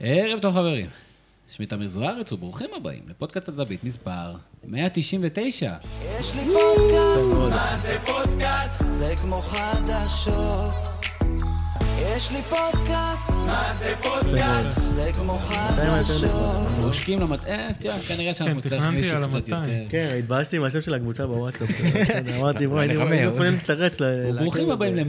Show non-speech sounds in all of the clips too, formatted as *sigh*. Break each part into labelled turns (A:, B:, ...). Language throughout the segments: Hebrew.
A: ערב טוב חברים, שמי תמיר זוארץ וברוכים הבאים לפודקאסט הזווית מספר 199.
B: יש לי פודקאסט, מה זה פודקאסט? זה כמו חדשות. יש לי פודקאסט, מה זה פודקאסט? זה כמו חדשות.
A: אנחנו עושקים למטה, תראה, כנראה
C: כן,
A: שאנחנו נצטרך
C: תכננתי
A: מישהו
C: על
A: קצת
C: 200.
A: יותר.
D: כן, התבאסתי מהשם של הקבוצה בוואטסאפ. בסדר, אמרתי, בואי, אני
E: נרמה,
D: אני
E: הוא-
D: יכולים להתרץ. ל-
A: ברוכים
D: לעכב את
A: הבאים
D: זה.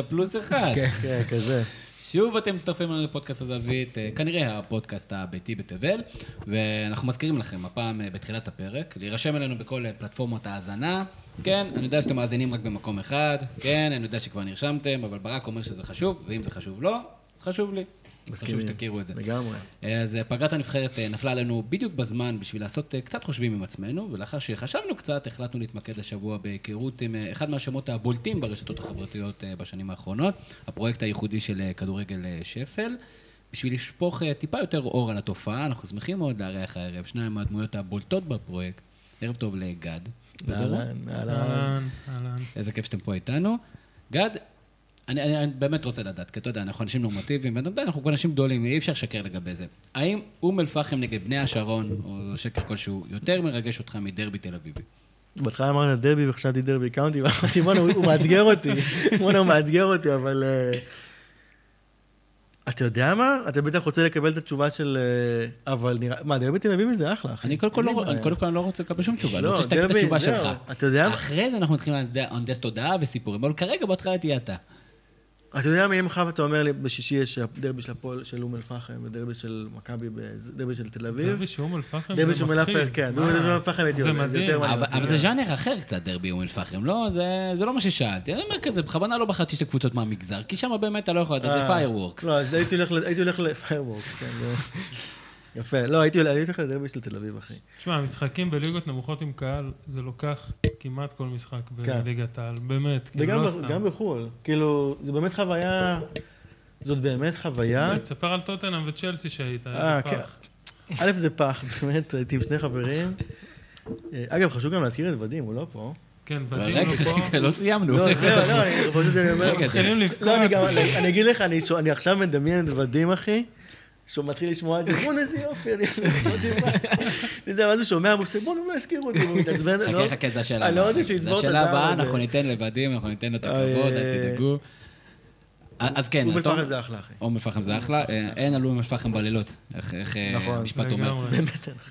A: ל-199 פלוס אחד.
D: כן, כזה.
A: שוב אתם מצטרפים אלינו לפודקאסט הזווית, אה, כנראה הפודקאסט הביתי בתבל, ואנחנו מזכירים לכם הפעם אה, בתחילת הפרק, להירשם אלינו בכל אה, פלטפורמות ההאזנה. כן, אני יודע שאתם מאזינים רק במקום אחד, כן, אני יודע שכבר נרשמתם, אבל ברק אומר שזה חשוב, ואם זה חשוב לו, חשוב לי. אז חשוב
D: מסכימים.
A: שתכירו את זה.
D: לגמרי.
A: אז אה, פגרת הנבחרת אה, נפלה עלינו בדיוק בזמן בשביל לעשות אה, קצת חושבים עם עצמנו, ולאחר שחשבנו קצת, החלטנו להתמקד השבוע בהיכרות עם אה, אחד מהשמות הבולטים ברשתות החברתיות אה, בשנים האחרונות, הפרויקט הייחודי של אה, כדורגל אה, שפל. בשביל לשפוך אה, טיפה יותר אור על התופעה, אנחנו שמחים מאוד לארח הערב שניים מהדמויות הבולטות בפרויקט. ערב טוב לגד. ודורון.
D: אהלן, אהלן.
C: אהלן, אהלן.
A: איזה כיף שאתם פה איתנו. גד, אני, אני, אני באמת רוצה לדעת, כי אתה יודע, אנחנו אנשים נורמטיביים, ואתה יודע, אנחנו כבר אנשים גדולים, אי אפשר לשקר לגבי זה. האם אום אל-פחם נגד בני השרון, או שקר כלשהו, יותר מרגש אותך מדרבי תל אביבי?
D: בהתחלה אמרת דרבי וחשבתי דרבי קאונטי, ואמרתי, בואנה, הוא הוא מאתגר
A: *laughs*
D: אותי. בואנה, הוא מאתגר אותי, אבל... אה, אתה יודע מה? אתה בטח רוצה לקבל את התשובה של... אה, אבל נראה... מה, דרבי תל אביבי זה אחלה, אחי.
A: אני קודם כל לא
D: אין לי
A: רוצה-
D: בעיה.
A: אני קודם כל לא רוצה לקבל שום תשובה, אני
D: לא,
A: רוצה שתגיד את
D: דרבי,
A: התשובה
D: זהו.
A: שלך.
D: אתה יודע מה?
A: אחרי זה אנחנו נתחיל להנדס תודעה וסיפורים, אבל כרגע בהתחלה תהיה אתה.
D: אתה יודע מה, אם מחר אתה אומר לי, בשישי יש דרבי של הפועל, של אום אל-פחם, ודרבי של מכבי, ב- דרבי של תל אביב.
C: דרבי שאום אל-פחם זה
D: דרבי
C: מפחיד.
D: של מלאפר, כן. דרבי של מלאפר הייתי
C: זה
D: אומר, זה יותר
C: מדהים.
D: מעניין
A: אבל
D: אותי.
A: אבל זה ז'אנר אחר קצת, דרבי אום אל-פחם, לא? זה- זה לא מה ששאלתי. אני אומר כזה, בכוונה לא בחרתי שתי קבוצות מהמגזר, כי שם באמת אתה לא יכול לדעת, זה
D: אה,
A: פיירוורקס.
D: לא, אז הייתי הולך ל- הייתי הולך לפיירוורקס, כן. זה- יפה. לא, הייתי הייתי הולך לדרבי של תל אביב, אחי.
C: תשמע, המשחקים בליגות נמוכות עם קהל, זה לוקח כמעט כל משחק בליגת העל, באמת, כאילו
D: כן. וגם
C: לא
D: ב- גם
C: סתם.
D: בחו"ל. כאילו, זה באמת חוויה... זאת באמת חוויה.
C: תספר על טוטנאם וצ'לסי שהיית,
D: אה,
C: איזה
D: כן.
C: פח.
D: א', זה פח, באמת, הייתי עם שני חברים. אה, אגב, חשוב גם להזכיר את ודים, הוא לא פה.
C: כן,
A: רגע,
C: ודים הוא פה.
A: רגע, *laughs* לא סיימנו.
D: לא, זהו, לא, אני פשוט אני אומר...
A: רגע,
C: מתחילים לבכות.
D: לא, אני גם, אני- אני אגיד לך, אני שו- אני עכשיו מדמיין את ודים, אחי, שהוא מתחיל לשמוע את זה, בואנה איזה יופי, אני לא וזה, ואז הוא שומע, הוא עושה, בואנה, לא הזכירו אותי, הוא מתעצבן. לא-
A: חכה, חכה, זו השאלה
D: אני לא רוצה שהוא
A: זו
D: יצבור את
A: השאלה
D: הזעם
A: הבאה,
D: הזה.
A: אנחנו ניתן לבדים, אנחנו ניתן לו את הכבוד,
D: אה,
A: אל תדאגו. אז כן,
D: אום
A: אתה אומר-
D: אל-פחם זה אחלה, אחי.
A: אום אל-פחם זה אחלה, אה, אין על אום אל-פחם בלילות, איך- איך אה,
D: נכון,
A: המשפט אומר.
C: לגמרי.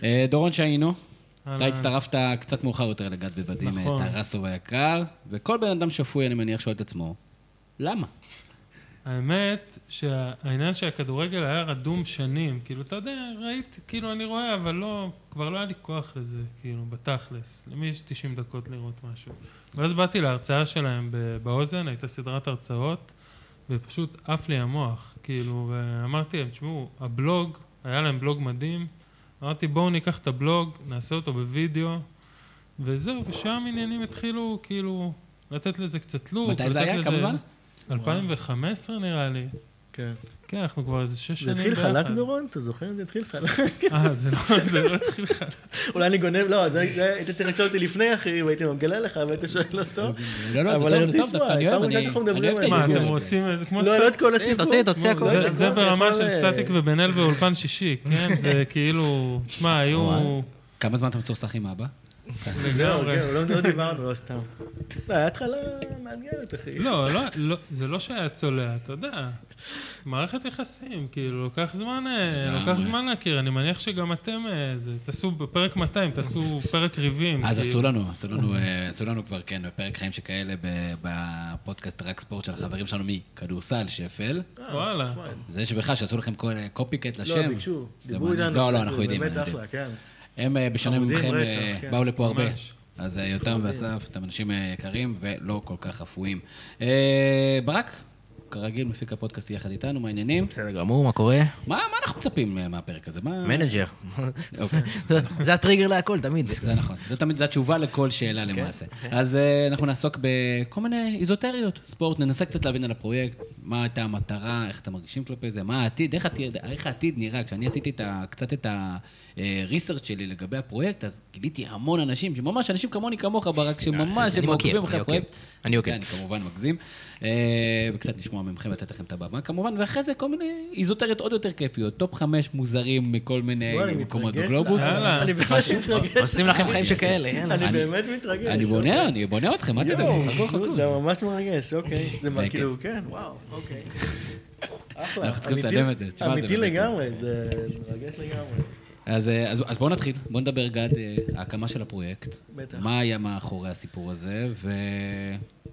A: אה, דורון שיינו,
D: אה.
A: אתה
C: אהלן.
A: הצטרפת קצת מאוחר יותר לגד ובדים, אה,
C: נכון.
A: טרסו היקר, וכל בן אדם שפוי, אני מניח, שואל את עצמו, למה?
C: האמת שהעניין שהכדורגל היה רדום שנים, כאילו, אתה יודע, ראיתי, כאילו, אני רואה, אבל לא, כבר לא היה לי כוח לזה, כאילו, בתכלס. למי יש 90 דקות לראות משהו? ואז באתי להרצאה שלהם ב- באוזן, הייתה סדרת הרצאות, ופשוט עף לי המוח, כאילו, ואמרתי להם, תשמעו, הבלוג, היה להם בלוג מדהים, אמרתי, בואו ניקח את הבלוג, נעשה אותו בווידאו, וזהו, ושם עניינים התחילו, כאילו, לתת לזה קצת לוק.
A: מתי זה
C: לתת
A: היה?
C: לזה-
A: כמה זמן?
C: 2015 נראה לי.
D: כן.
C: כן, אנחנו כבר איזה שש
D: זה
C: שנים
D: התחיל חלק,
C: ביחד.
D: דורון? אתה זוכר? זה התחיל חלק.
C: אה, זה לא- זה לא התחיל חלק.
D: אולי אני גונב, לא, זה זה- היית צריך לשאול אותי לפני, אחי, והייתי מגלה לך, והיית שואל אותו.
A: לא, לא, זה
D: אבל
A: טוב,
D: אני
A: זה
D: רוצה
A: טוב,
D: לשמוע,
A: דווקא אני
D: פעם
A: אוהב, אני
D: ראשונה שאנחנו
A: אני
D: מדברים
A: אוהב את
D: על *laughs* זה.
C: מה,
A: העיגול
C: אתם
D: זה.
A: הזה.
C: רוצים... זה כמו
D: לא, לא את
C: סטטיק.
D: כל הסיפור.
E: תוציא, תוציא הכל.
D: זה-
C: זה- זה
D: הכל,
C: ברמה
D: הכל,
C: של
D: אה,
C: סטטיק ובן אל ואולפן שישי, כן? זה כאילו... שמע, היו...
A: כמה זמן אתה מסוכסך עם אבא?
D: זהו,
C: לגמרי.
D: כן, לא- לא דיברנו, לא סתם. לא, היה התחלה מאתגרת, אחי.
C: לא, לא, לא, זה לא שהיה צולע, אתה יודע. מערכת יחסים, כאילו, לוקח זמן, אה,
A: לגמרי.
C: לוקח זמן להכיר. אני מניח שגם אתם, אה, זה, תעשו בפרק 200, תעשו פרק ריבים.
A: אז
C: כאילו.
A: עשו לנו, עשו לנו, אה, עשו לנו כבר, כן, בפרק חיים שכאלה ב- בפודקאסט רק ספורט של החברים שלנו מכדורסל שפל.
C: וואלה. כן,
D: נחמד.
A: זה שבכלל שעשו לכם כל קופי קט לשם.
D: לא, ביקשו,
A: זה
D: דיברו
A: מעניין.
D: איתנו.
A: לא, לא,
D: כאילו,
A: אנחנו יודעים,
D: באמת
A: אנחנו יודעים.
D: אחלה, כן.
A: הם, אה, בשונה
D: חמודים
A: ממכם,
D: רצח,
A: אה,
D: כן.
A: באו לפה הרבה.
C: ממש.
A: אז אה, יותם ואסף, אתם אנשים אה, יקרים ולא כל כך אפויים. אה, ברק, כרגיל, מפיק הפודקאסט יחד איתנו, מה העניינים?
E: בסדר גמור, מה קורה?
A: מה מה אנחנו מצפים אה, מהפרק הזה? מה-
E: מנג'ר.
A: אוקיי.
E: זה- זה הטריגר להכל, תמיד.
A: זה נכון, זה תמיד, זה התשובה לכל
E: כן.
A: שאלה למעשה. אז אה, אנחנו נעסוק בכל מיני איזוטריות, ספורט, ננסה קצת להבין על הפרויקט, מה הייתה המטרה, איך אתם מרגישים כלפי זה, מה העתיד, איך העתיד, איך העתיד נראה. כשאני עשיתי את ה, קצת את ה-research שלי לגבי הפרויקט, אז גיליתי המון אנשים, שממש אנשים כמוני כמוך, ברק, שממש
E: אה, אני
A: הם
E: מכיר,
A: עוקבים
E: אני
A: אחרי כן,
E: עוקב.
A: הפרויקט.
E: אני עוקב.
A: אני כמובן מגזים. אה, וקצת לשמוע לשמוע ממכם, לתת לכם את הבמה כמובן, ואחרי זה כל מיני איזוטריות עוד יותר כיפיות, טופ חמש מוזרים מכל מיני
D: בוא, אני
A: מקומות
D: מתרגש.
A: בגלובוס.
C: יאללה.
D: אני ממש מתרגש.
E: עושים לכם חיים שכאלה, יאללה.
D: אני באמת מתרגש.
A: אני בונה, אני בונה אתכם, מה
D: יואו,
A: תדאגו, חכו חכו.
D: זה ממש מרגש, אוקיי. זה מה,
A: בכיף.
D: כאילו, כן, וואו, אוקיי. אחלה.
A: אנחנו צריכים
D: אמיתי-
A: לצלם את זה, תשמע, זה
D: אמיתי
A: באמת-
D: לגמרי, זה מרגש לגמרי.
A: אז, אה, אז, אז בואו נתחיל, בואו נדבר גד, אה, ההקמה של הפרויקט.
D: בטח.
A: מה היה מאחורי הסיפור הזה, ו...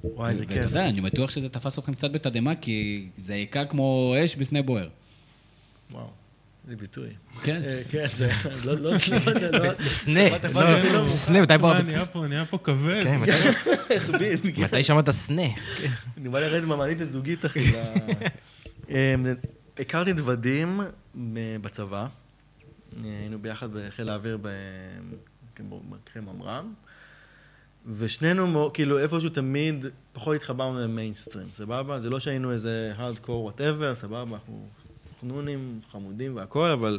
D: וואי, זה
A: ואתה
D: כיף.
A: יודע, אני בטוח שזה תפס אתכם קצת בתדהמה, כי זה היכה כמו אש בסנה בוער.
D: וואו, זה ביטוי.
A: כן.
D: אה, כן, זה, לא, לא, לא, לא,
E: סנה,
D: תפס
C: לא,
D: אותי, לא,
C: לא,
E: סנה, מתי
C: תשמע,
E: בא-
C: נהיה פה, נהיה פה כבד.
E: כן, מתי-
D: הכביד, כן.
E: מתי שמעת סנה?
D: אני בא לרדת מהמעלית הזוגית, אחי. ל- אמ, הכרתי את ודים מ- בצבא. אה, היינו ביחד בחיל האוויר ב- כמו- במקרה ממר"ם. ושנינו, מאו- כאילו, איפשהו תמיד פחות התחברנו למיינסטרים, סבבה? זה לא שהיינו איזה הארדקור וואטאבר, סבבה, אנחנו חנונים, חמודים והכול, אבל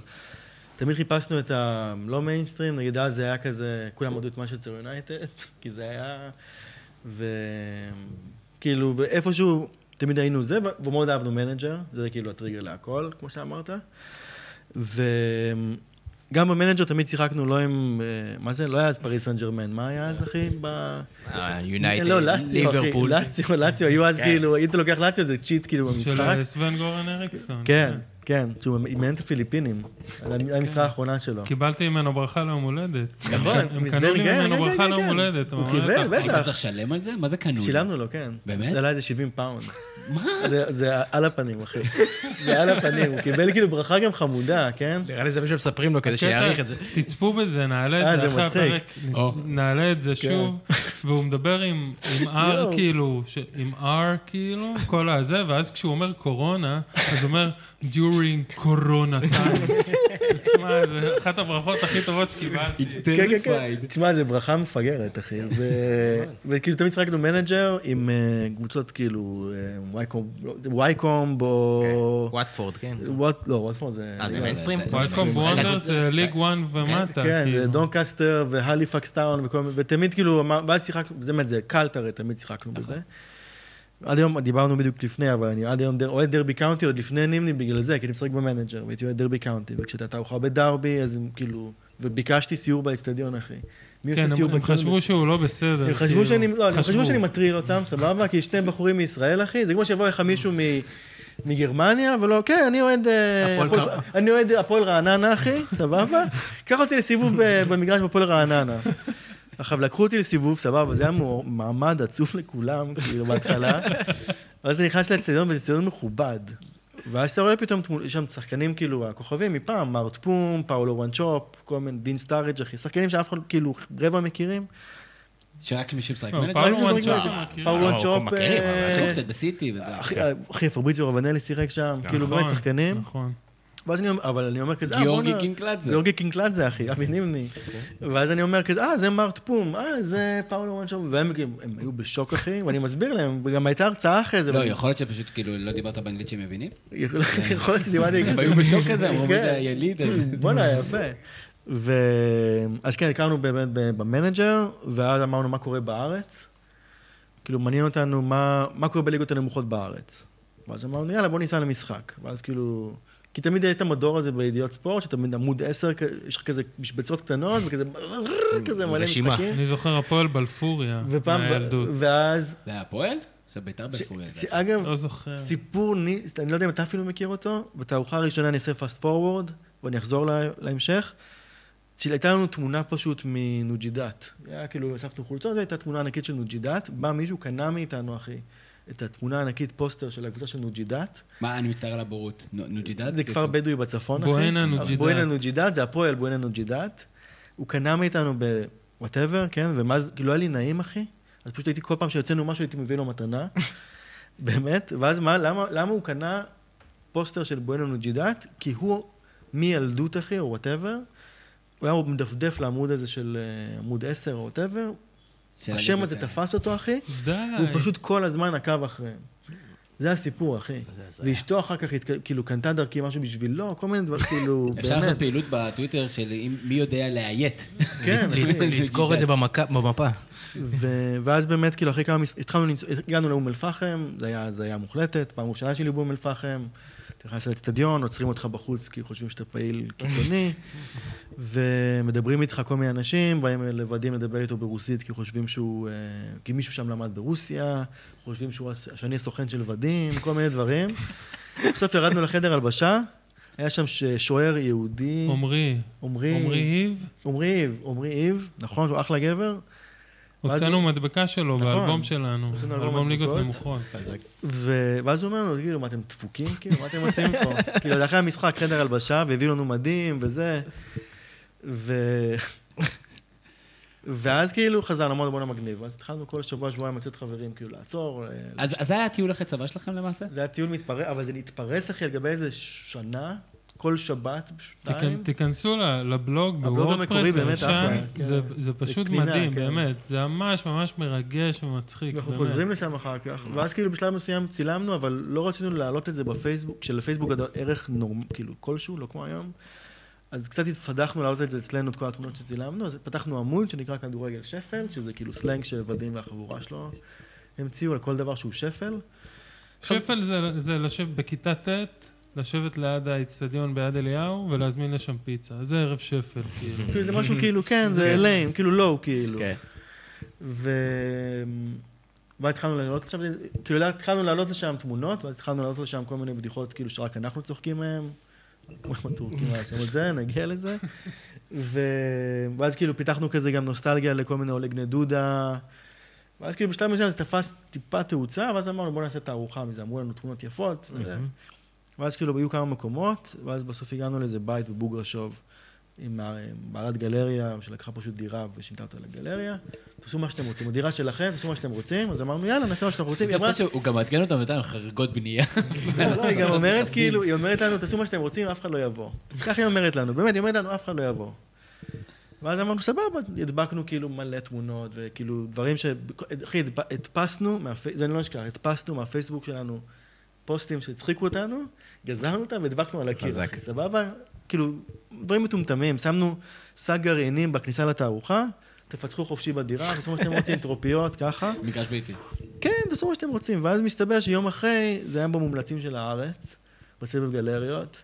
D: תמיד חיפשנו את הלא מיינסטרים, נגיד אז זה היה כזה, כולם עודו את משהו יונייטד, *laughs* כי זה היה... וכאילו, ואיפשהו, תמיד היינו זה, ו- ומאוד אהבנו מנג'ר, זה כאילו הטריגר להכל, כמו שאמרת. וגם במנג'ר תמיד שיחקנו לא עם, אה, מה זה? לא היה אז פריס סן ג'רמן, מה היה אז, אחי? ב...
E: יונייטד,
D: לא, לאציו, אחי,
E: אה, ליברפול. אה?
D: לאציו, לאציו, היו אז כאילו, אם אתה לוקח לאציו זה צ'יט כאילו
C: של
D: במשחק.
C: אה, סוון גורן אריקסון.
D: כן, כן, שהוא אימן את הפיליפינים, על המ- המשחק האחרונה שלו.
C: קיבלתי ממנו ברכה ליום הולדת.
D: נכון,
C: הם קנו- הם
D: מסבר
C: קנו לי
D: גן,
C: ממנו
D: כן, כן,
C: ברכה
D: כן,
C: ליום
D: כן.
C: הולדת.
D: הוא
C: אבל
D: קיבל,
C: אתה-
A: היית
D: בטח.
A: צריך לשלם על זה? מה זה קנו?
D: שילמנו לו, כן.
A: באמת?
D: זה עלה איזה 70 פאונד. מה? זה על הפנים, אחי. זה על הפנים. הוא קיבל כאילו ברכה גם חמודה, כן?
E: נראה לי זה מה שמספרים לו כדי
C: הקטע-
E: שיעריך את זה.
C: תצפו בזה, נעלה
D: אה,
C: את זה
D: זה
C: אחרי
D: מצחיק. כן.
C: הפרק. נצ- נעלה את זה שוב. והוא מדבר עם
D: *laughs*
C: עם R
D: יואו.
C: כאילו, ש- עם R כאילו, כל הזה, ואז כשהוא אומר קורונה, אז הוא אומר during corona times. תשמע, זה אחת הברכות הכי טובות שקיבלתי.
D: כן, כן, כן. תשמע, זו ברכה מפגרת,
E: *laughs*
D: אחי. ו- וכאילו תמיד שיחקנו מנג'ר עם אה, קבוצות כאילו אה, וייקום- לא, זה וייקום או...
E: וואטפורד, כן.
D: וואט, לא, וואטפורד זה...
E: אה, זה
A: לא,
E: מיינסטרים?
A: זה- זה-
C: וולקום וונדר
E: אה,
C: זה ליג 1 אה, ומטה,
D: כן, זה
C: כאילו.
D: דונקסטר והליפקס טאון וכל מיני, ותמיד כאילו, אמר- ואז שיחקנו, זה באמת, זה קלט הרי, תמיד שיחקנו בזה.
C: נכון.
D: עד היום, דיברנו בדיוק לפני, אבל אני עד היום דר- אוהד דרבי קאונטי, עוד לפני נימני בגלל זה, כי אני משחק במנג'ר, והייתי אוהד דרבי קאונטי, וכשאתה תערוכה בדרבי, אז הם כאילו, וביקשתי סיור באצטדיון, אחי. מי
C: כן,
D: עושה סיור
C: הם- הם
D: באצטדיון?
C: חשבו שהוא לא בסדר.
D: הם חשבו
C: כאילו.
D: שאני, לא, הם
C: חשבו.
D: חשבו שאני מטריל אותם, סבבה? כי שני בחורים מישראל, אחי. זה כמו שיבוא לך מישהו מ... מגרמניה, ולא, כן, אני אוהד... אה,
E: הפועל
D: הפועל-
E: קר-
D: אני אוהד הפועל רעננה, אחי,
C: *laughs*
D: סבבה? קח אותי לסיבוב ב- במגרש בפועל רעננה. עכשיו, לקחו אותי לסיבוב, סבבה, זה היה מור- מעמד עצוב לכולם, כאילו,
C: *laughs*
D: בהתחלה. ואז אני נכנס לאצטדיון, וזה אצטדיון מכובד. ואז אתה רואה פתאום תמול- יש שם שחקנים, כאילו, הכוכבים מפעם, מארט פום, פאולו וואנצ'ופ, כל מיני, דין סטארג', אחי, שחקנים שאף אחד, כאילו, רבע מכירים.
A: שרק מי שמשחק
C: לא,
A: מנג'ר?
C: פאולו
D: רק משחק
C: וואנצ'ופ.
D: מנג'ר. פאולו
E: אה,
D: וואנצ'ופ,
E: הכל מכירים,
D: אה,
E: אבל
A: שיחקו קצת בסיטי וזה.
D: אחי, אה, אחי, פרביציו רבנלי שיחק שם, כאילו
C: נכון,
D: באמת שחקנים.
C: נכון.
D: ואז אני אומר, אבל אני אומר כזה, אה,
A: גיאורגי
D: בואנה,
A: קינקלדזה.
D: גיאורגי קינקלדזה, אחי, אבי נימני. ואז אני אומר כזה, אה, זה מרט פום, אה, זה פאולו וואנצ'ופ, והם כאילו, הם היו בשוק, אחי, ואני מסביר להם, וגם הייתה הרצאה אחרי זה.
A: לא,
D: ואני-
A: יכול להיות שפשוט כאילו לא דיברת באנגלית שהם מבינים?
D: יכול יכול להיות שדיברתי
A: הם
D: כזה.
A: היו בשוק כזה, אמרו, מי
D: כן.
A: זה היליד הזה?
D: *laughs* בואנה, יפה. ו... אז כן, הכרנו באמת ב- במנג'ר, ואז אמרנו מה קורה בארץ. כאילו, מעניין אותנו מה, מה קורה בליגות הנמוכות בארץ. ואז אמרנו, יאללה, בוא ניסע למשחק. ואז כאילו... כי תמיד היה את המדור הזה בידיעות ספורט, שתמיד עמוד 10, כ- יש לך כזה משבצות קטנות, וכזה *laughs* כזה מלא
E: רשימה.
D: משחקים.
C: אני זוכר הפועל בלפוריה,
D: ופעם,
C: מהילדות.
D: ואז,
A: זה היה הפועל? עכשיו ביתר
D: ש-
A: בפוריה.
D: ש- אגב,
C: לא זוכר.
D: סיפור, ני- אני לא יודע אם אתה אפילו מכיר אותו, בתערוכה הראשונה אני אעשה fast forward, ואני אחזור לה- להמשך. הייתה לנו תמונה פשוט מנוג'ידאת. היה כאילו, אספנו חולצות, זו הייתה תמונה ענקית של נוג'ידאת. בא מישהו, קנה מאיתנו, אחי, את התמונה הענקית פוסטר של הקבוצה של נוג'ידאת.
A: מה, אני מצטער על הבורות. נו- נוג'ידאת?
D: זה כפר בדואי בצפון, אחי.
C: בואנה נוג'ידאת.
D: בואנה נוג'ידאת, זה הפועל בואנה נוג'ידאת. הוא קנה מאיתנו בוואטאבר, כן? ומה זה, כאילו, היה לי נעים, אחי. אז פשוט הייתי, כל פעם שיוצאנו משהו, הייתי מביא לו מתנה. באמת. ואז מה, למה, למה הוא קנה פוסטר של בואנה נוג'ידאת? כי הוא, מילדות, אחי, או וואטאבר, הוא היה מדפדף לעמוד הזה של אה, עמוד 10 או וואטאבר.
A: של
D: השם
A: הליגות
D: הזה
A: האלה.
D: תפס אותו, אחי.
C: די.
D: הוא פשוט כל הזמן עקב אחריהם. זה הסיפור, אחי. ואשתו אחר כך, התק- כאילו, קנתה דרכי משהו בשבילו, כל מיני דברים, כאילו,
A: אפשר לעשות
D: באמת.
A: פעילות בטוויטר של אם- מי יודע
C: *laughs*
A: לאיית. *laughs*
D: כן, אחי.
E: לדקור את זה במכה- במפה.
D: ו- ואז באמת, כאילו, אחרי כמה... מס- התחלנו למצוא... הגענו לאום אל-פחם, זה היה הזיה מוחלטת, פעם ראשונה שלי באום אל-פחם, אתה נכנס לאצטדיון, עוצרים אותך בחוץ כי חושבים שאתה פעיל קיצוני, ומדברים איתך כל מיני אנשים, באים לבדים לדבר איתו ברוסית כי חושבים שהוא... אה, כי מישהו שם למד ברוסיה, חושבים שהוא... הס- שאני הסוכן של ודים, כל מיני דברים. בסוף ירדנו לחדר הלבשה, היה שם ש- שוער יהודי,
C: עמרי, עמרי איב,
D: עמרי איב, עמרי איב, נכון, הוא אחלה גבר, ואז
C: הוצאנו מדבקה שלו
D: נכון.
C: באלבום שלנו,
D: הוצאנו אלבום
C: אלבום ליגות
D: מדבקות.
C: נמוכות.
D: ו... ואז הוא אומר לנו, כאילו, מה אתם דפוקים? כאילו, מה אתם עושים פה? *laughs* כאילו, זה אחרי המשחק, חדר הלבשה, והביאו לנו מדים וזה. ו... *laughs* ואז כאילו חזרנו, אמרנו בואנה מגניב. ואז התחלנו כל שבוע, שבועיים לצאת חברים, כאילו, לעצור. אה,
A: אז אז זה היה הטיול אחרי צבא שלכם
C: *laughs*
A: למעשה?
D: זה היה טיול מתפרס, אבל זה התפרס, אחי, על גבי איזה שנה, כל שבת, שתיים.
C: תיכן- תיכנסו ל- לבלוג
D: הבלוג המקורי
C: בוורדפרס
D: באמת
C: הישן,
D: אחלה, כן.
C: זה- זה פשוט
D: קלינה,
C: מדהים,
D: כן.
C: באמת. זה ממש ממש מרגש ומצחיק,
D: אנחנו
C: באמת.
D: חוזרים לשם אחר כך, ואז כאילו בשלב מסוים צילמנו, אבל לא רצינו להעלות את זה בפייסבוק, כשלפייסבוק היה ערך נורמ... כאילו כלשהו, לא כמו היום. אז קצת התפדחנו להעלות את זה אצלנו, את כל התמונות שצילמנו, אז פתחנו עמוד שנקרא כדורגל שפל, שזה כאילו סלנג שוודים והחבורה שלו המציאו על כל דבר שהוא שפל.
C: שפל זה- זה לשבת בכיתה ט', לשבת ליד האיצטדיון ביד אליהו ולהזמין לשם פיצה. זה ערב שפל, כאילו.
D: כאילו זה
C: *laughs*
D: משהו כאילו, כן, זה ליים, כאילו לואו, כאילו.
E: כן.
D: ו... ואז התחלנו לעלות לשם, כאילו התחלנו לעלות לשם תמונות, ואז התחלנו לעלות לשם כל מיני בדיחות, כאילו שרק אנחנו צוחקים מהן, כמו עם הטורקים, השם את זה, נגיע לזה. ו... ואז כאילו פיתחנו כזה גם נוסטלגיה לכל מיני עולי בני דודה. ואז כאילו בשלב מסוים זה תפס טיפה תאוצה, ואז אמרנו בוא נעשה תערוכה מזה, אמרו לנו תמונות יפות. וזה. ואז כאילו היו כמה מקומות, ואז בסוף הגענו לאיזה בית בבוגרשוב, עם ה- עם בעלת גלריה, שלקחה פשוט דירה ושינתה אותה לגלריה. תעשו מה שאתם רוצים, הדירה שלכם, תעשו מה שאתם רוצים, אז אמרנו יאללה, נעשה מה שאתם רוצים.
A: זה
D: היא אמרה,
A: יפה שהוא גם מעדכן אותם ונתן חריגות בנייה. *laughs*
D: לא, היא גם אומרת כאילו, היא אומרת לנו, תעשו מה שאתם רוצים, אף אחד לא יבוא. ככה היא אומרת לנו, באמת, היא אומרת לנו, אף אחד לא יבוא. ואז אמרנו, סבבה, הדבקנו כאילו מלא תמונות, וכאילו דברים ש... אחי, הדפ- הדפסנו, מהפי- זה אני לא אשכח, הדפסנו מהפייסבוק שלנו פוסטים שהצחיקו אותנו, גזרנו אותם והדבקנו על הקיר,
E: חזק.
D: אחי, סבבה? כאילו, דברים מטומטמים, שמנו שק גרעינים בכניסה לתערוכה, תפצחו חופשי בדירה, תעשו מה שאתם רוצים, *laughs* טרופיות, ככה.
A: מגרש ביתי.
D: כן, תעשו מה שאתם רוצים. ואז מסתבר שיום אחרי, זה היה במומלצים של הארץ, בסבב גלריות,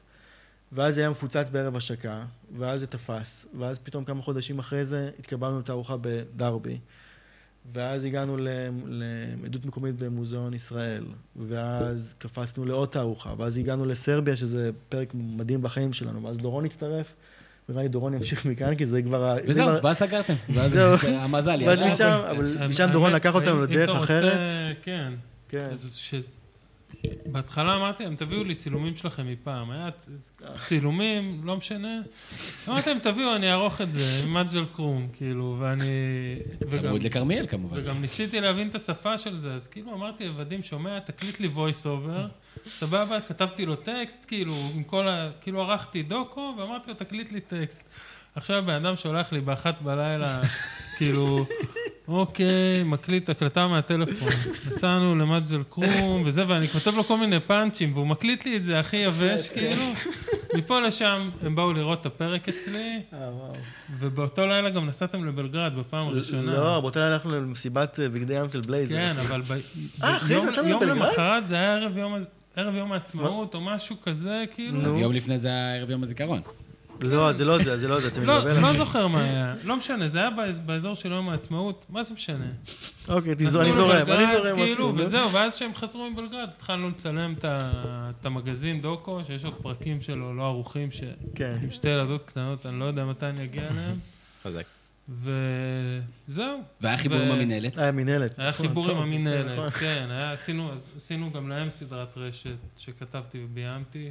D: ואז זה היה מפוצץ בערב השקה, ואז זה תפס, ואז פתאום כמה חודשים אחרי זה התקבלנו לתערוכה בדרבי, ואז הגענו ל- לעדות מקומית במוזיאון ישראל, ואז קפצנו לעוד תערוכה, ואז הגענו לסרביה, שזה פרק מדהים בחיים שלנו, ואז דורון הצטרף, ונראה לי דורון ימשיך מכאן, כי זה כבר... ה- זה
A: וזהו,
C: לא-
D: כבר-
A: ואז
C: *laughs*
A: סגרתם. ואז
D: זהו.
A: זה המזל,
D: ואז
A: יאללה.
D: משם, אבל משם
C: האמת,
D: דורון לקח אותנו
C: אם- אם
D: לדרך
C: אתה רוצה-
D: אחרת.
C: כן.
D: כן.
C: אז ש... בהתחלה אמרתי להם, תביאו לי צילומים שלכם מפעם. היה צ- צילומים, לא משנה. אמרתי להם, תביאו, אני אערוך את זה, עם מג'ל קרום, כאילו, ואני... וגם-
A: צמוד לכרמיאל כמובן.
C: וגם ניסיתי להבין את השפה של זה, אז כאילו אמרתי, עבדים שומע, תקליט לי voice over, סבבה, כתבתי לו טקסט, כאילו, עם כל ה... כאילו ערכתי דוקו, ואמרתי לו, תקליט לי טקסט. עכשיו בן אדם שולח לי באחת בלילה, *laughs* כאילו, אוקיי, מקליט הקלטה מהטלפון. נסענו למג'ל קרום וזה, ואני כותב לו כל מיני פאנצ'ים, והוא מקליט לי את זה הכי
D: *laughs*
C: יבש, כאילו. מפה לשם, הם באו לראות את הפרק אצלי,
D: אה, וואו.
C: ובאותו לילה גם נסעתם לבלגרד בפעם הראשונה.
D: לא, באותה לילה הלכנו למסיבת אה, בגדי ים של בלייזר.
C: כן, אבל ב...
D: אה, אחרי זה
C: יום-
D: יצאנו
C: יום
D: לבלגרד?
C: למחרת זה היה ערב יום הז- ערב יום העצמאות או משהו כזה, כאילו.
A: אז יום לפני זה היה ערב יום הזיכרון.
D: לא, זה לא זה, זה לא זה, אתה
C: כן. לא,
D: מתבלבל.
C: לא זוכר מה היה, לא משנה, זה היה באזור- באזור של יום העצמאות, מה זה משנה?
D: אוקיי, תזרום, אני
C: נסעו
D: זורם,
C: לבלגרד,
D: אני זורם.
C: כאילו,
D: אפילו,
C: וזהו, ואז כשהם חזרו מבלגרד, התחלנו לצלם את ה- את המגזין דוקו, שיש עוד פרקים שלו, לא ערוכים, ש-
D: כן.
C: עם שתי ילדות קטנות, אני לא יודע מתי אני אגיע אליהם,
E: חזק.
C: וזהו.
A: והיה חיבור
C: ו-
A: עם המינהלת.
D: היה מינהלת.
C: היה
D: נכון,
C: חיבור עם
D: טוב, נכון.
C: המינהלת, כן, היה- עשינו- אז עשינו גם להם סדרת רשת שכתבתי וביימתי,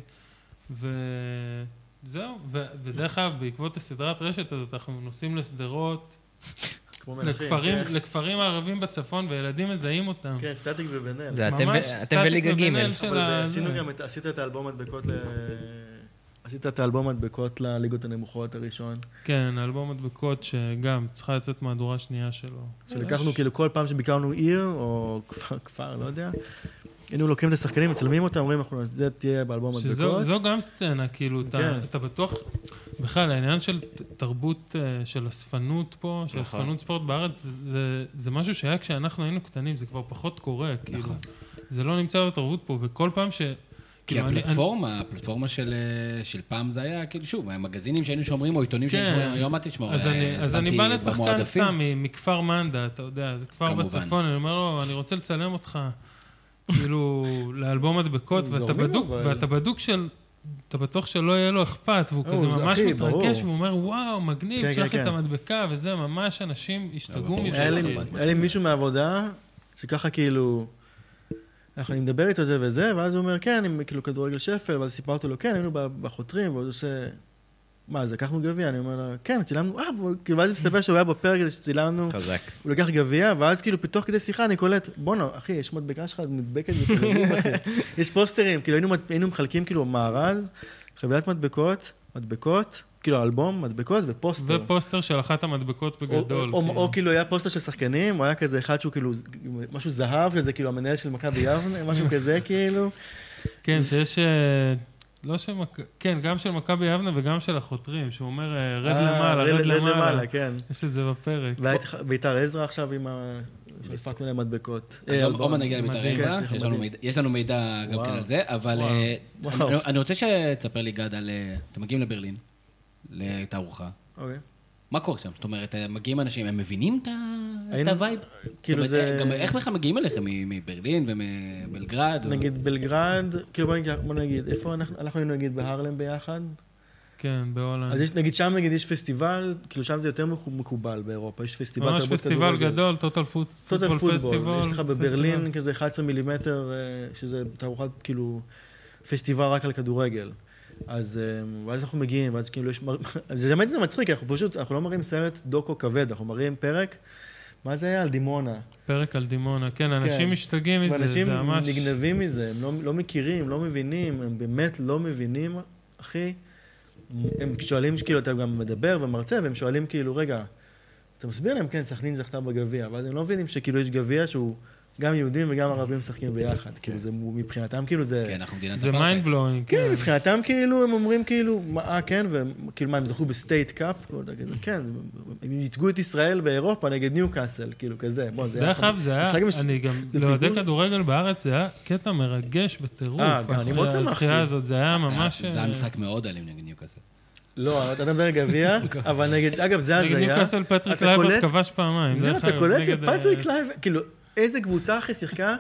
C: וזהו, ו- ודרך אגב, בעקבות הסדרת רשת הזאת, אנחנו נוסעים לשדרות,
D: כמו מלכים,
C: לכפרים-
D: כן.
C: לכפרים הערבים בצפון, וילדים מזהים אותם.
D: כן, סטטיק ובן-אל.
E: זה אתם ו-
C: ממש
E: אתם
C: סטטיק
E: וליגה ג'. נכון.
C: ובן-אל של
D: אבל אה,
C: ה-
D: עשינו
C: זה.
D: גם את, עשית את האלבום הדבקות ל... עשית את האלבום הדבקות לליגות הנמוכות הראשון.
C: כן, אלבום מדבקות שגם צריכה לצאת מהדורה שנייה שלו.
D: שלקחנו כאילו כל פעם שביקרנו עיר, או כפר, כפר, לא יודע, היינו לוקחים את השחקנים, מצלמים אותם, אומרים, אנחנו, זה תהיה באלבום
C: שזו
D: הדבקות.
C: זו גם סצנה, כאילו, אתה,
D: כן.
C: אתה בטוח... בכלל, העניין של ת- תרבות אה, של אספנות פה, של
A: נכון.
C: אספנות ספורט בארץ, זה, זה משהו שהיה כשאנחנו היינו קטנים, זה כבר פחות קורה, כאילו.
A: נכון.
C: זה לא נמצא בתרבות פה, וכל פעם ש...
A: כי
C: כאילו, אני-
A: הפלטפורמה, הפלטפורמה של, אה, של פעם זה היה, כאילו, שוב, המגזינים שהיינו שומרים, או עיתונים שהיינו
C: כן.
A: שומרים, היום אל תשמור,
C: אז
A: אה,
C: אני, אז
A: שמתי
C: אני בא לשחקן
A: במועדפים.
C: סתם מ- מכפר מנדה, אתה יודע, זה כפר
A: כמובן.
C: בצפון, אני אומר לו, אני רוצה לצלם אותך, כאילו, לאלבום מדבקות, ואתה
D: זורמים,
C: בדוק,
D: אבל-
C: ואתה בדוק של... אתה בטוח שלא יהיה לו אכפת, והוא
D: אה,
C: כזה
D: הוא זה
C: ממש
D: הכי,
C: מתרגש,
D: ברור.
C: והוא אומר, וואו, מגניב,
D: כן,
C: שלח
D: כן, אוקיי.
C: לי את
D: כן.
C: המדבקה, וזה, ממש אנשים השתגעו
A: ברור.
C: מזה.
D: היה לי-
A: זה לא
D: היה לי מישהו מהעבודה, שככה כאילו, אנחנו, אני מדבר איתו זה וזה, ואז הוא אומר, כן, אני כאילו כדורגל שפל, ואז סיפרתי לו, כן, היינו ב- בחותרים, והוא עושה, מה, אז לקחנו גביע? אני אומר לו, כן, צילמנו, אה, והוא- כאילו, ואז מסתבר שהוא היה בפרק הזה שצילמנו,
F: חזק.
D: הוא לקח גביע, ואז כאילו, פתאום תוך כדי שיחה אני קולט, בואנה, אחי, יש מדבקה שלך מודבקת,
A: *laughs*
D: בפנים, אחי." יש פוסטרים, כאילו, היינו מד- היינו מחלקים כאילו מארז, חבילת מדבקות, מדבקות, כאילו, אלבום, מדבקות ופוסטר.
C: ופוסטר של אחת המדבקות
D: או-
C: בגדול.
D: או-
C: כאילו.
D: או כאילו היה פוסטר של שחקנים, הוא היה כזה אחד שהוא כאילו, משהו זהב, כזה כאילו המנהל של מכבי יבנה, משהו כזה כאילו.
C: כן, שיש... אה, לא של מכבי, כן, גם של מכבי יבנה וגם של החותרים, שהוא אומר, אה, רד
D: אה,
C: למעלה, רד למעלה.
D: כן.
C: יש את זה בפרק.
D: והיה את ח- ביתר עזרא עכשיו עם ה... הפקנו להם מדבקות.
A: אז עוד-
D: אה,
A: עוד מעט
D: אלבום.
A: נגיע לביתר
C: מדהים.
A: עזרא,
D: כן, סליחה,
A: יש לנו
D: מדהים.
A: מידע- יש לנו מידע גם
D: וואו.
A: כן על זה, אבל
D: וואו.
A: אה,
D: וואו.
A: אני- אני רוצה שתספר לי, גד, על... אה, אתם מגיעים לברלין, לתערוכה.
D: אוקיי.
A: מה קורה שם? זאת אומרת, אה, מגיעים אנשים, הם מבינים את ה- את
D: היינו-
A: הווייב?
D: כאילו
A: זאת אומרת, אה,
D: זה-
A: גם איך בכלל מגיעים אליכם? מ- מברלין ומבלגרד? או-
D: נגיד בלגרד, כאילו בוא נגיד- בוא נגיד, איפה אנחנו, אנחנו היינו נגיד בהרלם ביחד,
C: כן, בהולנד.
D: אז יש, נגיד שם נגיד יש פסטיבל, כאילו שם זה יותר מקו- מקובל באירופה, יש פסטיבל
C: ממש
D: תרבות
C: פסטיבל
D: כדורגל.
C: גדול, טוטל פוט-
D: טוטל
C: פוטבול פסטיבל.
D: פוטבול, יש לך בברלין כזה 11 מילימטר, אה, שזה תערוכת כאילו פסטיבל רק על כדורגל. אז אה, ואז אנחנו מגיעים, ואז כאילו יש... מר- *laughs* זה באמת זה מצחיק, אנחנו פשוט, אנחנו לא מראים סרט דוקו כבד, אנחנו מראים פרק, מה זה היה? על דימונה.
C: פרק על דימונה. כן, אנשים
D: כן.
C: משתגעים מזה,
D: ואנשים
C: זה ממש...
D: נגנבים מזה, הם לא, לא מכירים, לא מבינים, הם באמת לא מבינים, אחי. הם שואלים, כאילו, אתה גם מדבר ומרצה, והם שואלים, כאילו, רגע, אתה מסביר להם, כן, סכנין זכתה בגביע, אבל הם לא מבינים שכאילו יש גביע שהוא גם יהודים וגם ערבים משחקים ביחד. כאילו, זה מבחינתם, כאילו, זה...
A: כן, אנחנו מדינת
C: זה מיינד
A: אפרטהייד.
C: בלואינג.
D: כן, מבחינתם כאילו, הם אומרים כאילו, מה, אה, כן, והם, כאילו, מה, הם זכו בסטייט קאפ? לא יודע, כזה, כן, הם ייצגו את ישראל באירופה נגד ניו קאסל, כאילו, כזה. בוא, זה היה
C: דרך אגב, זה היה,
D: משחק מש-
C: אני גם,
D: זה
C: לאוהדי
D: פיגול.
C: כדורגל בארץ, זה היה קטע מרגש בטירוף.
D: אה, גם אני
C: הזכייה-
D: מאוד שמחתי.
C: הזכייה הזאת, זה היה ממש...
A: זה
C: אה,
A: היה משחק מאוד אלים נגד ניוקאסל.
D: לא, אתה מדבר
C: *laughs*
D: גביע,
C: אוקיי.
D: אבל נגד, אגב, אה, זה
C: נגד
D: הזיה.
C: ניוקאסל פטריק
D: אתה
C: לייבר
D: קולט-
C: כבש פעמיים.
D: זהו,
C: דרך
D: אתה
C: אגב,
D: קולט
C: נגד,
D: שפטריק
C: אה,
D: לייב, כאילו, איזה קבוצה אחי שיחקה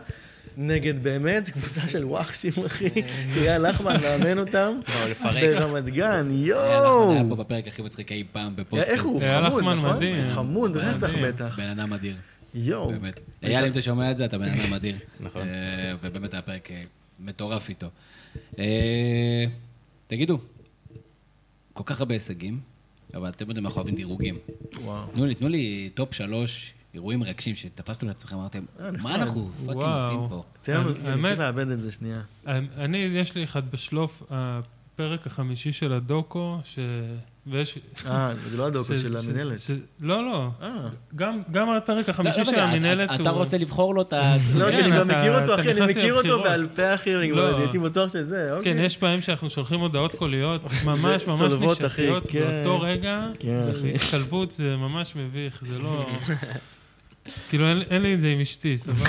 D: נגד באמת קבוצה של וואחשים, אחי,
C: אה.
D: שהיה לחמן
C: *laughs*
D: מאמן אותם,
A: לא,
D: ברמת גן,
A: היה אה, אנחנו- היה פה
D: יואו.
A: בפרק הכי מצחיק אי פעם בפודקאסט.
D: Oh! אה, איך הוא?
C: היה
D: חמוד,
C: לחמן
D: נכון?
C: מדהים.
D: חמוד, רצח
C: מדהים.
D: בטח.
A: בן אדם אדיר,
D: יואו.
A: באמת. אייל, אם אתה שומע את זה, אתה בן אדם אדיר.
F: נכון.
A: אה, ובאמת היה פרק אה, מטורף איתו. אה, תגידו, כל כך הרבה הישגים, אבל אתם יודעים, אנחנו אוהבים דירוגים.
D: וואו.
A: תנו לי, תנו לי טופ שלוש אירועים מרגשים שתפסתם לעצמכם, אמרתם,
D: אה,
A: מה אנחנו פאקינג
C: וואו.
A: עושים פה?
D: תן לנו,
C: האמת-
D: אני צריך לאבד את זה
C: *laughs*
D: שנייה.
C: אני, יש לי אחד בשלוף, הפרק החמישי של הדוקו, ש... ויש...
D: אה, זה לא הדוקו
C: ש-
D: של
C: ש-
D: המנהלת.
C: ש- לא, לא.
D: אה.
C: גם, גם הפרק
A: לא,
C: החמישי
A: לא
C: של
A: יודע,
C: המינהלת
A: אתה-
C: הוא...
A: אתה רוצה לבחור לו את ה...
D: לא,
C: כן,
D: כי אני כבר
C: אתה-
D: מכיר אותו,
C: אתה
D: אחי, אני
C: נכנס לי
D: מכיר אותו
C: לבחירות.
D: בעל פה, אחי, אני כבר
C: לא.
D: הייתי בטוח שזה, אוקיי.
C: כן, יש פעמים שאנחנו שולחים הודעות
D: *laughs*
C: קוליות, ממש ממש
D: צולבות, אחי,
C: נשכיות
D: כן.
C: באותו רגע,
D: כן, אחי.
C: והתחלבות זה ממש מביך, זה
D: *laughs*
C: לא... כאילו, אין- אין לי את זה עם
A: *laughs*
C: אשתי, סבבה?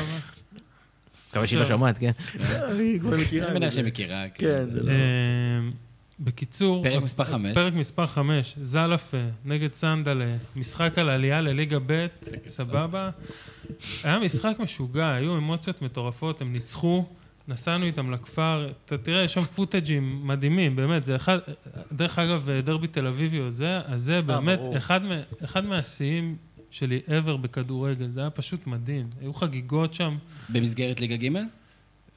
E: מקווה שהיא לא שומעת, כן?
D: אני כבר מכירה.
A: אני
D: את
A: מניח
D: זה.
A: שמכירה.
D: כן, זה לא...
C: אמ,
D: כן.
C: בקיצור...
A: פרק מספר חמש.
C: פרק מספר 5, זלאפה נגד סנדלה, משחק על עלייה לליגה ב', סבבה. היה משחק משוגע, היו אמוציות מטורפות, הם ניצחו, נסענו איתם לכפר, אתה תראה, יש שם פוטג'ים מדהימים, באמת, זה אחד, דרך אגב, אה, דרבי תל אביבי או זה, אז זה באמת
D: ברור.
C: אחד, מה- אחד מהשיאים שלי ever בכדורגל, זה היה פשוט מדהים. היו חגיגות שם.
A: במסגרת ליגה ג'?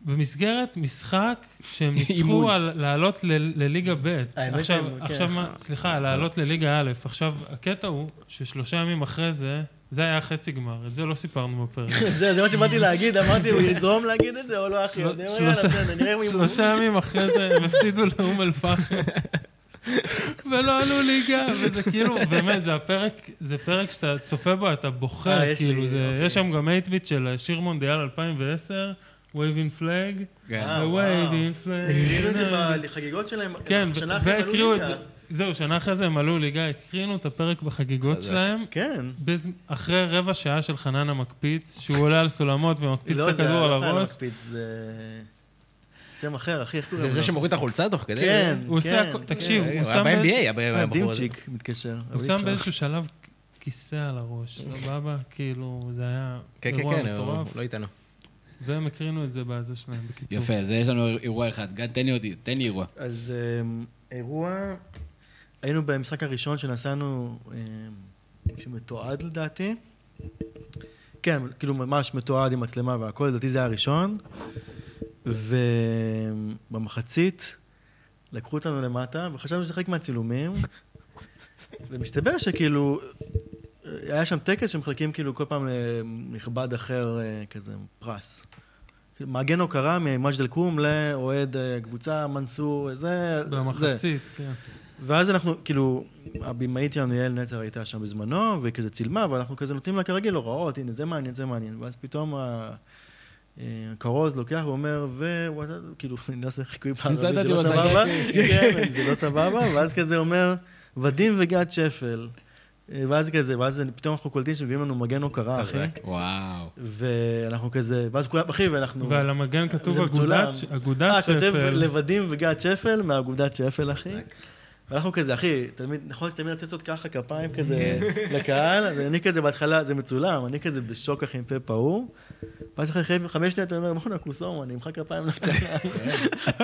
C: במסגרת משחק
D: *laughs*
C: שהם
A: אימון.
C: ניצחו על לעלות ל- לליגה ב'.
D: האמת
C: עכשיו,
D: שהם- כן. לא.
C: עכשיו מה, סליחה, לעלות לליגה א'. עכשיו, הקטע הוא ששלושה ימים אחרי זה, זה היה חצי גמר, את זה לא
D: *laughs*
C: סיפרנו בפרק.
D: זה זה מה שבאתי להגיד, אמרתי, הוא יזרום להגיד את זה או לא, אחי?
C: של-
D: אז אני אומר, יאללה,
C: שלושה-
D: בסדר, נראה אם הוא...
C: שלושה ימים אחרי זה הם הפסידו לאום
D: *laughs*
C: אל-פחם. ולא עלו ליגה, וזה כאילו, באמת, זה הפרק, זה פרק שאתה צופה בו, אתה
D: אה,
C: בוכה,
D: יש לי,
C: כאילו, זה,
D: אוקיי.
C: יש שם גם 8-ביט של שיר מונדיאל 2010, waving flag,
A: כן.
D: אה,
C: the
D: וואו.
C: waving
D: הקרינו את
C: *laughs* flag.
D: זה בחגיגות שלהם,
C: כן,
D: שנה
C: ו-
D: אחרי הם עלו
C: והקריאו את
D: ליגה.
C: זה. זהו, שנה אחרי זה הם עלו ליגה, הקרינו את הפרק בחגיגות שלהם,
D: כן.
C: בז- אחרי רבע שעה של חנן המקפיץ, שהוא עולה על סולמות ומקפיץ
D: לא,
C: את
D: זה
C: הכדור על
D: לא חיים
C: הראש.
D: מקפיץ, זה... שם אחר, אחי, איך קוראים לו?
E: זה זה שמוריד את החולצה תוך כדי?
D: כן,
C: הוא
D: כן.
C: עושה, הכ- תקשיב,
E: הוא
C: הוא
E: לא. היה
C: שם באיזשהו-
E: ב-NBA,
D: אה,
E: הבחור הזה.
D: דימצ'יק מתקשר.
C: הוא
D: אביב
C: שם
D: שלך.
C: באיזשהו שלב כ- כיסא על
D: *laughs*
C: הראש, סבבה? כאילו, זה היה
E: כן, כן,
C: אירוע
E: כן, הוא
C: מטורף,
E: הוא לא איתנו.
C: והם הקרינו את זה בזה שלהם, בקיצור.
A: יפה, אז יש לנו אירוע אחד. גד, תן לי אותי, תן לי אירוע.
D: אז אמ, אירוע, היינו במשחק הראשון שנסענו, אמ, שמתועד לדעתי. כן, כאילו ממש מתועד עם מצלמה והכל, לדעתי זה היה הראשון. ובמחצית לקחו אותנו למטה, וחשבנו שזה חלק מהצילומים. ומסתבר שכאילו, אה, היה שם טקס שמחלקים כאילו כל פעם לנכבד אחר אה, כזה פרס. מעגן הוקרה ממג'ד אל-כרום לאוהד אה, הקבוצה, מנסור, זה, זה.
C: במחצית, כן.
D: ואז אנחנו, כאילו, הבמאית שלנו, יעל נצר, הייתה שם בזמנו, וכזה צילמה, ואנחנו כזה נותנים לה כרגיל הוראות, הנה זה מעניין, זה מעניין. ואז פתאום ה- אה, הכרוז לוקח ואומר, ווואטה, כאילו, *laughs* אני לא עושה חיקוי פעם,
A: זה
D: זה
A: ידעתי,
D: לא
A: הוא עשה
D: סבבה, *laughs* כן, זה לא סבבה, ואז כזה אומר, ודים וגד שפל. אה, ואז כזה, ואז פתאום אנחנו קולטים שמביאים לנו מגן הוקרה, אחי.
A: וואו.
D: ואנחנו כזה, ואז כולם, אחי, ואנחנו...
C: ועל המגן כתוב
D: זה מצולם.
C: אגודת ש- אגודת
D: אה, כותב
C: שפל.
D: לבדים וגד שפל מאגודת שפל, אחי. ואנחנו כזה, אחי, תמיד, נכון, תמיד לצאת לעשות ככה כפיים
E: כן.
D: כזה לקהל, אז אני כזה בהתחלה, זה מצולם, אני כזה בשוק אחי עם פה פעור, ואז אחרי חמש- חמש שניות אני אומר, בוא'נה, קוסומו, אני אמחא כפיים *laughs* לקהל.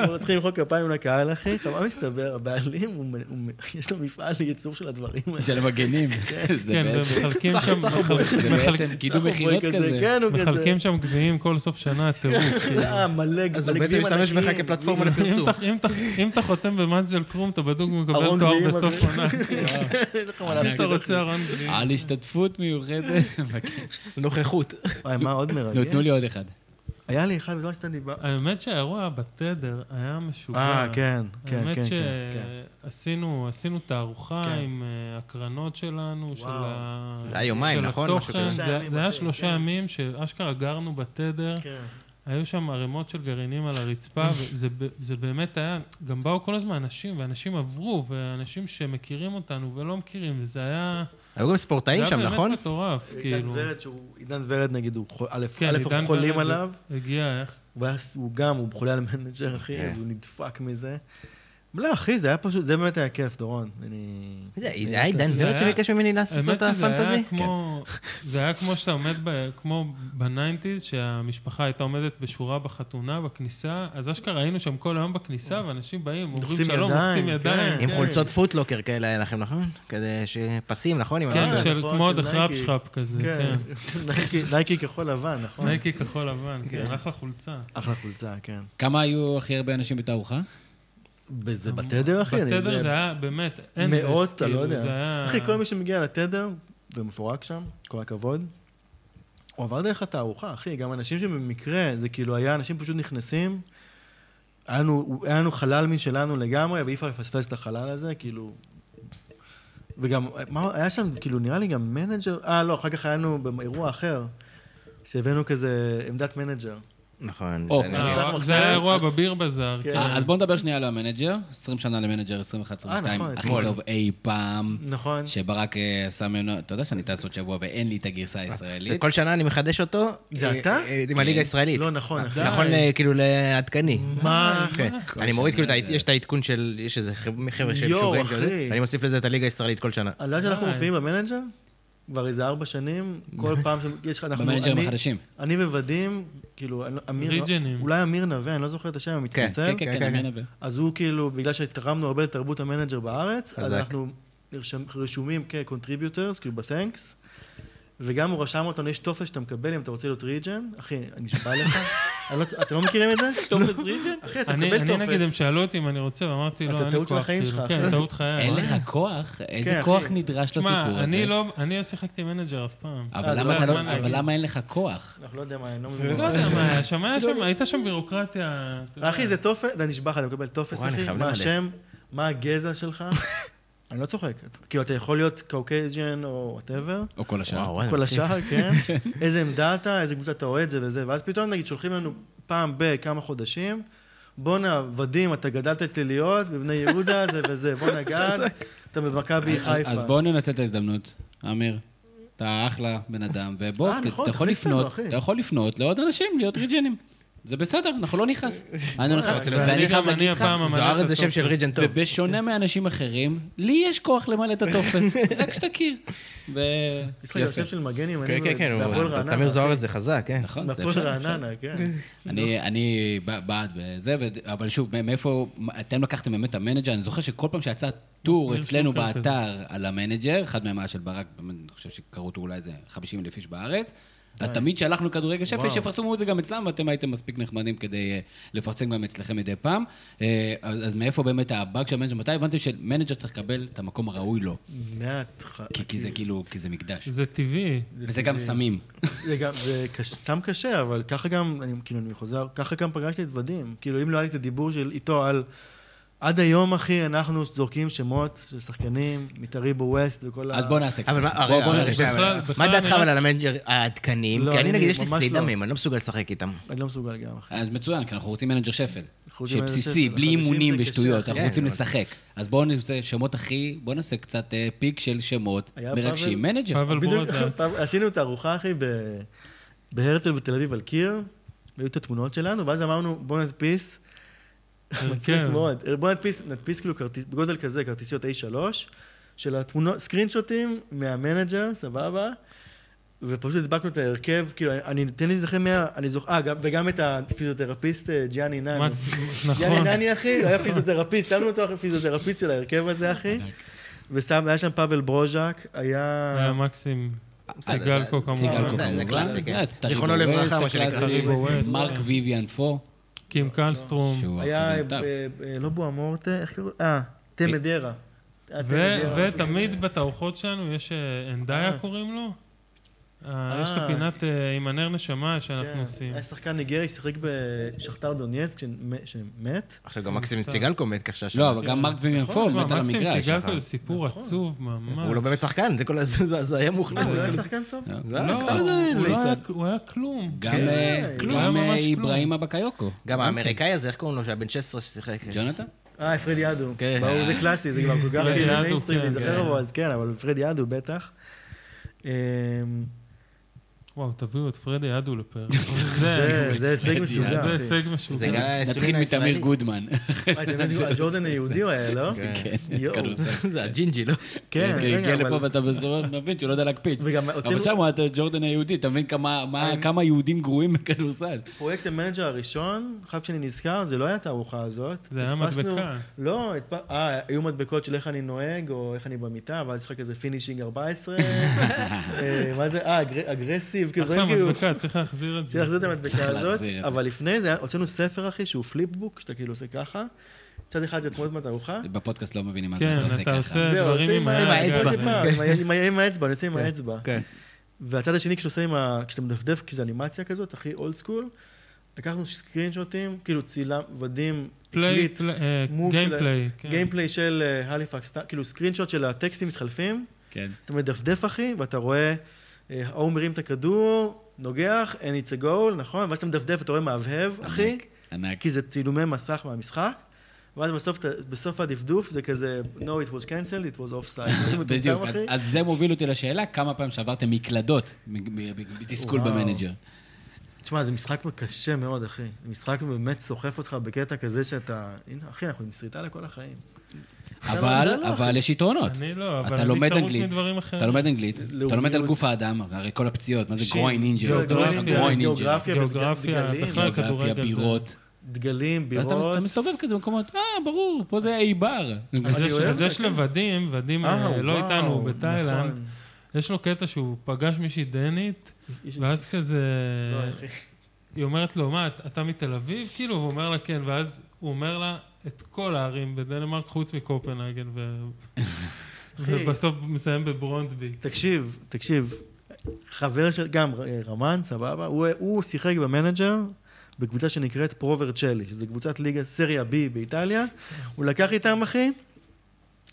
D: הוא מתחיל למחוא כפיים לקהל, אחי, מה מסתבר, הבעלים, הוא- הוא- יש לו מפעל לייצור של הדברים האלה.
A: של
D: *laughs*
A: המגנים. זה
C: כן,
A: בעצם-
C: ומחלקים שם, מחלק-
A: זה
C: מחלק-
A: בעצם קידום
D: אנחנו
A: מכירות
D: רואים
A: כזה.
D: כן, הוא כזה.
C: מחלקים שם גביעים כל סוף שנה, טירוף. כאילו.
D: אה, מלא גביעים
E: אז הוא בעצם משתמש
D: ענקיים.
E: בך כפלטפורמה
C: אם
E: לפרסום.
C: אתה- אם אתה- אם אתה חותם במג'ל קרום, אתה בדוק מקבל
D: ארון
C: תואר
D: גביעים,
C: בסוף
D: ארון- *laughs*
C: עונה.
D: *laughs* אין לך מה
C: אם
D: להפסיד.
C: אתה רוצה ארון גביעים.
A: על השתתפות
D: *laughs*
A: מיוחדת.
E: נוכחות.
D: וואי, מה עוד מרגש?
A: נו, תנו לי עוד אחד.
D: היה לי אחד בזמן שאתה דיבר...
C: האמת שהאירוע בתדר היה משוגע.
D: אה, כן, כן,
C: האמת
D: כן, כן.
C: שעשינו עשינו תערוכה
D: כן.
C: עם אה, הקרנות שלנו, של ה...
E: זה היה יומיים,
C: של
E: נכון? משהו
C: התוכן.
E: כזה.
D: שלושה
C: זה
D: ימים,
C: זה היה
D: אחי,
C: שלושה
D: כן.
C: ימים שאשכרה גרנו בתדר.
D: כן.
C: היו שם ערימות של גרעינים על הרצפה, וזה ב- זה באמת היה, גם באו כל הזמן אנשים, ואנשים עברו, ואנשים שמכירים אותנו ולא מכירים, וזה היה...
E: היו גם ספורטאים
C: זה
E: שם,
C: היה
E: נכון?
C: באמת מטורף,
D: עידן
C: כאילו.
D: ורד, שהוא... עידן ורד, נגיד, הוא חו- א',
C: כן,
D: א',
C: עידן
D: אנחנו חולים
C: ורד.
D: עליו,
C: הגיע, איך?
D: ואז הוא גם, הוא חולה על מנג'ר, אחי,
E: כן.
D: אז הוא נדפק מזה. לא, אחי, זה היה פשוט, זה באמת היה כיף, דורון. אני...
E: זה
D: אני-
E: היה עידן
C: זה
E: ורד
C: היה-
E: שביקש ממני לעשות לו את
C: האמת שזה היה
E: הפנטזי?
C: כמו, זה היה כמו שאתה עומד, ב, כמו בניינטיז, שהמשפחה הייתה עומדת בשורה בחתונה, בכניסה, אז אשכרה היינו שם כל היום בכניסה, ואנשים באים, אומרים
D: לוחצים
C: שלום,
D: ידיים,
C: לוחצים ידיים.
D: כן.
E: עם חולצות פוטלוקר כאלה היה לכם, נכון? כזה שפסים, נכון? עם
C: כן,
E: ה-
C: של
D: נכון,
C: כמו
D: של
C: דחרפ
D: נייקי.
C: שחאפ כזה,
D: כן.
C: כן.
D: *laughs* נייקי- נייקי כחול לבן, נכון?
C: נייקי כחול לבן, כן, אחלה חולצה.
D: אחלה חולצה, כן.
A: כמה היו הכי הרבה אנשים בתערוכה?
D: זה בתדר, אחי? אני-
C: בתדר זה היה באמת endless,
D: מאות, אתה לא
C: כאילו,
D: יודע.
C: זה היה...
D: *laughs* אחי, כל מי שמגיע לתדר, ומפורק שם, כל הכבוד, הוא עבר דרך התערוכה, אחי, גם אנשים שבמקרה, זה כאילו היה, אנשים פשוט נכנסים, היה לנו, היה לנו חלל משלנו לגמרי, ואי אפשר לפספס את החלל הזה, כאילו... וגם, מה, היה שם, כאילו, נראה לי גם מנג'ר, אה, לא, אחר כך היה לנו באירוע אחר, שהבאנו כזה עמדת מנג'ר.
E: נכון.
A: או,
E: זה
C: אה,
E: אני-
D: משחק
C: וואו,
D: מחזור.
C: זה היה אירוע בביר בזאר.
D: כן.
C: כן.
A: אה, אז בואו נדבר שנייה על המנג'ר. 20 שנה למנג'ר, 21,
D: אה,
A: 22.
D: נכון,
A: הכי
D: אתמול.
A: טוב אי פעם.
D: נכון.
A: שברק אה, שם ממנו, אתה יודע שאני טס עוד שבוע ואין לי את הגרסה הישראלית.
E: כל שנה אני מחדש אותו.
D: זה
E: אה,
D: אתה?
E: אה, עם הליגה הישראלית.
D: לא, נכון, אחי.
E: נכון,
C: די.
E: אה, כאילו, לעדכני.
D: מה?
E: כן.
A: כל
E: אני מוריד, כאילו,
A: שנה
E: את ה-
A: זה-
E: יש את העדכון של, יש איזה חב- חבר'ה שהם
D: יואו,
E: שוגעים של
D: אחי.
E: זה, ואני מוסיף לזה את הליגה הישראלית כל שנה.
D: אני לא יודע שאנחנו
C: די.
D: מופיעים במנג'ר כבר איזה ארבע שנים, כל פעם שיש לך, אנחנו...
A: במנג'רים
D: אני-
A: החדשים.
D: אני וודים, כאילו, אני לא- אמיר...
C: ריג'נים.
D: אולי אמיר נווה, אני לא זוכר את השם, המצטמצם.
A: כן, כן,
E: כן,
A: כן,
E: כן.
A: אני מנבא.
D: אז הוא כאילו, בגלל שתרמנו הרבה לתרבות המנג'ר בארץ, אז
E: חזק.
D: אנחנו נרשם- רשומים כ-contributors, כאילו ב-thanks, וגם הוא רשם אותנו, יש טופס שאתה מקבל אם אתה רוצה להיות ריג'ן. אחי, אני נשבע
A: *laughs*
D: לך. אני לא צ- אתם לא מכירים את זה? יש טופס ריג'ן? אחי, אתה
C: אני,
D: מקבל
C: אני נגיד, הם
D: טופס.
C: שאלו אותי אם אני רוצה, ואמרתי,
D: אתה
C: לא, אין לי
D: טעות של
C: כוח,
D: החיים
C: כאילו.
D: שלך.
C: כן, טעות חיי.
A: אין
C: אבל-
A: לך כוח? איזה
D: כן,
A: כוח
D: אחי.
A: נדרש לסיפור
C: שמע, אני
A: הזה?
C: לא, אה, אני לא שיחקתי מנג'ר אף פעם.
A: אבל
D: אז
A: למה
D: זה
A: אתה לא-
D: הזמן
A: אבל
D: להגיד.
A: למה אין לך כוח?
D: אנחנו לא יודע מה, אני לא
C: לא
D: מבין.
C: יודע מה היה שם, היה שם, הייתה שם בירוקרטיה. אתה יודע.
D: אחי, זה טופס, אתה נשבע לך, אתה מקבל טופס,
E: וואי, אני
D: אחי,
E: חייב
D: מה
E: למלא.
D: השם, מה הגזע שלך. אני לא צוחק. כאילו, אתה יכול להיות קאוקייג'ן או וואטאבר.
A: או כל השאר?
E: וואי,
D: כל
E: מפתיע.
D: השאר, כן. איזה עמדה אתה, איזה קבוצה אתה אוהד, זה וזה. ואז פתאום, נגיד, שולחים לנו פעם בכמה חודשים, בואנה, ודים, אתה גדלת אצלי להיות, בבני יהודה, זה וזה, בואנה גד, אתה במכבי חיפה.
A: אז בואו ננצל את ההזדמנות, אמיר. אתה אחלה בן אדם, ובוא,
D: אה,
A: כי
D: נכון,
A: אתה יכול
D: תכניס אותנו,
A: לפנות,
D: אחי.
A: אתה יכול לפנות לעוד אנשים להיות ריג'נים. זה בסדר, אנחנו לא
D: *laughs*
A: נכעס. אני לא נכעס,
C: ואני
A: ואני חייב
C: גם- אני
A: להגיד לך,
C: הפעם אמנה
E: זוהר
C: את
E: זה שם של
C: הטופס.
E: ריג'ן טוב.
A: ובשונה מאנשים אחרים, לי יש כוח למלא את
D: *laughs*
A: הטופס, רק שתכיר. ו...
D: יש לך גם
A: יופי.
D: שם של מגן ימני
E: כן, כן, כן, הוא-
D: בהפועל
E: ת-
D: רעננה.
E: תמיר זוארץ
D: אחי.
E: זה חזק, כן.
A: נכון, זה
D: בהפועל
A: אפשר.
D: רעננה, כן.
A: אני, אני ב- בעד וזה, ו- אבל שוב, מאיפה, אתם לקחתם באמת את המנג'ר, אני זוכר שכל פעם שיצא טור
C: מסביר
A: אצלנו
C: שוקר כזה.
A: באתר על המנג'ר, אחד מהם היה של ברק, באמת, אני חושב שקראו אותו אולי איזה 50 אלף איש בארץ, אז תמיד שלחנו כדורגל שפל, שיפרסמו את זה גם אצלם, ואתם הייתם מספיק נחמדים כדי אה, לפרסם גם אצלכם מדי פעם. אה, אז אז מאיפה באמת הבאג של המנג'ר? מתי הבנתם שמנג'ר צריך לקבל את המקום הראוי לו?
D: מההתחלה.
A: כי- כי זה כאילו, כי זה מקדש.
C: זה טבעי.
A: וזה גם
D: טבעי.
A: סמים.
D: זה גם, זה קש- סם קשה, אבל ככה גם, אני, כאילו, אני חוזר, ככה גם פגשתי את ודים. כאילו, אם לא היה לי את הדיבור של, איתו על... עד היום, אחי, אנחנו זורקים שמות של שחקנים, מתארי בו ווסט וכל ה...
A: אז בואו נעשה קצת.
E: אבל מה,
A: בוא-
E: הרי-
A: בוא
E: הרי-
A: נעשה.
E: שנייה,
C: בכלל-
E: אבל-
C: בכלל
E: מה דעתך
C: אני-
E: אבל על המנג'ר העדכניים?
D: לא,
E: כי אני
D: אני
E: נגיד יש לי
D: ממש
E: שריד
D: לא.
E: דמים, אני לא מסוגל לשחק איתם.
D: אני לא מסוגל גם, אחי.
A: אז מצוין, כי אנחנו רוצים מנג'ר שפל.
D: אנחנו רוצים מנג'ר
A: שבסיסי,
D: שפל.
A: בלי
D: החדשים
A: אימונים
D: זה קשה,
A: ושטויות,
D: אחי.
A: אנחנו
E: כן,
A: רוצים
E: אבל-
A: לשחק. אז בואו נעשה שמות הכי, בואו נעשה קצת אה, פיק של שמות
D: היה
A: מרגשים.
D: פאבל-
A: מנג'ר.
C: פאבל
D: בדיוק,
C: בורזה.
D: *laughs* פעם- עשינו את הארוחה, אחי, ב- בהרצל בתל אביב על קיר, והיו את התמונות שלנו, ואז אמרנו, בואו נדפיס,
C: אה,
D: *laughs* מצחיק
C: הרכב.
D: מאוד, בואו נדפיס, נדפיס כאילו כרטיס, בגודל כזה, כרטיסיות A3, של התמונות, סקרין שוטים מהמנג'ר, סבבה, ופשוט הדבקנו את ההרכב, כאילו, אני, תן לי להיזכר מה... אני זוכר, אה, גם- וגם את הפיזיותרפיסט אה, ג'יאני נני.
C: מקס,
D: יאללה
C: נכון.
D: נני אחי, הוא היה פיזיותרפיסט, שמנו אותו אחרי פיזיותרפיסט של ההרכב הזה אחי. ושם, היה שם פאבל ברוז'ק,
C: היה
D: היה...
C: מקסים.
E: זה-
C: סיגלקו
E: זה- סיגלקו.
C: כמובן.
E: זה- זה קלאסי, כן.
A: אה, טריבו
E: זיכרונו לברכה,
A: ווסט
E: מה שנקרא.
A: הקלאסי,
C: טריבו ווסט,
A: מרק
C: כן.
A: ויויאן פור,
C: קים קלסטרום.
A: שהוא
D: היה,
A: החזנתיו.
D: אה, אה, לא בואמורטה, איך קראו? אה, תמדרה. אה,
C: ו-
D: תמדרה.
C: ותמיד בתערוכות שלנו יש אה, אנדאיה
D: אה.
C: קוראים לו. אה, יש את
D: אה.
C: הפינת אה, עם הנר נשמה
D: כן.
C: שאנחנו עושים.
D: היה שחקן ניגרי, שיחק בשכתר דונייץ כשמ- כשמת.
C: כן.
E: עכשיו גם מקסים סיגלקו מת ככה שם.
A: לא, אבל גם מרק ויויאן לא פור
C: תשמע,
A: מת על
C: כן. נכון, מקסים
A: המגרש.
C: ציגלקו זה סיפור עצוב
E: הוא
C: ממש.
E: לא באמת שחקן, *laughs* זה כל הז- זה זה היה מוחלט.
D: אה, הוא היה שחקן טוב?
E: זה היה
C: לא,
E: סתם
C: הוא
E: איזה
C: לא
E: ליצן.
C: היה- הוא היה כלום.
A: גם
D: כן, לא,
A: אה,
C: כלום,
A: גם
C: ממש
A: אה,
C: כלום.
A: איבראימה בקיוקו.
E: גם האמריקאי הזה, איך קוראים לו, שהיה בן 16 ששיחק?
A: ג'ונתן?
D: אה, פרד ידו.
E: כן.
D: ברור, זה קלאסי, זה כבר כל כך
C: פרד ידו,
D: מיינסטרים
C: כן,
D: להיזכר
C: כן.
D: בו, אז כן, אבל פרד ידו בטח. אמ,
C: וואו, תביאו את פרדי
A: *laughs*
C: ידו לפרק.
D: זה זה הישג משוגע.
C: זה
D: אחי.
C: הישג משוגע.
E: זה גם היה
A: נתחיל
E: הסולין
A: מתמיר
E: הישראלי.
A: גודמן. *laughs*
D: אה, אתם יודעים, הג'ורדן היהודי הוא היה, לא?
E: כן.
A: כן, יש
D: יואו.
A: כדורסל.
E: *laughs* זה הג'ינג'י, לא?
A: כן,
D: כן,
A: כן, הגיע
D: רגע,
A: לפה
D: אבל...
A: ואתה בזורות מבין שהוא לא יודע להקפיץ.
D: וגם
A: אבל
D: הוצאנו
A: שם הוא היה את ג'ורדן היהודי, אתה מבין כמה- מה- כמה יהודים גרועים בכדורסל.
D: פרויקט המנג'ר הראשון, עכשיו שאני נזכר, זה לא היה התערוכה הזאת.
C: זה היה
D: הדפסנו-
C: מדבקה.
D: לא, הדפ... אה, היו מדבקות של איך אני נוהג, או איך אני במיטה, ואז יש לך כזה פינישינג
A: *laughs*
D: 14. אה, מה זה? אה, אגר... אגרסיב, כאילו,
C: אחלה
D: דברים כאילו...
C: מדבקה, צריך להחזיר את
D: צריך
C: זה.
D: להחזיר את המדבקה
A: צריך
D: הזאת,
A: להחזיר את זה.
D: אבל לפני זה היה- הוצאנו ספר, אחי, שהוא פליפבוק, שאתה כאילו עושה ככה. צד אחד זה תמונות מהתערוכה.
A: בפודקאסט לא מבינים מה זה,
C: כן,
A: אתה עושה
C: אתה
A: ככה.
C: עושה דברים עם
E: עם
C: היד.
E: האצבע.
D: אני עושה פעם, עם ה- עם ה- עם האצבע, אני עושה עם האצבע.
E: כן.
D: והצד השני, כשאתה עושה עם ה... כשאתה מדפדף, כי זה אנימציה כזאת, הכי אולד סקול, לקחנו סקרינשוטים, כאילו צילם, ודים,
C: פליי,
D: הקליט,
E: אה,
C: אה,
D: move של-
C: גיימפליי.
E: כן.
D: גיימפליי של אה, הליפקס, ט- כאילו סקרינשוט של הטקסטים מתחלפים,
A: כן.
D: אתה מדפדף אחי, ואתה רואה, אה, ההוא מרים את הכדור, נוגח, and it's a goal, נכון? ואז אתה מדפדף, אתה רואה מהבהב, אחי,
A: ענק.
D: כי זה צילומי מסך מהמשחק, ואז בסוף, אתה- בסוף הדפדוף זה כזה, no, it was cancelled, it was offside.
A: *laughs*
D: משהו מטומטם,
A: בדיוק, אז-
D: אחי.
A: אז זה מוביל אותי לשאלה, כמה פעמים שעברתם מקלדות מ- מ- מ- מתסכול
D: וואו. כן,
A: במנג'ר.
D: תשמע, זה משחק קשה מאוד, אחי. זה משחק באמת סוחף אותך בקטע כזה שאתה... הנה, אחי, אנחנו עם שריטה לכל החיים.
A: אבל,
D: לא,
A: אבל יש יתרונות.
C: אני לא, אבל
A: אתה
C: אני
A: לומד
C: שרוט
A: אנגלית,
C: מדברים אחרים.
A: אתה לומד אנגלית, אתה לומד על
D: לאומיות.
A: גוף האדם, הרי כל הפציעות, מה זה
D: שין,
A: גרוין נינג'ר,
C: גיאוגרפיה,
A: גרוין נינג'ר,
D: גיאוגרפיה,
C: גיאוגרפיה,
D: דגלים,
C: בכלל.
A: גיאוגרפיה,
C: כדורגל זה-
A: בירות.
D: דגלים,
A: ואז אתה
D: בירות.
A: אתה מסתובב כזה במקומות, אה, ברור, פה זה אי בר.
C: אז
D: אני
C: יש-
D: אוהב
C: אז
D: את
C: יש
D: זה,
C: לוודים, ודים אה,
D: אה,
C: לא
D: וואו,
C: איתנו, הוא
D: נכון.
C: בתאילנד. יש לו קטע שהוא פגש מישהי דנית,
D: יש-
C: ואז כזה...
D: לא, אחי.
C: היא אומרת לו, מה, אתה- אתה מתל אביב? כאילו, הוא אומר לה, כן, ואז הוא אומר לה את כל הערים בדנמרק חוץ מקופנהגן, ו-
D: *laughs* אחי.
C: ובסוף מסיים בברונדבי.
D: תקשיב, תקשיב. חבר של... גם אה, רמן, סבבה. הוא- הוא שיחק במנג'ר. בקבוצה שנקראת פרוברצ'לי, שזו קבוצת ליגה סריה B באיטליה. הוא לקח איתם, אחי,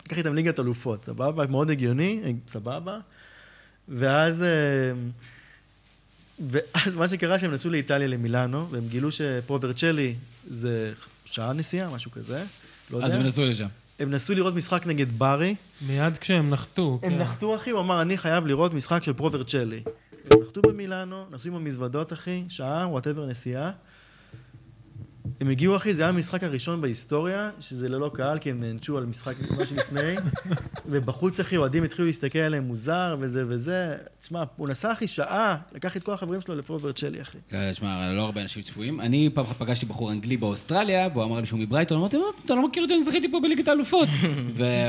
D: לקח איתם ליגת אלופות, סבבה? מאוד הגיוני, אה, סבבה. ואז אה, ואז מה שקרה שהם נסעו לאיטליה, למילאנו, והם גילו שפרוברצ'לי זה שעה נסיעה, משהו כזה. לא
A: אז
D: יודע.
A: הם נסעו לשם.
D: הם נסעו לראות משחק נגד ברי.
C: מיד כשהם נחתו,
D: הם
C: כן.
D: נחתו, אחי, הוא אמר, אני חייב לראות משחק של פרוברצ'לי. הם נחתו במילאנו, נסעו עם המזוודות, אחי, שעה, וואטאבר נסיעה. הם הגיעו, אחי, זה היה המשחק הראשון בהיסטוריה, שזה ללא קהל, כי הם נענשו על משחק *laughs* מה שלפני, ובחוץ, אחי, אוהדים התחילו להסתכל עליהם מוזר, וזה וזה. תשמע, הוא נסע, אחי, שעה, לקח את כל החברים שלו לפרוברצ'לי, אחי.
A: אה, שמע, לא הרבה אנשים צפויים. אני פעם אחת פגשתי בחור אנגלי באוסטרליה, והוא אמר לי שהוא מברייטון, אמרתי לו, אתה לא מכיר אותי, אני זכיתי פה בליגת האלופות.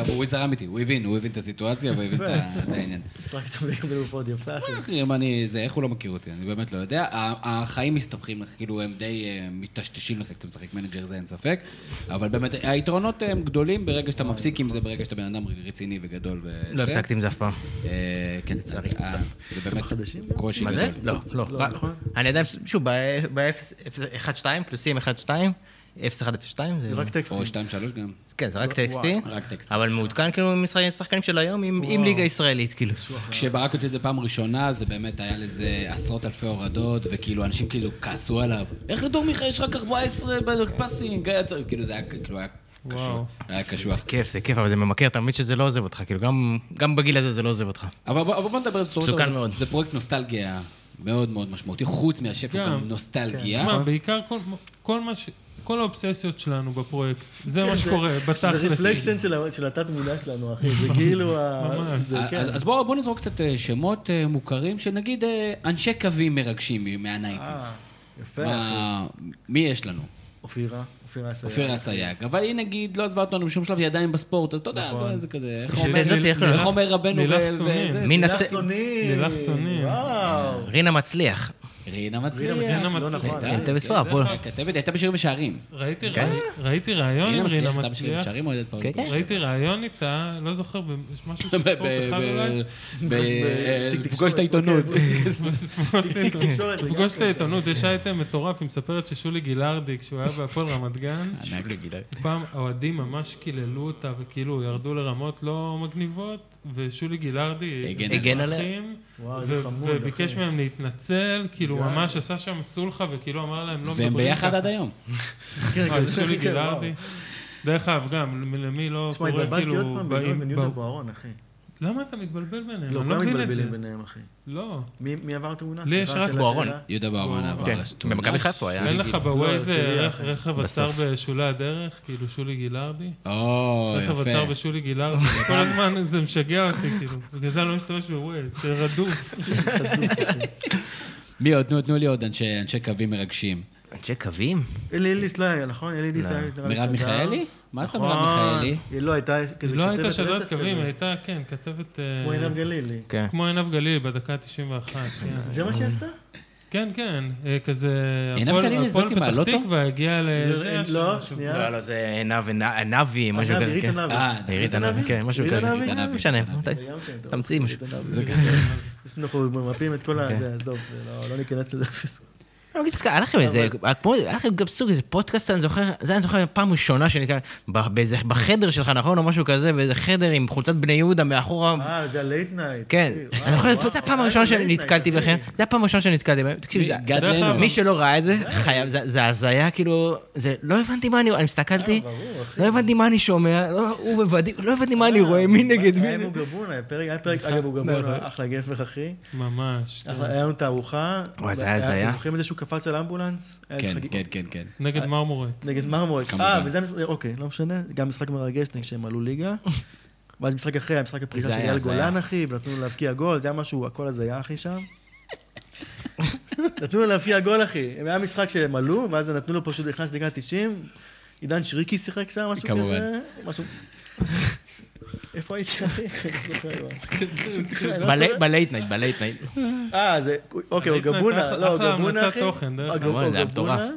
A: והוא זרם איתי, הוא הבין, הוא הבין את הסיטואציה והוא הבין את ה- את העניין. "אה,
D: משחק איתם בליגה מאוד יפה, אחי.
A: אחי, אם אני, זה, איך הוא לא מכיר אותי? אני באמת לא יודע. ה- החיים מסתבכים, לך, כאילו, הם די אה, מטשטשים לך, אתה משחק מנג'ר, זה אין ספק. אבל באמת, היתרונות הם גדולים ברגע שאתה מפסיק עם זה, ברגע שאתה בן אדם רציני וגדול. וזה.
E: לא הפסקתי עם זה אף פעם.
A: אה, כן, לצערי. זה באמת קושי
E: מה
A: גדול.
E: זה? לא, לא.
D: לא, נכון.
E: אני עדיין, שוב, ב-1-2, פלוסים 1-2, 0-1-0-2,
D: זה רק טקסטים.
A: או שתיים, שלוש גם.
E: כן, זה רק טקסטים.
A: רק טקסטים.
E: אבל מעודכן כאילו עם משחק- שחקנים של היום, עם עם ליגה ישראלית, כאילו.
A: כשברק הוציא את זה פעם ראשונה, זה באמת היה לזה עשרות אלפי הורדות, וכאילו אנשים כאילו כעסו עליו. איך לדור מיכה יש רק 14 פאסינג? היה צריך-" כאילו זה היה כאילו היה
C: וואו.
A: קשוח. היה קשוח.
E: כיף, זה כיף, אבל זה ממכר, אתה מבין שזה לא עוזב אותך, כאילו, גם- גם בגיל הזה זה לא עוזב אותך.
A: אבל בוא אבל בוא נדבר על סורות.
E: מסוכן
A: אבל
E: מאוד.
A: זה פרויקט נוסטלגיה מאוד מאוד משמעותי, חוץ מהשפע
D: כן.
A: הוא
C: גם.
A: גם נוסטלגיה.
C: תשמע, בעיקר כל- כל מה ש... כל האובססיות שלנו בפרויקט, זה מה
D: כן, זה-
C: שקורה,
D: זה
C: בתכלס. כן.
D: רפלקשן של ה- של התת-מודע שלנו, אחי. זה כאילו ה...
C: ממש.
D: זה
A: אז-
D: כן.
A: אז אז בואו בואו נזרוק קצת אה, שמות אה, מוכרים, שנגיד אה, אנשי קווים מרגשים מהנייטיז.
D: אה, יפה, אחי. אה,
A: מה- מי יש לנו?
D: אופירה, אופירה אסייג.
A: אופירה סייג. אבל היא נגיד לא עזבה אותנו בשום שלב, היא עדיין בספורט, אז אתה יודע,
D: נכון.
A: זה- זה כזה... איך
E: בשביל
A: אומר-
E: זאת, איך קוראים
A: איך
E: לך?
A: אומר רבנו
C: לילך
A: ו-
C: סונים.
A: וזה?
E: נכון. מי
D: לילך
E: נצ...
D: סוני.
C: לילך סוני.
D: וואו.
E: רינה מצליח. כן,
A: רינה מצליח.
D: רינה מצליח,
C: רינה
D: לא
C: מצליח.
D: נכון.
A: הייתה-
D: אה?
E: הייתה בסוהר, פה.
A: הכתבת היא הייתה בשירים ושערים.
C: ראיתי
D: כן.
C: ראי- ראיתי ראיון עם רינה
A: הייתה בשירים
C: מצליח.
A: ושערים או ילד פעם?
E: כן, כן.
C: ראיתי ראיון איתה, לא זוכר, במשהו
A: *laughs*
C: של
A: ב-
C: ספורט
A: ב-
C: אחד אולי. *laughs*
D: *laughs*
A: ב- אה, פגוש את העיתונות.
D: אוקיי. תקשורת לגמרי.
C: פגוש את העיתונות, יש אייטם מטורף, היא מספרת ששולי גילארדי, כשהוא היה בהפועל רמת
A: *laughs*
C: גן,
A: ענק לגילה.
C: פעם האוהדים ממש קיללו אותה, וכאילו ירדו לרמות לא מגניבות, ושולי גילארדי...
A: הגן
E: הגן
C: עליה.
E: עליה.
D: וואו, איזה חמוד, אחי.
C: וביקש מהם להתנצל, כאילו ממש עשה שם סולחה, וכאילו אמר להם לא מדברים
A: והם ביחד
C: ככה."
A: עד היום.
D: כן,
C: אה,
D: כן,
C: זה שולי
D: כן,
C: גילארדי.
D: וואו.
C: דרך אגב, גם למי לא
D: תשמע,
C: קורא,
D: התבלבלתי עוד
C: כאילו,
D: פעם בינו
C: באים...
D: לבין
C: ב-
D: יהודה בוארון, אחי.
C: למה אתה מתבלבל ביניהם?
D: לא,
C: אני לא
D: כולם
C: מבין את זה.
D: מתבלבלים ביניהם, אחי.
C: לא.
D: מי- מי עבר תאונה?
C: לי יש
D: סליחה,
C: רק
D: שאלה,
E: בוארון.
D: שאלה.
A: יהודה באומן עבר.
E: כן,
A: תאונה.
E: במכבי חיפה הוא היה.
C: אין לך בווייז
D: לא, הרצליה,
C: אה, רכ-
D: אחי.
C: רכב עצר
E: בסוף.
C: בשולי הדרך, כאילו שולי גילארדי?
A: או,
C: רכב עצר
A: יפה.
C: בשולי גילארדי. כל הזמן זה משגע אותי, כאילו. בגלל זה אני לא משתמש בווייז, זה
D: *laughs*
C: רדוף.
A: מי עוד? תנו- תנו לי עוד אנשי אנשי קווים מרגשים.
E: אנשי קווים?
D: אלי אליס לא היה, נכון? אלי אליס היה... נראה
A: מרב
D: לי שדר.
A: מיכאלי? מה זאת
D: נכון.
A: מרב מיכאלי?
D: היא לא הייתה כזה
C: לא הייתה
D: כתבת
C: שדרת
D: רצף
C: קווים,
D: כזה.
C: הייתה, כן, כתבת... אה,
D: כמו עינב גלילי.
E: כן.
C: כמו עינב גליל בדקה ה-91, כן.
D: זה מה שהיא עשתה?
C: כן, כן, אה, כזה...
A: עינב
C: הפועל-
A: גלילי
C: הפועל
A: זאתי מהלוטו?
C: פתח תקווה הגיע
D: זה-
C: לזה.
D: לא,
C: עכשיו-
D: שנייה.
E: לא, לא, זה נבי, נבי, משהו
D: ענבי,
E: כזה.
D: ריטה
E: כן.
D: נבי.
A: אה,
E: עירית ענבי, כן, משהו
D: עירית
E: כזה.
D: ענבי?
E: כן,
A: ענבי,
E: משנה,
A: ענבי.
E: ת-
D: גם כן, טוב.
E: תמציא משהו.
D: עירית *laughs* ענבי. אנחנו ממפים את כל
E: כן.
D: ה... זה, עזוב, זה לא- לא ניכנס לזה.
E: לא, אני תזכר, היה לכם איזה, כמו, היה לכם גם סוג איזה פודקאסט, אני זוכר, זה אני זוכר פעם ראשונה שנקרא, ב- באיזה, בחדר שלך, נכון? או משהו כזה, באיזה חדר עם חולצת בני יהודה מאחורה.
D: אה, זה הלייט נייט.
E: כן,
D: וואו,
E: אני זוכר,
D: וואו,
E: זו הפעם
D: היה
E: הראשונה
D: לי late
E: שנתקלתי
D: night,
E: בכם,
D: אחי.
E: זו הפעם הראשונה שנתקלתי בכם, תקשיב, זה-
A: גד
C: דרך
A: לנו.
C: אגב,
E: מי שלא ראה את זה, חייב, זה- זה הזיה, כאילו, זה, לא הבנתי מה אני, אני הסתכלתי,
D: אה,
E: לא הבנתי מה אני שומע, לא- הוא בוודאי, לא הבנתי מה אני רואה, מי נגד נכון, מי.
D: היה עם הוא גבון, היה פרק, היה פרק, אגב, הוא גבון, אחלה גפך, אחי.
C: ממש, כן.
E: נכון.
D: אחלה, היה לנו תערוכה.
E: וואי, זה היה הזיה.
D: אתם זוכרים את זה שהוא קפץ על אמבולנס? היה איזה
A: כן,
D: חגיג-
A: כן, כן, כן.
D: אה,
C: נגד מרמורק.
D: נגד מרמורק.
A: כמובן.
D: אה, וזה המשחק, אוקיי, לא משנה, גם משחק מרגש נגד שהם עלו
A: *laughs*
D: ליגה. ואז משחק אחרי, היה משחק הפרישה
A: זה
D: של
A: היה,
D: אייל
A: זה
D: גולן,
A: היה.
D: אחי, ונתנו לו להבקיע גול, זה היה משהו, הכל הזיה,
A: *laughs*
D: אחי, שם. נתנו לו להבקיע גול, אחי. היה משחק שהם עלו, ואז נתנו לו פשוט, נכנס לדקה 90, עידן שריקי שיחק שם, משהו
A: כמובן.
D: כזה.
A: *laughs*
D: משהו... איפה הייתי, אחי? *laughs* לא זוכר.
E: בלי- בלייט נייט, בלייט נייט.
D: אה, זה, אוקיי, הוא
C: ראית את
D: גבונה,
C: אחלה-
D: לא, הוא
C: אחלה
D: גבונה,
C: המלצת
D: אחי.
C: תוכן, דרך
D: הוא
C: אגב.
D: גב-
E: כמובן, זה היה
D: הוא גבונה,
E: מטורף.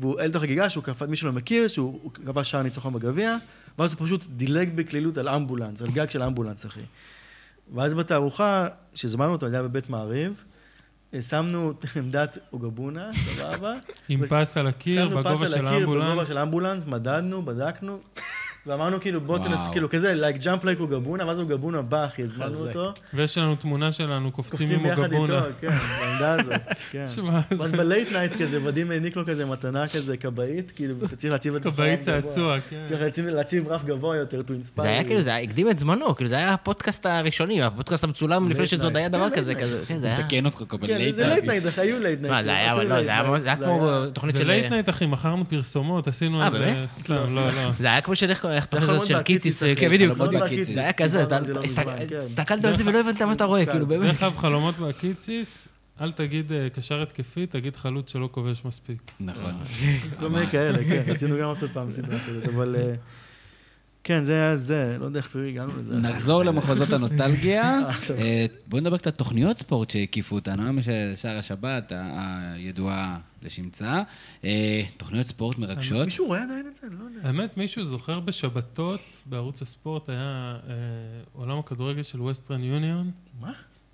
D: והוא אל תוך הגיגה, שהוא קפץ, מי שלא מכיר, שהוא הוא כבש שער ניצחון בגביע, ואז הוא פשוט דילג בקלילות על אמבולנס, על גג של אמבולנס, אחי. ואז בתערוכה, שזמנו אותו, זה היה בבית מעריב, אה, שמנו *laughs* עמדת אוגבונה, סבבה.
C: עם
D: וס-
C: פס על הקיר,
D: שמנו פס
C: כאילו, בגובה
D: על
C: של
D: הקיר, בגובה
C: האמבולנס.
D: של האמבולנס, מדדנו, בדקנו. ואמרנו כאילו, בוא
A: וואו.
D: תנס, כאילו, כזה, לייק ג'אמפ לייק הוא גבונה, ואז הוא גבונה בא, אחי, הזמנו
E: חזק.
D: אותו.
C: ויש לנו תמונה שלנו קופצים
D: קופצים
C: עם
D: ביחד איתו,
C: הגבונה.
D: כן, בעמדה הזאת, כן.
C: *laughs* תשמע,
D: ואז בלייט נייט כזה, ודים העניק לו כזה מתנה כזה, כבאית, כאילו, אתה צריך להציב את
C: *laughs*
D: זה.
C: כבאי
D: רף גבוה.
C: צעצוע, כן.
D: צריך להציב- להציב רף גבוה יותר, to inspire.
E: זה היה
D: you.
E: כאילו, זה היה- הקדים את זמנו, כאילו, זה היה הפודקאסט הראשוני, הפודקאסט המצולם לפני
D: Late
E: שזה עוד
D: night.
E: היה דבר
D: כן,
E: כזה,
D: late
E: כזה, כן, זה היה...
A: מתקן אותך כל
D: כן,
A: מיני
D: זה לייט נייט, אחי, היו לייט נייט.
E: מה, זה היה, אבל לא, זה היה- זה היה כמו תוכנית
C: זה
E: של...
C: לייט נייט, אחי, מכרנו פרסומות, עשינו
E: אה,
C: איזה...
E: באמת?
C: סתם, לא, לא.
E: זה היה כמו של איך איך
D: יכול
E: התוכנית הזאת
D: מאוד
E: של
D: להקיץ
E: קיציס,
D: איתך,
E: כן,
D: כן,
E: בדיוק.
D: אתה מאוד
A: להקיץ.
E: זה היה כזה, אתה-
D: דיברנו על זה לא
E: הסתכל-
D: מזמן, כן.
E: הסתכלת על זה ולא הבנת מה אתה רואה, כאילו, באמת.
C: דרך אגב, חלומות והקיציס, אל תגיד אה, קשר התקפי, תגיד חלוץ שלא כובש מספיק.
A: נכון.
D: אה. כל מיני כאלה,
E: *laughs*
D: כן, רצינו גם לעשות פעם סדרה כזאת, אבל... אה, כן, זה היה זה, לא יודע איך אפילו הגענו לזה. *laughs*
A: נחזור למחוזות הנוסטלגיה.
D: אה, טוב.
A: אה, בואו נדבר קצת תוכניות ספורט שהקיפו אותנו. היום יש שער השבת, ה- הידועה לשמצה. אה, תוכניות ספורט מרגשות.
D: מישהו רואה עדיין את זה? לא יודע.
C: האמת, מישהו זוכר בשבתות, בערוץ הספורט היה אה, עולם הכדורגל של ווסטרן יוניון?
D: מה?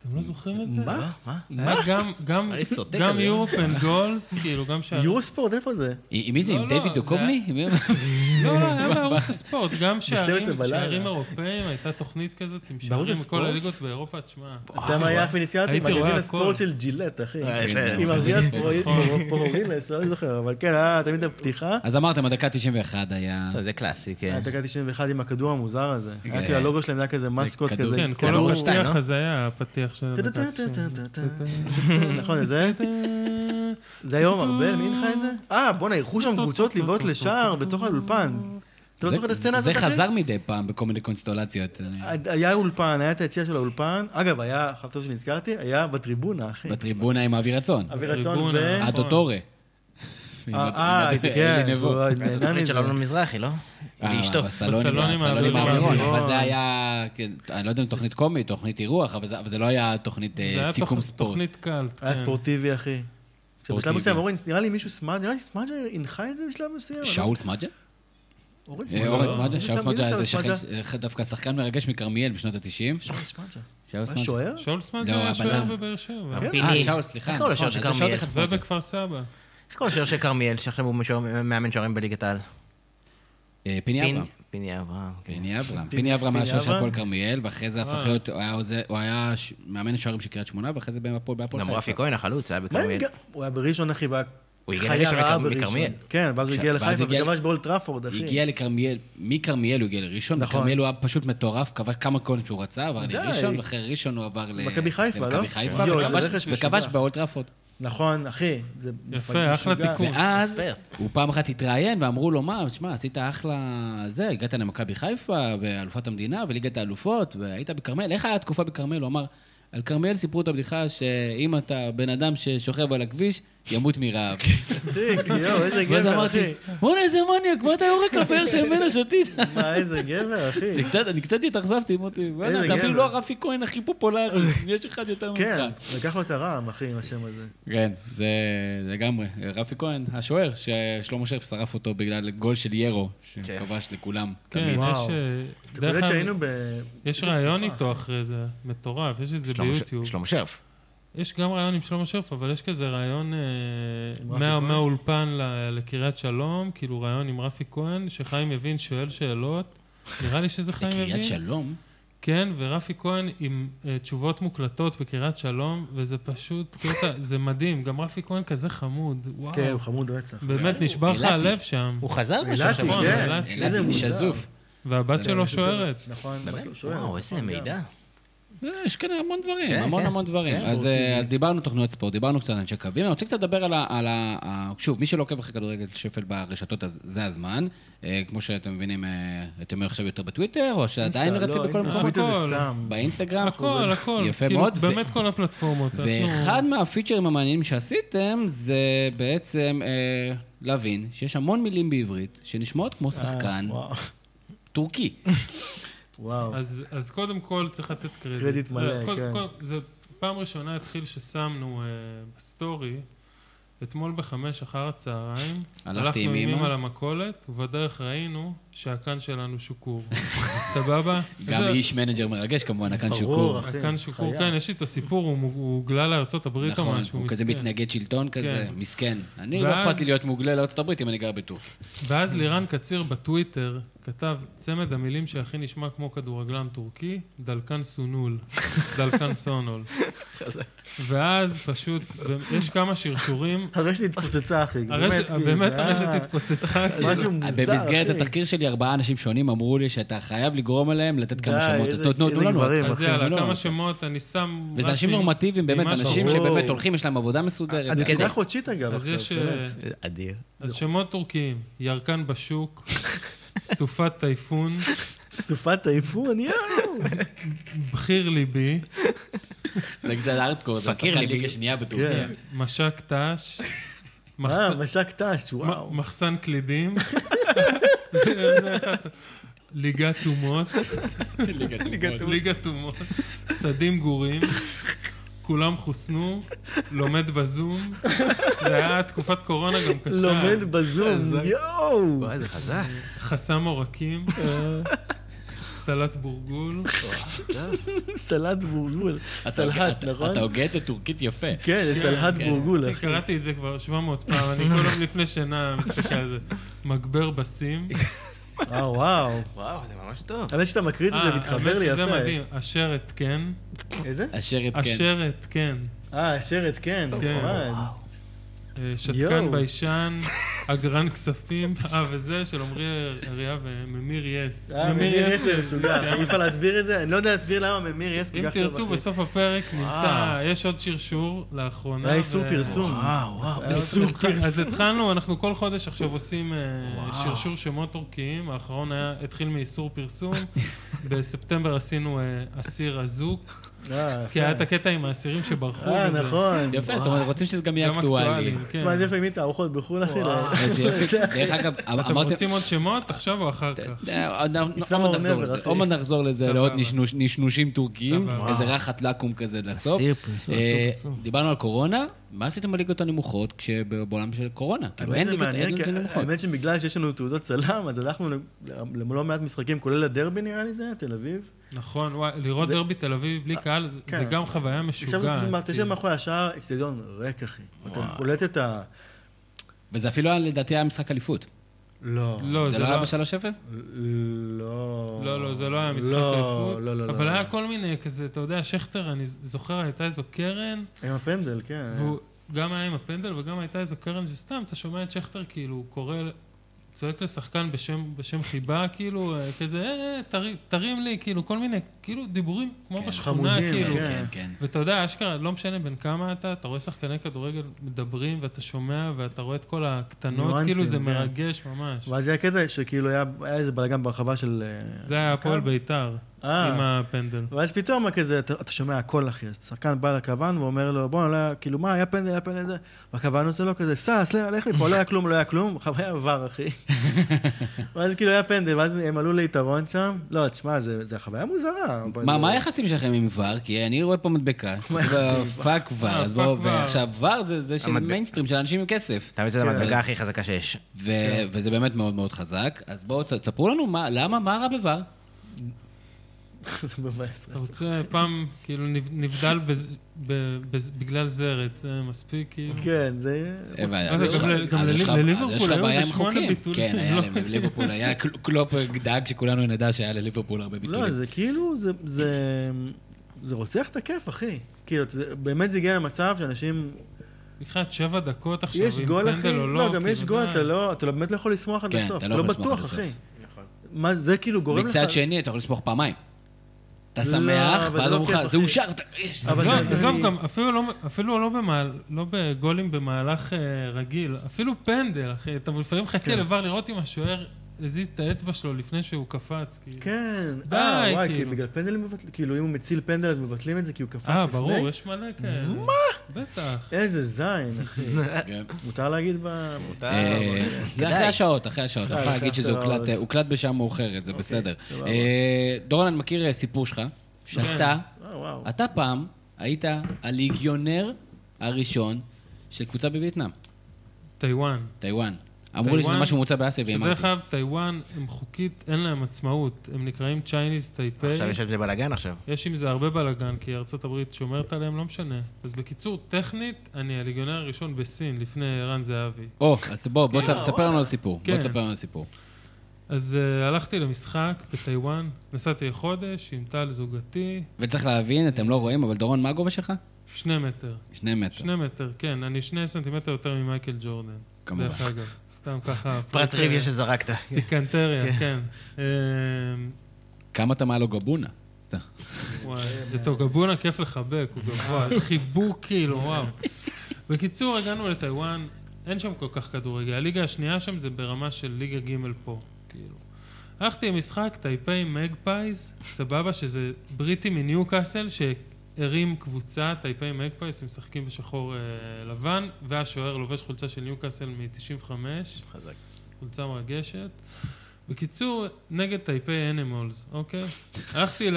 C: אתם לא זוכרים את זה?
D: מה?
E: מה?
C: היה גם- גם-
E: אני סוטה
C: גם
E: כזה.
C: יורופ אנד גולס, כאילו, גם שערים.
D: יורו ספורט, איפה זה?
A: עם אה, מי זה?
C: לא,
A: עם
C: לא,
A: דיוויד
C: זה
A: דוקובני? עם מי- *laughs*
C: לא, לא, היה בערוץ הספורט, גם שערים-
D: בלילה.
C: שערים אירופאים, הייתה תוכנית כזאת עם
D: בערוץ
C: שערים מכל
D: הספורט? כן,
C: הליגות באירופה, תשמע.
D: אתה מה היה איך ונסייתי?
C: הייתי רואה
D: מגזין
C: הכל. נכון.
D: הספורט של ג'ילט, אחי.
E: אה,
D: עם אריאס
A: זה
D: פורורילס, לא זוכר, אבל כן, היה תמיד הפתיחה.
A: אז אמרתם, הדקה 91 היה...
E: זה קלאסי, כן.
D: היה דקה 91 עם הכדור המוזר הזה. היה
A: כן.
D: כאילו הלוגו שלהם היה כזה מסקוט
A: כדור-
D: כזה.
C: כן, כל
E: כדור שתיים,
C: הפתיח
E: לא?
C: הזה היה הפתיח של... הדקה ה-90.
D: *laughs* נכון, זה? זה היום ארבל, מי הנחה את זה? אה, בואנה, אירחו שם קבוצות ליוות לשער בתוך האולפן. אתה לא זוכר את הסצנה הזאת? אה,
A: זה
D: אחי?
A: חזר מדי פעם בכל מיני אה, קונסטולציות. אני-
D: היה אולפן, היה את היציע של האולפן. אגב, היה, עכשיו טוב שנזכרתי, היה בטריבונה, אחי.
A: בטריבונה עם אבי רצון.
D: אבי רצון ו...
C: בטריבונה.
D: אה,
A: עד אוטורה.
D: אה, כן, הוא
E: *laughs*
D: נהנה
E: התוכנית
D: מזה.
E: של אלון מזרחי, לא?
A: אה,
E: ואשתו.
A: בסלון עם
C: בסלון עם
A: בסלון עם
C: האווירון.
A: האווירון. אבל זה היה, כן, אני לא יודע אם תוכנית קומית, תוכנית אירוח, אבל זה- אבל זה לא היה תוכנית אה,
C: זה היה
A: סיכום
C: תוכ-
A: ספורט.
C: תוכנית קאלט.
D: היה
C: כן.
D: ספורטיבי, אחי. שבשלב
A: ספורטיבי.
D: מסוים, אורן, נראה לי מישהו סמאג'ה, נראה לי סמאג'ה הנחה את זה בשלב מסוים. לא
A: שאול סמדג'ה?
D: אורן
A: אה,
D: סמאג'ה.
A: אורן
D: לא?
A: סמדג'ה?
D: מי זה
A: שאול
D: שם- מי זה
A: סמדג'ה זה
D: שאול
A: שחקן,
D: סמדג'ה?
A: אה, דווקא שחקן מרגש מכרמיאל בשנות ה-90.
D: שאול סמאג'ה.
A: שאול
D: מה,
A: סמדג'ה.
D: שוער?
C: שאול סמאג'
A: לא,
C: היה שוער
A: הבלם.
C: בבאר שבע.
E: כן.
A: אה, שאול, סליחה.
E: איך קוראים לו
A: נכון,
E: של
A: אז זה שעוד
E: כרמיאל?
A: אחד סמדג'ה.
C: ובכפר סבא.
E: איך קוראים לשיר של כרמיאל, שעכשיו הוא משוער- מאמן שוערים בליגת העל?
A: אה, פיני אברהם.
E: פין- פיני אברהם. כן.
A: פיני אברהם. פיני אברהם היה שוער של
D: אברהם?
A: הפועל כרמיאל, ואחרי זה הפך
C: וואו.
A: להיות, הוא היה עוזר- הוא היה ש- מאמן שוערים של קריית שמונה, ואחרי זה בהפועל בהפועל
E: גם
A: חיפה.
E: רפי כהן, החלוץ, היה
D: מה עם
E: בכרמיאל.
D: ג- הוא היה בראשון, אחי, והוא
E: הוא
D: היה
E: הגיע
D: חיה
E: לראשון
D: רעה
E: מכר-
D: בראשון.
E: מכרמיאל.
D: כן, ואז הוא
A: עכשיו,
D: הגיע
A: ואז
D: לחיפה
A: הגיע-
D: וכבש בול טראפורד, אחי.
A: הגיע לכרמיאל, מכרמיאל הוא הגיע לראשון,
D: נכון.
A: בכרמיאל הוא היה פשוט מטורף, כבש כמה קולים שהוא רצה, עבר
D: די.
A: לראשון, ואחרי ראשון הוא עבר ל-
D: מכבי חיפה, לא?
A: למכבי חיפה,
D: יואו,
A: וכבש-
D: איזה רכש משוגע.
A: וכבש באולטראפורד.
D: נכון, אחי. זה
C: יפה, אחלה
D: משוגע.
C: תיקון.
A: ואז
E: אספר.
A: הוא פעם אחת התראיין, ואמרו לו, מה, תשמע, עשית אחלה זה, הגעת למכבי חיפה, ואלופת המדינה, וליגת האלופות, והיית בכרמיאל, איך היה התקופה בכרמיאל? הוא אמר, על כרמיאל סיפרו את הבדיחה שאם אתה בן אדם ששוכב על הכביש, ימות
D: *laughs*
A: מרעב.
D: מצחיק,
A: *laughs*
D: יואו, איזה
A: ואז
D: גבר,
A: אמרתי,
D: כן, אחי.
A: בואנה, איזה מניאק, מה אתה יורק לבאר של מנה שתית?
D: מה, איזה גבר, אחי.
A: אני קצת, אני קצת התאכזבתי, מוטי. וואלה, אתה
D: גבר.
A: אפילו לא הרפי כהן הכי
D: *laughs*
A: פופולרי, יש אחד יותר ממך.
D: כן, לקח לו את הרעם, אחי, עם השם הזה.
A: כן, זה לגמרי. רפי כהן, השוער, ששלמה שרף שרף אותו בגלל גול של ירו, שכבש לכולם.
C: כן,
A: תמיד.
C: יש...
D: וואו.
C: אה,
D: אתה
C: דרך
D: קולט
C: אגב,
D: שהיינו ב...
C: יש ראיון איתו אחרי זה, מטורף, יש את זה
E: שלמה ש-
C: ביוטיוב.
E: שלמה שרף.
C: יש גם ראיון עם שלמה שרף, אבל יש כזה ראיון אה,
D: רפי
C: מה-
D: כהן?
C: מהאולפן ל- לקריית שלום, כאילו ראיון עם רפי כהן, שחיים יבין שואל שאלות. נראה לי שזה חיים יבין.
A: בקריית שלום?
C: כן, ורפי כהן עם אה, תשובות מוקלטות בקריית שלום, וזה פשוט קטע, זה מדהים. גם רפי כהן כזה חמוד, וואו.
D: כן, הוא חמוד רצח.
A: אה.
C: באמת נשבר לך
A: אילתי.
C: הלב שם.
E: הוא חזר בשנה
D: אילתי,
E: שעברה.
C: נכון,
D: כן.
C: אילתי.
D: איזה
A: אילת
D: מוזר.
A: שזוף.
C: והבת שלו שוערת.
D: נכון,
E: באמת?
D: משהו שוער.
E: וואו, איזה מידע.
A: לא, יש כאן המון דברים,
E: כן,
A: המון
E: כן.
A: המון דברים. אז אה, אז דיברנו תוכניות ספורט, דיברנו קצת על אנשי קווים. אני רוצה קצת לדבר על ה- על ה... ה- שוב, מי שלא עוקב אחרי כדורגל שפל ברשתות, אז זה הזמן. אה, כמו שאתם מבינים, אה, אתם עכשיו יותר בטוויטר, או שעדיין
D: אינסטה,
A: רצים
D: לא,
A: בכל
D: אינסטה.
A: מקום?
D: הטוויטר זה
C: הכל.
A: *laughs*
D: סתם.
A: באינסטגרם?
C: הכל, הכל.
A: יפה
C: כאילו,
A: מאוד. ו-
C: באמת כל הפלטפורמות.
A: ואחד מהפיצ'רים המעניינים שעשיתם זה בעצם אה, להבין שיש המון מילים בעברית שנשמעות
C: אה,
A: כמו שחקן
D: וואו,
C: *laughs*
A: טורקי.
D: וואו.
C: אז, אז קודם כל צריך לתת קרדיט.
D: קרדיט מלא,
C: לא,
D: כן.
C: זה פעם ראשונה התחיל ששמנו אה, בסטורי, אתמול בחמש אחר הצהריים,
A: הלכתי
C: הלכנו
A: עם
C: עם
A: אמא.
C: אמא על המכולת, ובדרך ראינו שהקן שלנו שוקור. *laughs* סבבה?
A: גם
C: זה-
A: איש מנג'ר מרגש כמובן, הקן
D: ברור,
A: שוקור.
D: אחי,
C: הקן שוקור,
D: חיה.
C: כן, יש לי את הסיפור, הוא מוג- הוא הוגלה לארצות הברית או
A: נכון,
C: משהו,
A: הוא כזה
C: מסכן.
A: מתנגד שלטון כזה,
C: כן.
A: מסכן. אני לא
C: ואז-
A: אכפת לי להיות מוגלה לארצות הברית אם אני גר בטורקיה.
C: ואז לירן קציר בטוויטר כתב, צמד המילים שהכי נשמע כמו כדורגלן טורקי, דלקן
D: *laughs*
C: סונול, דלקן סונול. ואז פשוט, יש כמה שרשורים,
D: הרשת התפוצצה, אחי.
C: הרשת-
D: כאילו,
C: באמת
D: זה היה
C: הרשת התפוצצה, כאילו.
D: משהו מוזר, אחי.
A: אה, במסגרת התחקיר שלי, ארבעה אנשים שונים אמרו לי שאתה חייב לגרום אליהם לתת כמה
D: די,
A: שמות. אז
D: איזה-
A: תנו- תנו
D: איזה
A: תנו לנו.
D: גברים,
C: אז
D: אחי,
C: יאללה,
A: לא.
C: כמה שמות, אני סתם...
A: וזה
C: רץ
A: אנשים
C: עם-
A: נורמטיביים, באמת,
C: עם משהו.
A: אנשים
D: ברור.
A: שבאמת הולכים, יש להם עבודה מסודרת.
D: אז זה
A: הכל.
D: קליטה חודשית, אגב,
C: אז
D: עכשיו.
C: יש...
D: אוקיי, באמת.
C: אה,
E: אדיר.
C: אז שמות טורקיים, ירקן בשוק,
D: *laughs*
C: סופת טייפון,
D: סופת טייפון, יואו.
C: *laughs*
D: אה,
C: בחיר ליבי,
A: זה קצת ארטקור, זה
E: פקיר
A: שחקן
E: לי,
A: ליגה שנייה בטורקיה.
D: כן.
C: משק ת"ש, מחס-
D: אה, משק ת"ש, וואו.
C: מ- מחסן
D: *laughs*
C: קלידים, זה- זה אחד. ליגת אומות,
A: ליגת אומות.
C: ליגת אומות, צדים גורים, כולם חוסנו, לומד בזום, זה היה תקופת קורונה גם קשה,
D: לומד בזום, יואו.
E: וואי, זה חזק.
C: חסם עורקים, סלט בורגול,
D: סלט בורגול.
A: אתה-
D: סלהט,
A: אתה-
D: נכון?
A: אתה הוגה את זה טורקית יפה.
D: כן, זה סלהט
A: כן.
D: בורגול,
C: אני
D: אחי.
C: קראתי את זה כבר 700 פעם, אני כל יום לפני שינה מסתכל על זה. מגבר בסים.
D: אה, וואו.
E: וואו, זה ממש טוב.
D: האמת שאתה מקריא את זה, זה
C: אה,
D: מתחבר
C: האמת
D: לי יפה.
C: שזה מדהים, אשר את כן.
D: איזה?
A: אשר התקן.
C: אשר את כן.
D: אה, שרת, כן,
C: כן.
D: נכון.
C: אה,
D: יואו.
C: שתקן ביישן, אגרן כספים, אה, וזה של עמרי אריה וממיר יס.
D: אה, ממיר
C: יס
D: יסר, תודה.
C: מצוין.
D: אי אפשר להסביר את זה? אני לא יודע להסביר למה ממיר יס כל
C: כן. אם
D: כך טוב.
C: תרצו,
D: אחי.
C: בסוף הפרק נמצא, יש עוד שרשור לאחרונה.
D: היה אה, איסור
C: ו-
D: פרסום.
E: וואו, וואו.
D: היה איסור
C: אז התח- אז
D: פרסום.
C: התחלנו, אנחנו כל חודש עכשיו עושים אה, שרשור שמות טורקיים, האחרון היה, התחיל מאיסור
D: *laughs*
C: פרסום, בספטמבר עשינו אה, אסיר אזוק,
D: אה, יפה.
C: כי היה את הקטע עם האסירים שברחו,
D: אה,
C: וזה
D: נכון.
A: יפה, זאת אומרת, רוצים שזה גם יהיה
C: גם
A: אקטואלי.
C: אקטואליים, כן.
D: תשמע, זה יפה עם תערוכות בחו"ל, אחי.
A: אז
D: *laughs*
A: יפה. דרך אגב,
C: אתם
A: אמרתם...
C: רוצים עוד שמות עכשיו או אחר כך?
A: אה, עוד
D: אצלם
A: עוד
D: הוא
A: נחזור
D: never,
A: לזה,
D: אחי.
A: עוד נחזור לזה,
C: סבבה.
A: לעוד נשנוש- נשנושים טורקיים,
C: סבבה.
A: איזה רחת לקום כזה לסוף.
E: אסיר פרסום,
A: אה,
E: אסור, אסור.
A: דיברנו על קורונה, מה עשיתם בליגות הנמוכות כשבעולם של קורונה? כאילו
D: האמת
A: אין
D: זה
A: ליגות אין
D: מעניין,
A: ליגות
D: כי
A: נמוכות.
D: האמת שבגלל שיש לנו תעודות צלם, אז הלכנו ל- ללא מעט משחקים, כולל הדרבי נראה לי זה, היה, תל אביב.
C: נכון, וואי, לראות
D: זה-
C: דרבי תל אביב בלי קהל, זה- זה
D: כן.
C: גם חוויה
D: עכשיו אתה פשוט-
C: משוגעת. כאילו.
D: אתה יושב מאחורי השער, אצטדיון ריק, אחי. אתה קולט את ה...
A: וזה אפילו היה, לדעתי היה משחק אליפות.
D: לא.
C: לא,
A: זה לא היה ב-3-0?
D: לא.
C: לא, לא, זה לא היה משחק
D: לא,
C: אליפות.
D: לא, לא, לא.
C: אבל
D: לא.
C: היה כל מיני כזה, אתה יודע, שכטר, אני זוכר, הייתה איזו קרן,
D: עם הפנדל, כן.
C: והוא גם היה עם הפנדל וגם הייתה איזו קרן שסתם, אתה שומע את שכטר כאילו קורא, צועק לשחקן בשם, בשם חיבה, כאילו, אה, כזה, "אה, אה, תרים- תרים לי, כאילו, כל מיני, כאילו, דיבורים כמו
A: כן,
C: בשכונה,
D: חמודים,
C: כאילו.
D: כן.
A: כן, כן.
C: ואתה יודע, אשכרה, לא משנה בין כמה אתה, אתה רואה שחקני כדורגל מדברים, ואתה שומע, ואתה רואה את כל הקטנות,
D: ניואנסים,
C: כאילו, זה
D: כן.
C: מרגש ממש.
D: ואז היה קטע שכאילו היה היה איזה בלאגן ברחבה של... אה,
C: זה היה הפועל בית"ר,
D: אה.
C: עם הפנדל.
D: ואז פתאום כזה, אתה, אתה שומע הכל אחי, אז שחקן בא לכוון ואומר לו, בוא, לא היה, כאילו מה, היה פנדל, היה פנדל, זה, והכוון עושה לו כזה, סע, סלם, לך מפה, לא היה כלום, לא היה כלום, *laughs* חוויה
A: *laughs*
D: עבר אחי. ואז כאילו היה פנדל, ואז הם עלו ליתרון שם, לא, תשמע, זה, זה חוויה מוזרה. אבל- אה,
A: מה
D: *laughs*
A: מה היחסים שלכם עם ור? כי אני רואה פה מדבקה. כאילו, פאק ור.
C: אה,
A: אז
C: פאק
A: בואו,
C: ור.
A: ועכשיו ור זה זה של
E: המדבק.
A: מיינסטרים, של אנשים עם כסף.
E: אתה מבין שזו המדבקה
A: אז-
E: הכי חזקה שיש.
A: ו- וזה באמת מאוד מאוד חזק. אז בואו, ת- תספרו לנו מה- למה, מה רע בוור?
D: זה מבאס.
C: אתה רוצה פעם, כאילו, נב- נבדל בז- ב- בז- בגלל זרת, זה מספיק, כאילו.
D: כן, זה...
A: הבנתי,
C: אז
A: אז אה, יש
C: גם
A: לך-
C: ל- גם
A: אז
C: ל-
A: יש לך-
C: לליברפול
A: אז יש לך
C: היו
A: בעיה
C: איזה
A: עם
C: שמונה
A: חוקים.
C: ביטולים,
A: כן, היה
C: לא?
A: לליברפול, היה קל- קלופ דאג שכולנו נדע שהיה לליברפול הרבה ביטולים.
D: לא, זה כאילו, זה, זה, זה רוצח את הכיף אחי. כאילו, זה, באמת זה הגיע למצב שאנשים
C: מבחינת שבע דקות עכשיו,
D: יש
C: אם
D: גול, אחי?
C: פנדל או לא.
D: לא, גם
C: כאילו,
D: יש גול,
C: די.
D: אתה לא, אתה לא- באמת לא יכול לשמוח עד
A: כן,
D: הסוף.
A: אתה
D: אתה
A: לא
D: לא
A: יכול לשמוח עד
D: בטוח,
A: הסוף.
D: אחי.
C: נכון.
D: מה, זה כאילו גורם לך...
A: מצד שני, אתה יכול לסמוך פעמיים. אתה
D: לא,
A: שמח,
D: אבל זה
A: ואז
D: לא
A: אומרים לך,
D: כיף,
A: זה
D: אחי."
A: אושר. אתה- יש-
D: אבל
C: עזוב,
D: זה-
C: עזוב
D: אני-
C: גם, אפילו לא- אפילו לא במהל- לא בגולים במהלך אה, רגיל, אפילו פנדל, אחי. אתה לפעמים מחכה
D: כן.
C: לבר לראות אם השוער הזיז את האצבע שלו לפני שהוא קפץ, כאילו.
D: כן.
C: די,
D: אה, וואי, כי
C: כאילו.
D: בגלל פנדלים מבטלים, כאילו אם הוא מציל פנדל אז מבטלים את זה כי הוא קפץ לפני.
C: אה, ברור, יש מלא כאלה. מה? בטח.
D: איזה זין, אחי.
A: כן.
D: מותר להגיד ב... מותר.
A: אה, זה אחרי השעות, אחרי השעות. אני יכול
D: אחרי
A: להגיד שזה
D: after
A: הוקלט, אה,
D: hours.
A: הוקלט בשעה מאוחרת,
C: אוקיי,
A: זה בסדר.
D: סבבה.
A: אה, דורון, אני מכיר אה, סיפור שלך, שאתה,
D: אה, וואו.
A: אתה פעם היית הליגיונר הראשון של קבוצה בווייטנאם,
C: טיוואן.
A: טיוואן. אמרו לי שזה
C: טיוואן,
A: משהו מוצא באסיה, והאמרתי.
C: שדרך אגב, טיוואן, הם חוקית, אין להם עצמאות. הם נקראים צ'ייניז טייפי.
E: עכשיו יש על זה בלאגן עכשיו.
C: יש עם זה הרבה בלאגן, כי ארצות הברית שומרת עליהם, לא משנה. אז בקיצור, טכנית, אני הליגיונר הראשון בסין, לפני ערן זהבי.
A: או, אז בוא, בוא תספר לנו על הסיפור. בוא
C: כן.
A: תספר לנו על הסיפור.
C: אז אה, הלכתי למשחק בטיוואן, נסעתי חודש עם טל זוגתי,
A: וצריך להבין, אתם לא רואים, אבל דורון, מה הגובה שלך?
C: שני מטר.
E: אוקיי.
A: שני מטר.
C: שני מטר, כן, אני שני סנטימטר יותר ממייקל ג'ורדן.
A: כמובן.
C: דרך אגב, סתם ככה.
E: פרט טריוויה שזרקת.
C: כאילו, טיקנטריה, כן. אה,
A: כמה אתה מעל גבונה?
C: וואי, לטוגבונה כיף לחבק, הוא גבוה, חיבוק כאילו, וואו. בקיצור, הגענו לטיוואן, אין שם כל כך כדורגל. הליגה השנייה שם זה ברמה של ליגה ג' פה, כאילו. הלכתי למשחק טייפיי מגפייז, סבבה, שזה בריטי מניו קאסל, שהרים קבוצה, טייפיי מגפייז, הם משחקים בשחור אה, לבן, והשוער לובש חולצה של ניו קאסל מ-95.
D: חזק.
C: חולצה מרגשת. בקיצור, נגד טייפי אנימולס, אוקיי? הלכתי ל...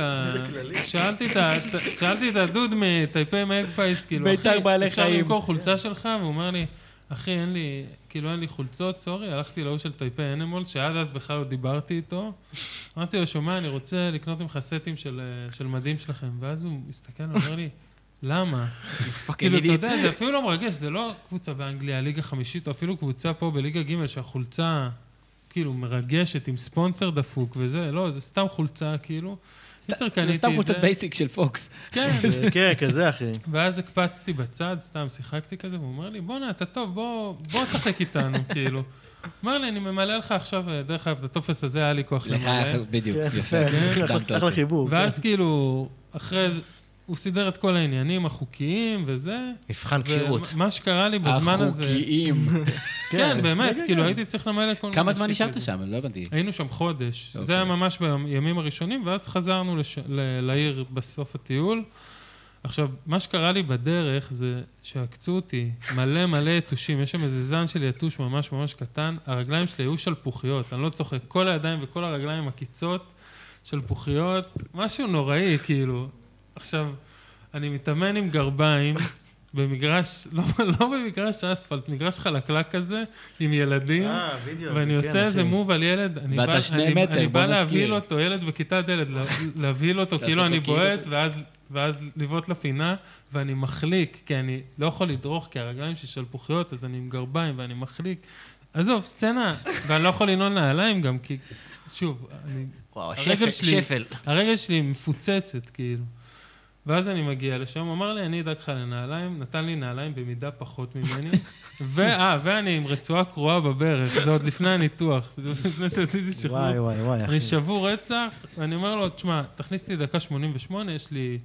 C: שאלתי את ה- שאלתי את הדוד מטייפי מגפייס, כאילו, אחי,
F: בית"ר בעלי
C: אפשר
F: חיים."
C: למכור חולצה שלך? והוא אומר לי, אחי, אין לי, כאילו, אין לי חולצות, סורי, הלכתי להוא של טייפי אנימולס, שעד אז בכלל לא דיברתי איתו. אמרתי לו, שומע, אני רוצה לקנות ממך סטים של, אה, של מדים שלכם. ואז הוא מסתכל ואומר לי, למה? כאילו, אתה יודע, זה אפילו לא מרגש, זה לא קבוצה באנגליה, ליגה חמישית, או אפילו קבוצה פה בליגה ג' שהחולצה כאילו מרגשת, עם ספונסר דפוק וזה, לא, זה סתם חולצה, כאילו. קיצר, קניתי את
A: זה
C: זה.
A: סתם קבוצת בייסיק של פוקס.
C: כן,
D: זה כן, כזה, אחי.
C: ואז הקפצתי בצד, סתם שיחקתי כזה, והוא אומר לי, בואנה, אתה טוב, בוא, בוא תשחק איתנו, *laughs* כאילו. אומר לי, אני ממלא לך עכשיו, אה, דרך אגב, את הטופס הזה היה לי כוח
A: לך,
C: למלא.
A: בדיוק, יפה.
D: יפה,
A: הקדמת
D: כן, אחלה-
A: אותי.
D: אחלה חיבור.
C: ואז כאילו, אחרי זה, הוא סידר את כל העניינים החוקיים וזה.
E: מבחן כשירות.
C: ומה שקרה לי בזמן הזה...
A: החוקיים.
C: כן, באמת, כאילו הייתי צריך למלא כל מיני...
D: *laughs*
A: כמה זמן
C: שיט
A: נשארת
C: כזה.
A: שם? לא הבנתי.
C: היינו שם חודש.
A: אוקיי.
C: זה היה ממש בימים הראשונים, ואז חזרנו לש- ל- לעיר בסוף הטיול. עכשיו, מה שקרה לי בדרך זה שעקצו אותי מלא מלא יתושים. יש שם איזה זן של יתוש ממש ממש קטן. הרגליים שלי היו שלפוחיות, אני לא צוחק. כל הידיים וכל הרגליים הקיצות, שלפוחיות, משהו נוראי, כאילו. עכשיו, אני מתאמן עם גרביים במגרש, לא, לא במגרש אספלט, מגרש חלקלק כזה, עם ילדים.
D: אה, וידאו.
C: ואני
D: כן,
C: עושה איזה
D: אחי.
C: מוב על ילד, אני
A: ואתה
C: בא-
A: שני
C: אני-
A: מטר,
C: אני
A: בוא
C: בא
A: נזכיר.
C: להבהיל אותו, ילד בכיתה ד', לה- להבהיל אותו
A: לעשות
C: כאילו
A: אותו
C: אני
A: כאילו
C: בועט,
A: אתה-
C: ואז ואז לבעוט לפינה, ואני מחליק, כי אני לא יכול לדרוך, כי הרגליים שלי שלפוחיות, אז אני עם גרביים ואני מחליק. עזוב, סצנה, ואני לא יכול לנעול נעליים גם, כי... שוב, אני
E: וואו,
C: הרגל
E: שפל,
C: שלי-
E: שפל.
C: הרגל שלי מפוצצת, כאילו. ואז אני מגיע לשם, הוא אמר לי, אני אדאג לך לנעליים, נתן לי נעליים במידה
F: *laughs*
C: פחות ממני. ואה, ואני עם רצועה קרועה בברך, זה עוד לפני הניתוח, זה עוד לפני שעשיתי
F: וואי,
C: שחרוץ.
F: וואי, וואי, אחי.
C: אני שבור רצח, ואני אומר לו, תשמע, תכניס לי דקה 88, יש לי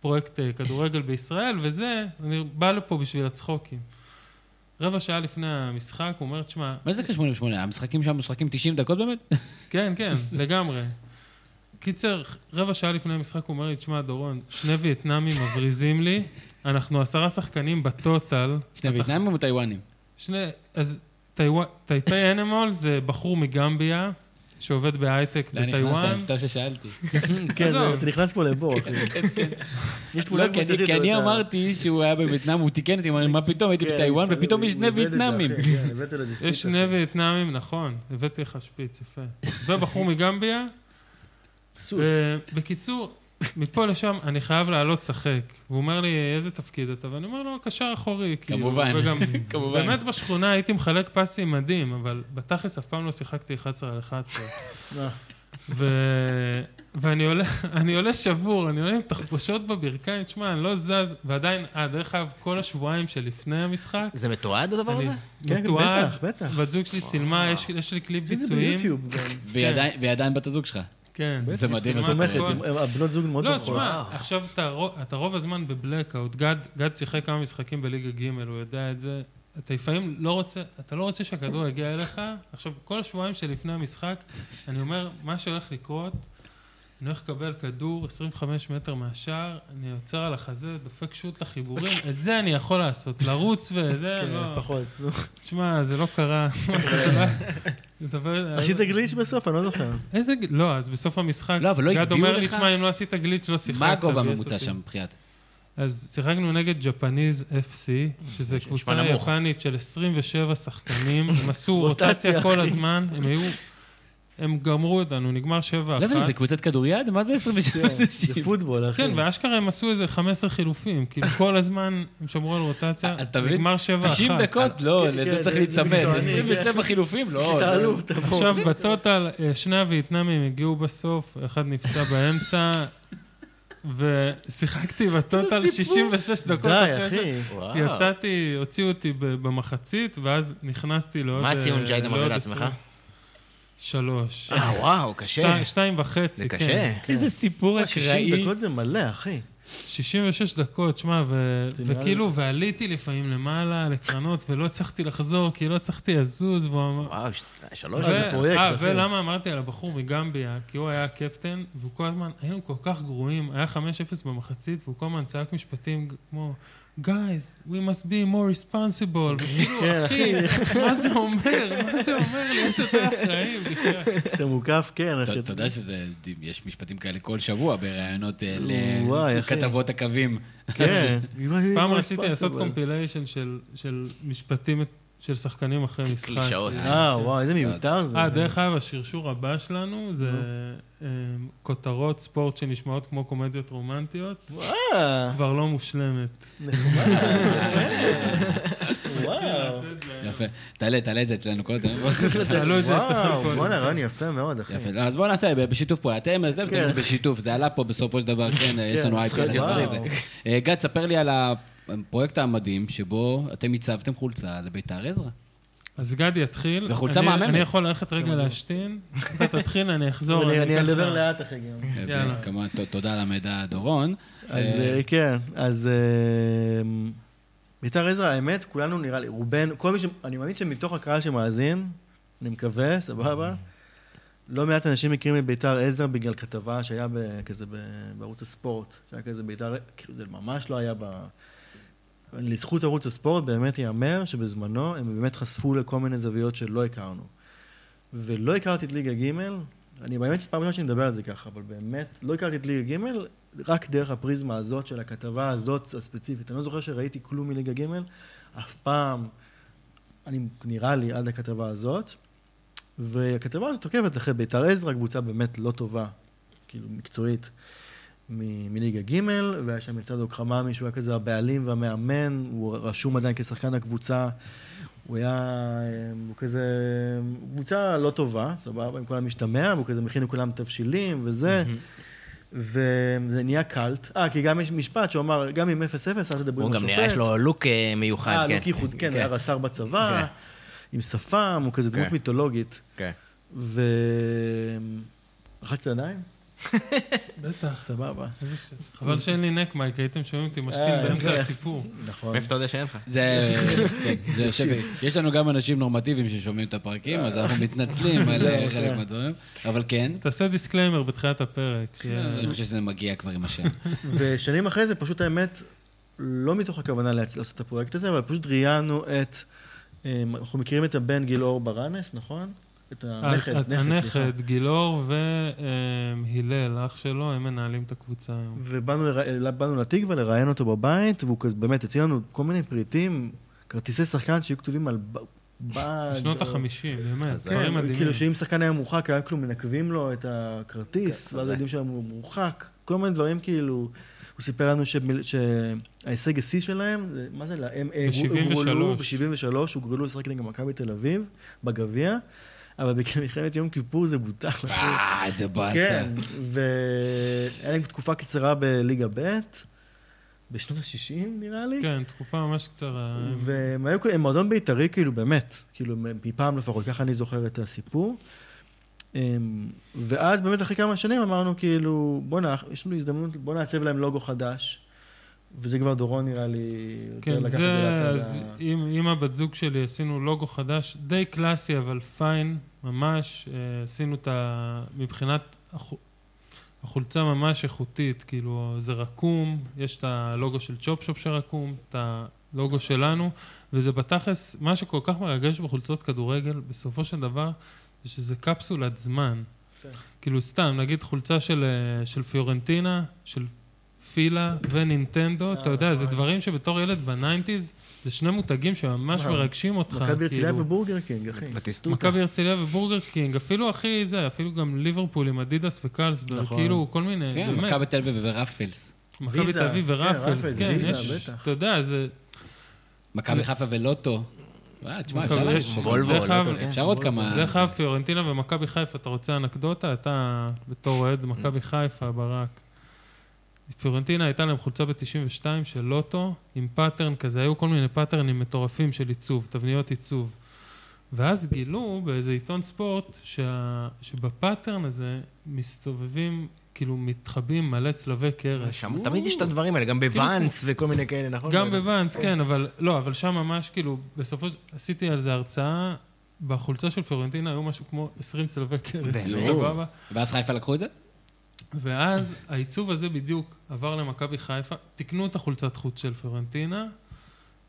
C: פרויקט אה, כדורגל בישראל, וזה, אני בא לפה בשביל הצחוקים. רבע שעה לפני המשחק, הוא אומר, תשמע,
A: מה זה כ-88? המשחקים שם משחקים 90 דקות באמת?
C: כן, כן, לגמרי. קיצר, רבע שעה לפני המשחק הוא אומר לי, תשמע, דורון, שני וייטנאמים מבריזים לי, אנחנו עשרה שחקנים בטוטל.
A: שני וייטנאמים או טיוואנים?
C: שני, אז טייווא- טייפי אנימול זה בחור מגמביה, שעובד בהייטק
A: לא נכנסת,
C: בטיוואן.
A: אני מצטער
D: *laughs*
A: ששאלתי.
D: כן,
C: עזוב.
D: אתה נכנס פה לבור, אחי. יש
A: כן, לא,
D: תמונה
A: כי אני-
D: קבוצתית,
A: כי אני
D: אתה-
A: אמרתי שהוא היה בווייטנאם, הוא תיקן אותי, אמר לי, מה פתאום, הייתי
D: כן,
A: בטיוואן,
D: התחלנו,
A: ופתאום יש שני
D: איבד את זה, אחי,
A: וייטנאמים.
D: כן, הבאת לו איזה שפיץ,
C: יש שני
D: אחי.
C: וייטנאמים, נכון, הבאתי לך שפיץ, יפה. ובחור מגמביה.
D: סוס.
C: אה, בקיצור, מפה לשם אני חייב לעלות לשחק. והוא אומר לי, איזה תפקיד אתה? ואני אומר לו, קשר אחורי,
A: *laughs*
C: כאילו.
A: כמובן,
C: וגם
A: *laughs* כמובן.
C: באמת בשכונה הייתי מחלק פסים מדהים, אבל בתכלס אף פעם לא שיחקתי 11 על 11.
D: אה.
C: ו... ואני עולה, *laughs* אני עולה שבור, אני עולה עם תחבושות בברכיים, תשמע, אני לא זז, ועדיין, אה, דרך אגב, כל השבועיים שלפני המשחק,
E: זה מתועד הדבר
C: אני
E: הזה?
D: כן,
C: מתועד,
D: בטח, בטח.
C: בת זוג שלי צילמה, יש, יש לי קליפ
D: יש את זה
C: ביצועים.
D: ביוטיוב גם.
A: ועדיין- ועדיין בת הזוג שלך.
C: כן.
A: זה
C: היא
A: מדהים,
C: צילמה
A: זה
C: את
A: מלכת,
D: תומכת,
C: הכל.
D: זה- הבנות זוג מאוד
C: לא,
D: תומכות.
C: תשמע,
A: אה.
C: עכשיו אתה רו- אתה רוב הזמן בבלקאוט. גד גד שיחק כמה משחקים בליגה ג', הוא יודע את זה. אתה לפעמים לא רוצה, אתה לא רוצה שהכדור יגיע אליך. עכשיו, כל השבועיים שלפני המשחק, אני אומר, מה שהולך לקרות, אני הולך לקבל כדור 25 מטר מהשער, אני עוצר על החזה, דופק שוט לחיבורים, את זה אני יכול לעשות, לרוץ וזה,
D: כן,
C: לא...
D: פחות. נו.
C: תשמע, זה לא קרה. מה זה קרה? דבר-
D: עשית גליץ' בסוף, אני לא זוכר.
C: איזה... ג- לא, אז בסוף המשחק,
A: לא, אבל לא
C: גד
A: הגביאו
C: אומר לי,
A: לך?
C: תשמע, אם לא עשית גליץ', לא שיחקת.
A: מה הגובה
C: ויש
A: הממוצע
C: אותי."
A: שם מבחינת?
C: אז שיחקנו נגד ג'פניז FC, שזה קבוצה
A: *laughs*
E: נמוך.
C: יפנית של 27 שחקנים, הם עשו רוטציה כל הזמן, הם היו... הם גמרו אותנו, נגמר 7-1.
A: לא הבנתי, זה קבוצת כדוריד? מה זה 27
D: כן,
A: *laughs*
D: זה פוטבול, אחי.
C: כן, ואשכרה הם עשו איזה 15 חילופים, כאילו כל הזמן הם שמרו על רוטציה,
A: אז אתה מבין?
C: נגמר 7-1.
A: 90 דקות? לא,
D: כן,
A: לזה
D: כן,
A: צריך
D: זה-
A: להיצמד.
D: זה-
A: 27 חילופים?
D: *laughs*
A: לא. זה-
D: תעלו, תבואו.
C: עכשיו בטוטל, אה, שני הווייטנאמים הגיעו בסוף, אחד נפצע
A: *laughs*
C: באמצע, ושיחקתי בטוטל 66 דקות
D: די,
C: אחרי
D: אחי.
E: וואו.
C: יצאתי, הוציאו אותי ב- במחצית, ואז נכנסתי לעוד...
E: מה הציון
C: אה,
E: שהיית מראה
C: לעוד
E: לעצמך?
C: עשרים. שלוש.
E: אה, וואו, קשה.
C: שתי- שתיים וחצי,
E: זה
C: כן.
E: קשה.
A: איזה סיפור
D: 60
A: אקראי.
D: דקות זה מלא, אחי.
C: 66 דקות, שמע, ו-
D: זה נראה
C: וכאילו, ועליתי לפעמים למעלה לקרנות, ולא הצלחתי לחזור, כי לא הצלחתי לזוז, והוא אמר...
E: וואו, ש- שלוש.
D: אה, זה
C: ו-
D: פרויקט,
C: אה,
D: אחי.
C: ולמה אמרתי על הבחור מגמביה? כי הוא היה הקפטן, והוא כל הזמן, היינו כל כך גרועים, היה 5-0 במחצית, והוא כל הזמן צעק משפטים כמו, guys, we must be more
D: כן,
C: responsible, וכאילו, אחי, מה זה אומר? מה זה אומר להיות יותר אחראים? בחייאת?
D: *laughs* אתה מוקף, כן, אחי.
A: אתה אתה יודע שזה, יש משפטים כאלה כל שבוע בראיונות אה,
D: וואי, אחי.
A: לכתבות הקווים.
D: כן. *laughs*
C: פעם רציתי לעשות קומפיליישן של- של משפטים, של שחקנים אחרי משחק.
E: קלישאות.
D: אה, וואו, איזה מיותר זה.
C: אה, דרך אגב, השרשור הבא שלנו זה אה, כותרות ספורט שנשמעות כמו קומדיות רומנטיות,
D: וואו,
C: כבר לא מושלמת.
D: וואו.
C: נעשה את זה.
A: יפה. תעלה, תעלה את זה אצלנו קודם.
D: *laughs*
C: תעלו את זה אצלכם
D: וואו,
C: קודם.
D: בואנה, רעיון יפה מאוד, אחי.
A: יפה. לא, אז בואו נעשה, ב- בשיתוף פה. אתם, זה
D: כן.
A: אתם בשיתוף, זה עלה פה בסופו של דבר, כן, יש לנו
D: זכויות
A: אייפד, יצרי
D: יוצרים.
A: זה. אה, גד, ספר לי על הפרויקט המדהים שבו אתם הצבתם חולצה לביתר עזרא.
C: אז גדי יתחיל.
A: וחולצה
C: אני-
A: מהממת.
C: אני יכול ללכת רגע להשתין, אתה תתחיל, אני אחזור.
D: אני- אני
C: אקח
D: אדבר
C: לה-
D: לאט, אחי, גם.
C: יאללה.
A: וכמובן, ת- תודה על המידע, דורון.
D: אז
A: אה,
D: אה, כן, אז אה, ביתר עזרא, האמת, כולנו נראה לי, רובנו, כל מי ש... אני מאמין שמתוך הקהל שמאזין, אני מקווה, סבבה, לא מעט אנשים מכירים את ביתר עזרא בגלל כתבה שהיה ב- כזה ב- בערוץ הספורט, שהיה כזה ביתר, כאילו זה ממש לא היה ב... לזכות ערוץ הספורט באמת ייאמר שבזמנו הם באמת חשפו לכל מיני זוויות שלא הכרנו. ולא הכרתי את ליגה ג', אני באמת שפעם ראשונה שאני מדבר על זה ככה, אבל באמת, לא הכרתי את ליגה ג', רק דרך הפריזמה הזאת של הכתבה הזאת הספציפית. אני לא זוכר שראיתי כלום מליגה ג', אף פעם, אני, נראה לי, עד הכתבה הזאת. והכתבה הזאת עוקבת אחרי ביתר עזרא, קבוצה באמת לא טובה, כאילו מקצועית, מ- מליגה ג', והיה שם לצד אוקחממי, שהוא היה כזה הבעלים והמאמן, הוא רשום עדיין כשחקן הקבוצה. הוא היה, אה, הוא כזה, קבוצה לא טובה, סבבה, עם כל המשתמע, והוא כזה מכין לכולם תבשילים וזה. וזה נהיה קאלט. אה, כי גם יש משפט שהוא אמר, גם עם 0-0, אל תדברו עם
E: הוא
D: השופט.
E: גם נראה, יש לו לוק אה, מיוחד, כן.
D: אה, לוק ייחוד, כן, היה רס"ר בצבא,
E: כן.
D: עם שפם, הוא כזה דמות
E: כן.
D: מיתולוגית.
E: כן.
D: ו... רחצת ידיים?
C: *laughs* בטח.
D: סבבה.
C: חבל שאין לי נק מייק, הייתם שומעים אותי משתין
D: אה,
C: באמצע
D: כן.
C: הסיפור.
D: נכון.
E: מאיפה אתה יודע שאין לך?
A: זה, כן, זה יושב, יש לנו גם אנשים נורמטיביים ששומעים את הפרקים, אז אנחנו מתנצלים
D: *laughs*
A: על אה, חלק מהדברים, אבל כן,
C: תעשה דיסקליימר בתחילת הפרק. שיהיה-
D: אה,
A: אני חושב שזה מגיע כבר עם
C: *laughs*
A: השם.
D: *laughs* ושנים אחרי זה, פשוט האמת, לא מתוך הכוונה להצ- לעשות את הפרויקט הזה, אבל פשוט ראיינו את... אה, אנחנו מכירים את הבן גילאור ברנס, נכון? את הנכד,
C: אה, הנכד,
D: נכד, סליחה.
C: הנכד, גילאור והלל, אח שלו, הם מנהלים את הקבוצה היום.
D: ובאנו לרא- באנו לתקווה לראיין אותו בבית, והוא כזה, באמת, הציע לנו כל מיני פריטים, כרטיסי שחקן שהיו כתובים על... ב- בד,
C: בשנות
D: או-
C: החמישים, באמת, דברים
D: כן,
C: מדהימים.
D: כאילו שאם שחקן היה מורחק, היה כאילו מנקבים לו את הכרטיס, ואז יודעים שהוא מורחק, כל מיני דברים כאילו... הוא סיפר לנו שמל- שההישג השיא שלהם, זה- מה זה, לה- הם אה,
C: ב-
D: הוגרלו,
C: 73.
D: ב-73, הוגרלו לשחק נגד מכבי תל אביב, בגביע, אבל במלחמת יום כיפור זה בוטל. אחי.
A: אה, איזה באסה.
D: כן, והיה להם תקופה קצרה בליגה ב', בשנות ה-60 נראה לי.
C: כן, תקופה ממש קצרה.
D: והם היו, הם מועדון בית"רי, כאילו, באמת, כאילו, מפעם לפחות, ככה אני זוכר את הסיפור. אמ, ואז באמת אחרי כמה שנים אמרנו, כאילו, בוא'נה, יש לנו הזדמנות, בוא נעצב להם לוגו חדש. וזה כבר דורון, נראה לי, יותר
C: כן,
D: לקח את
C: זה,
D: זה
C: אז
D: לצד ה...
C: עם, עם הבת זוג שלי עשינו לוגו חדש, די קלאסי, אבל פיין, ממש. אה, עשינו את ה... מבחינת החו- החולצה ממש איכותית, כאילו, זה רקום, יש את הלוגו של צ'ופ שופ שרקום, את הלוגו שלנו, וזה בתכלס, מה שכל כך מרגש בחולצות כדורגל, בסופו של דבר, זה שזה קפסולת זמן.
D: יפה.
C: כאילו, סתם, נגיד חולצה של, אה, של פיורנטינה, של פילה
D: אה,
C: ונינטנדו, אתה יודע,
D: נכון.
C: זה דברים שבתור ילד בניינטיז, זה שני מותגים שממש
D: וואו.
C: מרגשים אותך.
D: מכבי הרצליה
C: כאילו.
D: ובורגר קינג,
C: *laughs*
D: אחי.
E: בטיסטוטה.
C: מכבי הרצליה ובורגר קינג, אפילו הכי זה, אפילו גם ליברפול עם אדידס וקלסברג,
D: נכון.
C: כאילו כל מיני,
A: כן,
C: באמת.
A: מכבי תל אביב ורפלס.
C: מכבי
D: ויזה,
C: תל אביב
D: כן,
C: ורפלס,
D: רפלס,
C: כן,
D: ויזה,
C: יש,
D: בטח.
C: אתה יודע, זה...
A: מכבי חיפה ולוטו. וואי, תשמע,
C: מכבי
A: אפשר לה-
C: יש-
E: וולבו,
C: דרך
E: לא
C: אגב-
E: יודע.
A: אפשר עוד כמה...
C: דרך אגב, פיורנטינה ומכבי חיפה, אתה רוצה אנקדוטה? אתה בתור אוהד מכבי חיפה, ברק. פיורנטינה הייתה להם חולצה ב-92 של לוטו, עם פאטרן כזה, היו כל מיני פאטרנים מטורפים של עיצוב, תבניות עיצוב. ואז גילו באיזה עיתון ספורט שה... שבפאטרן הזה מסתובבים, כאילו מתחבאים מלא צלבי קרס.
E: שם תמיד יש את הדברים האלה, גם בוואנס וכל מיני כאלה, נכון?
C: גם בוואנס, כן, אבל לא, אבל שם ממש, כאילו, בסופו של... עשיתי על זה הרצאה, בחולצה של פיורנטינה היו משהו כמו 20 צלבי קרס,
E: באמת?
C: סבבה?
A: ואז חיפה לקחו את זה?
C: ואז העיצוב הזה בדיוק עבר למכבי חיפה, תיקנו את החולצת חוץ של פיורנטינה,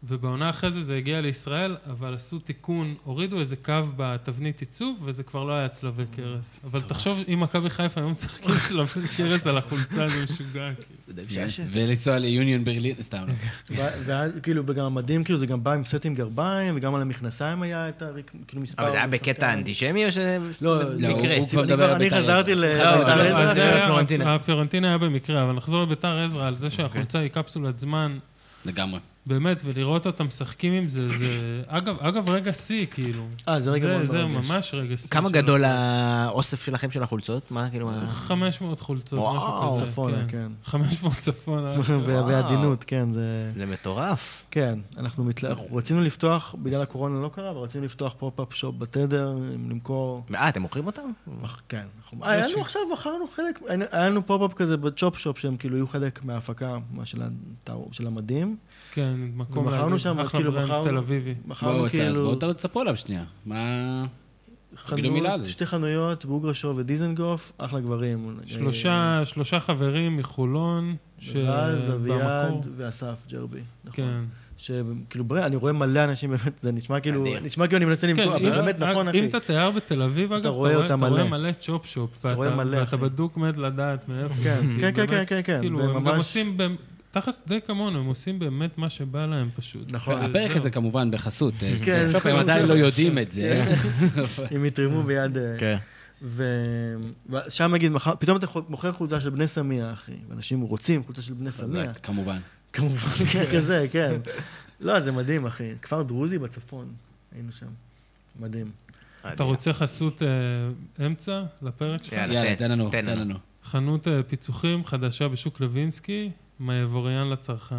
C: ובעונה אחרי זה זה הגיע לישראל, אבל עשו תיקון, הורידו איזה קו בתבנית עיצוב, וזה כבר לא היה צלבי קרס. אבל תחשוב, אם מכבי חיפה היו משחקים צלבי קרס על החולצה, זה משוגע, כאילו.
A: כן. ולנסוע ליוניון ברלין, סתם
C: *laughs*
A: לא.
D: ו- ואז, כאילו, וגם המדים, כאילו, זה גם בא עם סט עם גרביים, וגם על המכנסיים היה את ה... כאילו, מספר...
E: אבל זה היה בקטע אנטישמי או ש...
D: לא,
A: לא,
D: מקרה,
A: הוא
D: סיב-
A: כבר
D: אני
A: מדבר על
D: אני
A: בית"ר
D: חזרתי
A: עזרא.
D: ל...
A: חזרתי
D: בית"ר
E: ל-
D: עזרא.
C: לא, אז זה היה-
E: פיורנטינה.
C: הפיורנטינה היה במקרה, אבל נחזור לביתר עזרא על
D: אוקיי.
C: זה שהחולצה היא קפסולת זמן,
A: לגמרי.
C: באמת, ולראות אותם משחקים עם זה, זה... אגב, אגב, רגע שיא, כאילו.
E: לא.
D: אה, זה רגע מאוד
C: זה
D: מרגש.
C: ממש רגע שיא.
E: כמה
C: של-
E: גדול האוסף שלכם של החולצות? מה, כאילו... מה-
C: 500 חולצות,
E: וואו,
C: משהו כזה.
D: צפונה, כן.
C: 500
D: *laughs*
C: צפונה.
D: ב- בעדינות, כן, זה...
E: זה מטורף.
D: כן, אנחנו מתל... אנחנו רצינו לפתוח, בגלל הקורונה לא קרה, אבל רצינו לפתוח פופ-אפ שופ בתדר, למכור...
E: אה, אתם מוכרים אותם?
D: אך, כן. אנחנו- אה, היה לנו עכשיו, מכרנו חלק, היה לנו פופ-אפ כזה בצ'ופ שופ, שהם כאילו יהיו חלק מההפקה, מה של התאו- של המדים.
C: כן, מקום
D: ומכרנו
C: להגיד,
D: שם,
C: אחלה
D: כאילו,
C: ברנד
D: מכרנו-
C: תל אביבי.
D: מכרנו
A: בואו, צאז,
D: כאילו
A: בואו תספרו עליו שנייה. מה... תגידו מילה על
D: חנות,
A: זה.
D: שתי חנויות, בוגרשו ודיזנגוף, אחלה גברים.
C: שלושה, שלושה חברים מחולון,
D: רז,
C: שבמקור...
D: אביעד ואסף ג'רבי. נכון.
C: כן.
D: שכאילו, בר- אני רואה מלא אנשים, באמת, זה נשמע כאילו,
E: אדיר.
D: נשמע כאילו אני מנסה
C: כן,
D: למכור,
C: אם-
D: אבל באמת נכון,
C: אם
D: אחי.
C: אתה תייר בתל אביב, אגב, אתה
D: רואה
C: רואה, אתה
D: אותם
C: רואה
D: מלא.
C: מלא צ'ופ שופ, ואתה,
D: רואה מלא,
C: ואתה
D: אחי.
C: בדוק מת לדעת מאיפה.
D: כן,
C: כי
D: כן, כן,
C: באמת,
D: כן, כן, כן,
C: כאילו,
D: זה
C: הם גם
D: ממש-
C: עושים, במ- תכלס די כמונו, הם עושים באמת מה שבא להם פשוט.
D: נכון.
A: הפרק הזה כמובן בחסות. אה,
D: כן,
A: בסוף
D: זה-
A: הם עדיין
D: זה-
A: לא יודעים את זה. *laughs*
C: כן.
D: אם יתרמו ביד... אה,
E: כן.
D: ו- ושם נגיד, מחר- פתאום אתה חו- מוכר חולצה של בני סמיה, אחי. ואנשים רוצים חולצה של בני סמיה.
A: זה- כמובן.
D: כמובן, כן, כזה, כן. לא, זה מדהים, אחי. כפר דרוזי בצפון, היינו שם. מדהים.
C: אתה רוצה חסות אה, אמצע לפרק
D: כן.
C: שלך?
E: יאללה,
A: יאללה,
E: תן-
A: תן לנו,
E: תן
A: תן
E: לנו.
A: לנו.
C: חנות אה, פיצוחים חדשה בשוק לוינסקי, מהיבוריאן לצרכן.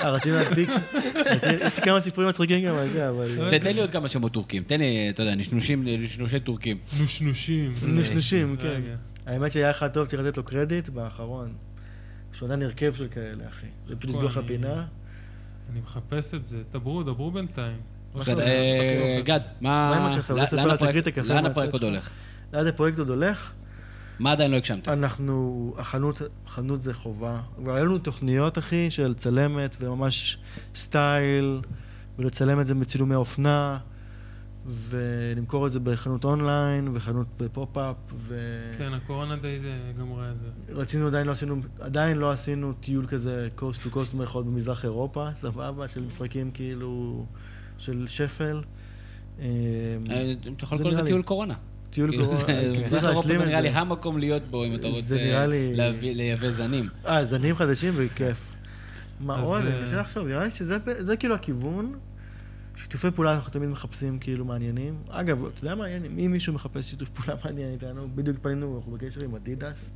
D: אה, רצינו להדביק. רצינו- יש לי כמה סיפורים מצחיקים גם על זה, אבל...
A: ת- תן לי עוד כמה שמות טורקים. תן לי, אה, אתה יודע, נשנושים, נשנושי טורקים.
C: נושנושים.
D: נשנושים, כן.
C: רגע.
D: האמת שהיה אחד טוב, צריך לתת לו קרדיט, באחרון. שהוא עדיין הרכב של כאלה, אחי. זה פשוט לסגור לך
C: אני-
D: פינה.
C: אני מחפש את זה. דברו, דברו בינתיים. לא
A: בסדר, אה, גד, מה... לא,
D: מה עם הקפה?
A: לאן
D: אולי תספר לה,
A: הפרק-
D: תקריא את הקפה,
A: לאן
D: מה
A: הפרק
D: הצד
A: עוד
D: שלך?
A: הולך?
D: ליד הפרויקט עוד הולך,
A: מה עדיין לא
D: אה,
A: הגשמתם?
D: אנחנו, החנות, חנות זה חובה. כבר היו לנו תוכניות, אחי, של צלמת וממש סטייל, ולצלם את זה בצילומי אופנה, ולמכור את זה בחנות אונליין, וחנות בפופ-אפ,
A: אה,
C: כן, הקורונה די זה גמרה את זה.
D: ורצינו, עדיין לא עשינו, עדיין לא עשינו טיול כזה, קוסט טו קוסט מירכאות במזרח אירופה, *laughs* סבבה, של משחקים כאילו, של שפל. אה,
A: אה, אתה יכול
D: זה
A: לקרוא לזה
D: נראה לי.
A: טיול קורונה.
D: טיול
A: כאילו,
D: קורונה.
A: זה-
D: כן,
A: מזרח
D: צריך
A: אירופה
D: להשלים
A: זה
D: את
A: נראה לי
D: זה.
A: המקום להיות בו אם אתה
D: זה
A: רוצה
D: נראה לי-
A: להביא- לייבא זנים.
D: אה, זנים חדשים וכיף. מה
C: אז,
D: עוד?
C: אה,
D: אני מנסה לחשוב, נראה לי שזה זה כאילו הכיוון. שיתופי פעולה אנחנו תמיד מחפשים כאילו מעניינים. אגב, אתה יודע מה, יעני, אם מישהו מחפש שיתוף פעולה *laughs* מעניין איתנו, בדיוק פנינו, אנחנו בקשר עם אדידס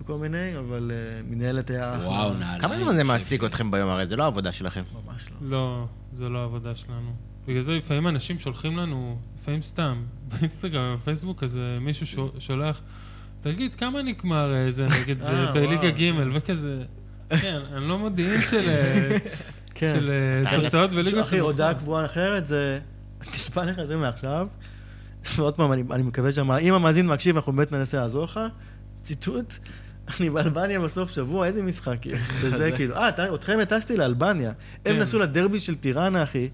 D: וכל מיני, אבל אה, מנהלת היה אחלה.
A: וואו, אוקיי. נעליים.
E: כמה זמן זה מעסיק אתכם ביום? הרי זה לא העבודה שלכם.
D: ממש לא.
C: לא, זה לא העבודה שלנו. בגלל זה לפעמים אנשים שולחים לנו, לפעמים סתם, *laughs* באינסטגרם, בפייסבוק, אז אה, מישהו שו- שולח, תגיד, כמה נגמר אה, זה נגד זה
D: אה,
C: בליגה
D: וואו.
C: ג' וכזה... כן, אני לא מודיעין של אה,
D: *laughs* כן.
C: של, אה,
E: אתה-
C: תוצאות בליגה.
D: אחי, הודעה קבועה אחרת זה, *laughs* תשמע לך זה מעכשיו. ועוד פעם, אני אני מקווה שהמ- אם המאזין מקשיב, אנחנו באמת ננסה לעזור לך. ציטוט, אני באלבניה בסוף שבוע, איזה משחק יש? וזה כאילו, אה, אתה- אתכם הטסתי לאלבניה. הם
C: כן.
D: נסעו לדרבי של טיראנה, אחי.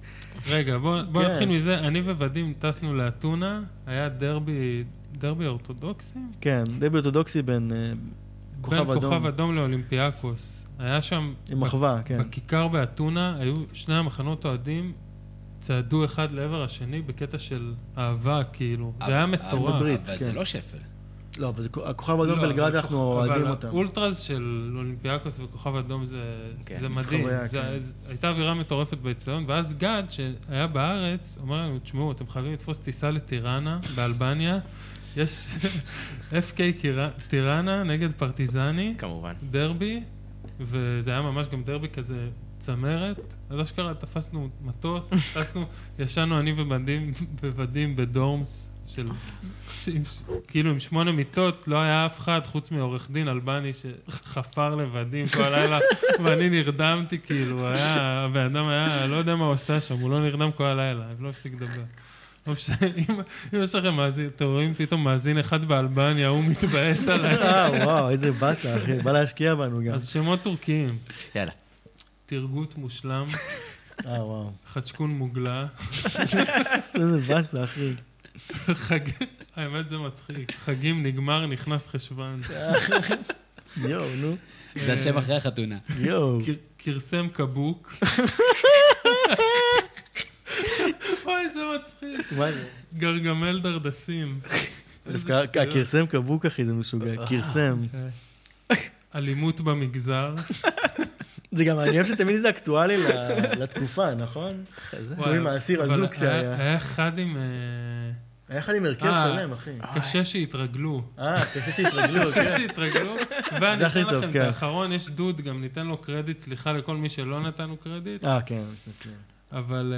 C: רגע, בוא בוא
D: כן.
C: נתחיל מזה. אני וודים טסנו לאתונה, היה דרבי, דרבי אורתודוקסים?
D: כן, דרבי אורתודוקסי בין אה,
C: בין
D: כוכב
C: כוכב
D: אדום.
C: אדום לאולימפיאקוס. היה שם...
D: עם
C: בק-
D: מחווה, כן.
C: בכיכר באתונה היו שני המחנות אוהדים, צעדו אחד לעבר השני בקטע של אהבה, כאילו. זה היה מטורף.
D: בברית,
A: אבל זה
D: כן.
A: לא שפל.
D: לא, אבל זה- הכוכב האדום
C: לא,
D: בלגרד,
C: אבל
D: אנחנו
C: כוכב-
D: אוהדים
C: אבל
D: אותם.
C: אולטרס של אולימפיאקוס וכוכב אדום זה,
E: כן,
C: זה
D: זה
C: מדהים.
D: חוויה,
C: זה,
D: כן.
C: זה, הייתה אווירה מטורפת באצטדיון, ואז גד, שהיה בארץ, אומר לנו, תשמעו, אתם חייבים לתפוס טיסה לטיראנה באלבניה. יש *laughs* FK קירה- טיראנה נגד פרטיזני,
E: כמובן.
C: דרבי, וזה היה ממש גם דרבי כזה צמרת. אז אשכרה תפסנו מטוס, טסנו, ישנו אני ובדים, בבדים בדורמס של... שעם- כאילו עם שמונה מיטות, לא היה אף אחד חוץ מעורך דין אלבני שחפר לבדים כל הלילה, ואני נרדמתי כאילו, היה, הבן אדם היה, לא יודע מה הוא עשה שם, הוא לא נרדם כל הלילה, לא הפסיק לדבר. לא משנה, אם אם יש לכם מאזין, אתם רואים פתאום מאזין אחד באלבניה, הוא
D: *laughs*
C: מתבאס עליי.
D: *laughs* אה, וואו, איזה באסה, אחי. בא להשקיע בנו גם.
C: אז שמות טורקיים,
E: יאללה.
C: תרגות מושלם,
D: אה, וואו.
C: חדשקון מוגלה,
D: איזה באסה, אחי.
C: חג... האמת זה מצחיק, חגים נגמר, נכנס חשוון,
D: יואו, נו.
A: זה השם אחרי החתונה.
D: יואו.
C: כר- כרסם קבוק. אוי, זה מצחיק.
D: מה זה?
C: גרגמל דרדסים.
D: דווקא
C: איזה שטויות.
D: הכרסם קבוק, אחי, זה משוגע. כרסם.
C: אלימות במגזר.
D: זה גם מעניין שתמיד זה אקטואלי ל- לתקופה, נכון? כמו עם האסיר
C: אבל אה,
D: אזוק
C: היה-
D: שהיה.
C: היה אחד עם... אה,
D: היה אחד עם הרכב
C: אה.
D: שלם, אחי.
C: קשה שהתרגלו.
D: אה, קשה
C: *laughs*
D: שהתרגלו,
C: קשה
D: כן.
C: שהתרגלו.
D: זה
C: ואני
D: הכי
C: אתן
D: טוב,
C: לכם את
D: כן.
C: האחרון, יש דוד, גם ניתן לו קרדיט, סליחה לכל מי שלא נתנו קרדיט.
D: אה, כן, מתנצלים.
C: אבל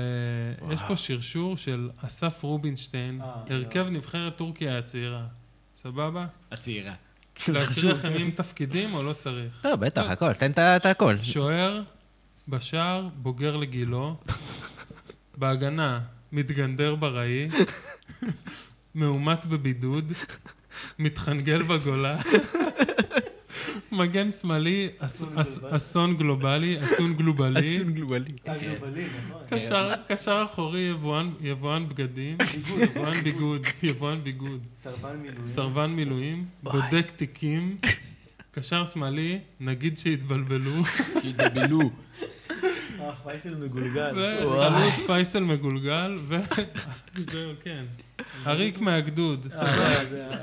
C: אה, יש פה שרשור של אסף רובינשטיין,
D: אה,
C: הרכב נבחרת טורקיה הצעירה. סבבה?
A: הצעירה.
C: להקריא לכם עם תפקידים או לא צריך?
E: לא, בטח, הכל, תן את ה- את הכל.
C: שוער, בשער, בוגר לגילו, בהגנה, מתגנדר ברעי, מאומת בבידוד, מתחנגל בגולה, מגן שמאלי, אס- אס- אסון גלובלי, נכון. אסון גלובלי, קשר- קשר אחורי, יבואן- יבואן בגדים, יבואן ביגוד, יבואן ביגוד.
D: סרבן מילואים.
C: סרבן מילואים, בודק תיקים, קשר שמאלי, נגיד שהתבלבלו,
A: שידבילו.
D: אה, פייסל מגולגל.
C: וחלוץ פייסל מגולגל, ו... זהו, כן. אריק מהגדוד, סבבה.
D: אה, זה ה-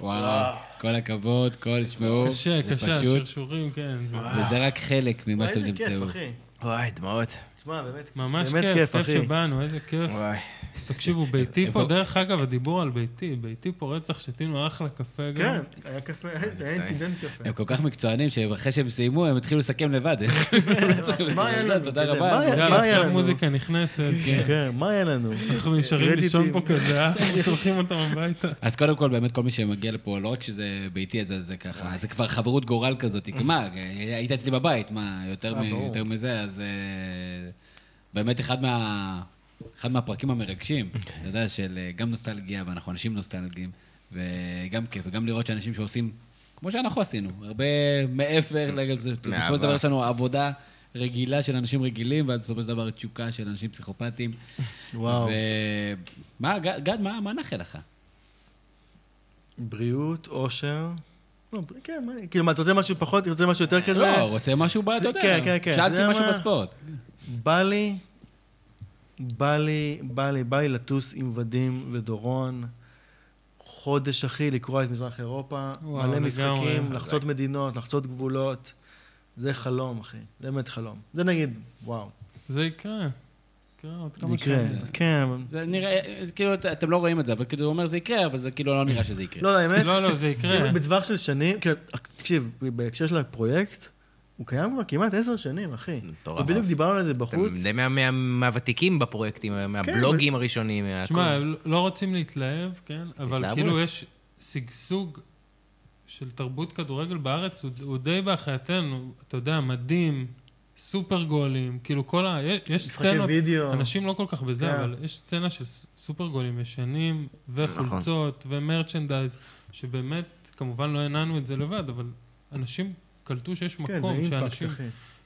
A: וואו, כל הכבוד, כל,
D: אוקיי.
A: תשמעו.
C: קשה,
A: זה
C: קשה,
A: פשוט-
C: שרשורים, כן. זה
D: אה,
A: וזה רק חלק ממה שאתם
D: איזה כיף,
A: תמצאו.
D: אחי.
E: וואי, דמעות.
D: תשמע, באמת.
C: ממש
D: באמת
C: כיף,
D: כיף,
C: כיף
D: אחי. אה,
C: שבאנו, איזה כיף.
E: וואי.
C: תקשיבו, ביתי פה,
A: איפה-
C: דרך אגב, הדיבור על ביתי, ביתי פה רצח, שתינו אחלה קפה גם.
D: כן, היה קפה, היה אינצידנט קפה.
A: הם כל כך מקצוענים, שאחרי שהם סיימו, הם התחילו לסכם לבד. *laughs* לא צריכים
D: *laughs* מה היה
A: לסכם,
D: לנו
A: תודה
D: כזה?
A: רבה.
D: מה היה-
C: יאללה,
D: היה
C: עכשיו
D: לנו?
C: מוזיקה נכנסת,
D: כן, מה היה לנו?
C: אנחנו נשארים
D: קרדיטים.
C: לישון פה כזה, אנחנו *laughs* שולחים אותם הביתה.
A: אז קודם כל, באמת, כל מי שמגיע לפה, לא רק שזה ביתי, אז זה
D: אה.
A: ככה, זה כבר חברות גורל כזאת. כי מה, היית אצלי בבית, מה, יותר
D: אה,
A: מ-
D: ברור.
A: יותר מזה, אז אה, באמת אחד מה... אחד מהפרקים המרגשים,
D: אוקיי.
A: אתה יודע, של אה, גם נוסטלגיה, ואנחנו אנשים נוסטלגיים, וגם כיף, וגם לראות שאנשים שעושים, כמו שאנחנו עשינו, הרבה מעבר, לג-
D: אה,
A: זה- בסופו של דבר יש לנו עבודה רגילה של אנשים רגילים, ואז בסופו של דבר תשוקה של אנשים פסיכופטיים.
D: וואו.
A: ומה, גד, גד, מה מה נאחל לך?
D: בריאות, אושר. לא, בר- כן, מה- כאילו, מה, אתה רוצה משהו פחות? אתה רוצה משהו יותר
C: אה,
D: כזה?
A: לא, רוצה משהו, ב- אתה
D: זה-
A: יודע.
D: כן, כן, כן.
A: שאלתי
D: זה
A: משהו
D: מה-
A: בספורט.
D: בא לי, בא לי, בא לי, בא לי לטוס עם ודים ודורון. חודש, אחי, לקרוע את מזרח אירופה.
C: וואו,
D: מלא
C: לגמרי.
D: משחקים, לחצות מדינות, לחצות גבולות. זה חלום, אחי. זה באמת חלום. זה נגיד, וואו.
C: זה יקרה. יקרה עוד
D: זה
C: כמה
D: יקרה.
C: שנים.
D: כן.
A: זה נראה, זה כאילו, את- אתם לא רואים את זה, אבל כאילו, הוא אומר זה יקרה, אבל זה כאילו לא נראה שזה יקרה.
D: לא, לא, האמת,
C: לא, לא, זה יקרה.
D: *laughs* בטווח של שנים, כאילו, תקשיב, בהקשר של הפרויקט, הוא קיים כבר כמעט עשר שנים, אחי.
E: מטורף.
D: בדיוק דיברנו על זה
E: אתם
D: בחוץ.
E: די מה- מה- מהוותיקים בפרויקטים, מהבלוגים הראשונים,
C: שמע,
E: מהכל.
C: לא- לא רוצים להתלהב, כן? אבל
E: התלהבות.
C: כאילו יש שגשוג של תרבות כדורגל בארץ, הוא- הוא די בהחייתנו, אתה יודע, מדהים, סופר גולים, כאילו כל ה... יש- יש
D: משחקי
C: סצנות,
D: וידאו.
C: אנשים לא כל כך בזה,
D: כן.
C: אבל יש סצנה של ס- סופר גולים ישנים, וחולצות, ומרצ'נדייז, שבאמת, כמובן לא הנענו את זה לבד, אבל אנשים קלטו שיש
D: כן, זה
C: מקום,
D: אימפקט,
C: שאנשים...
D: אחי.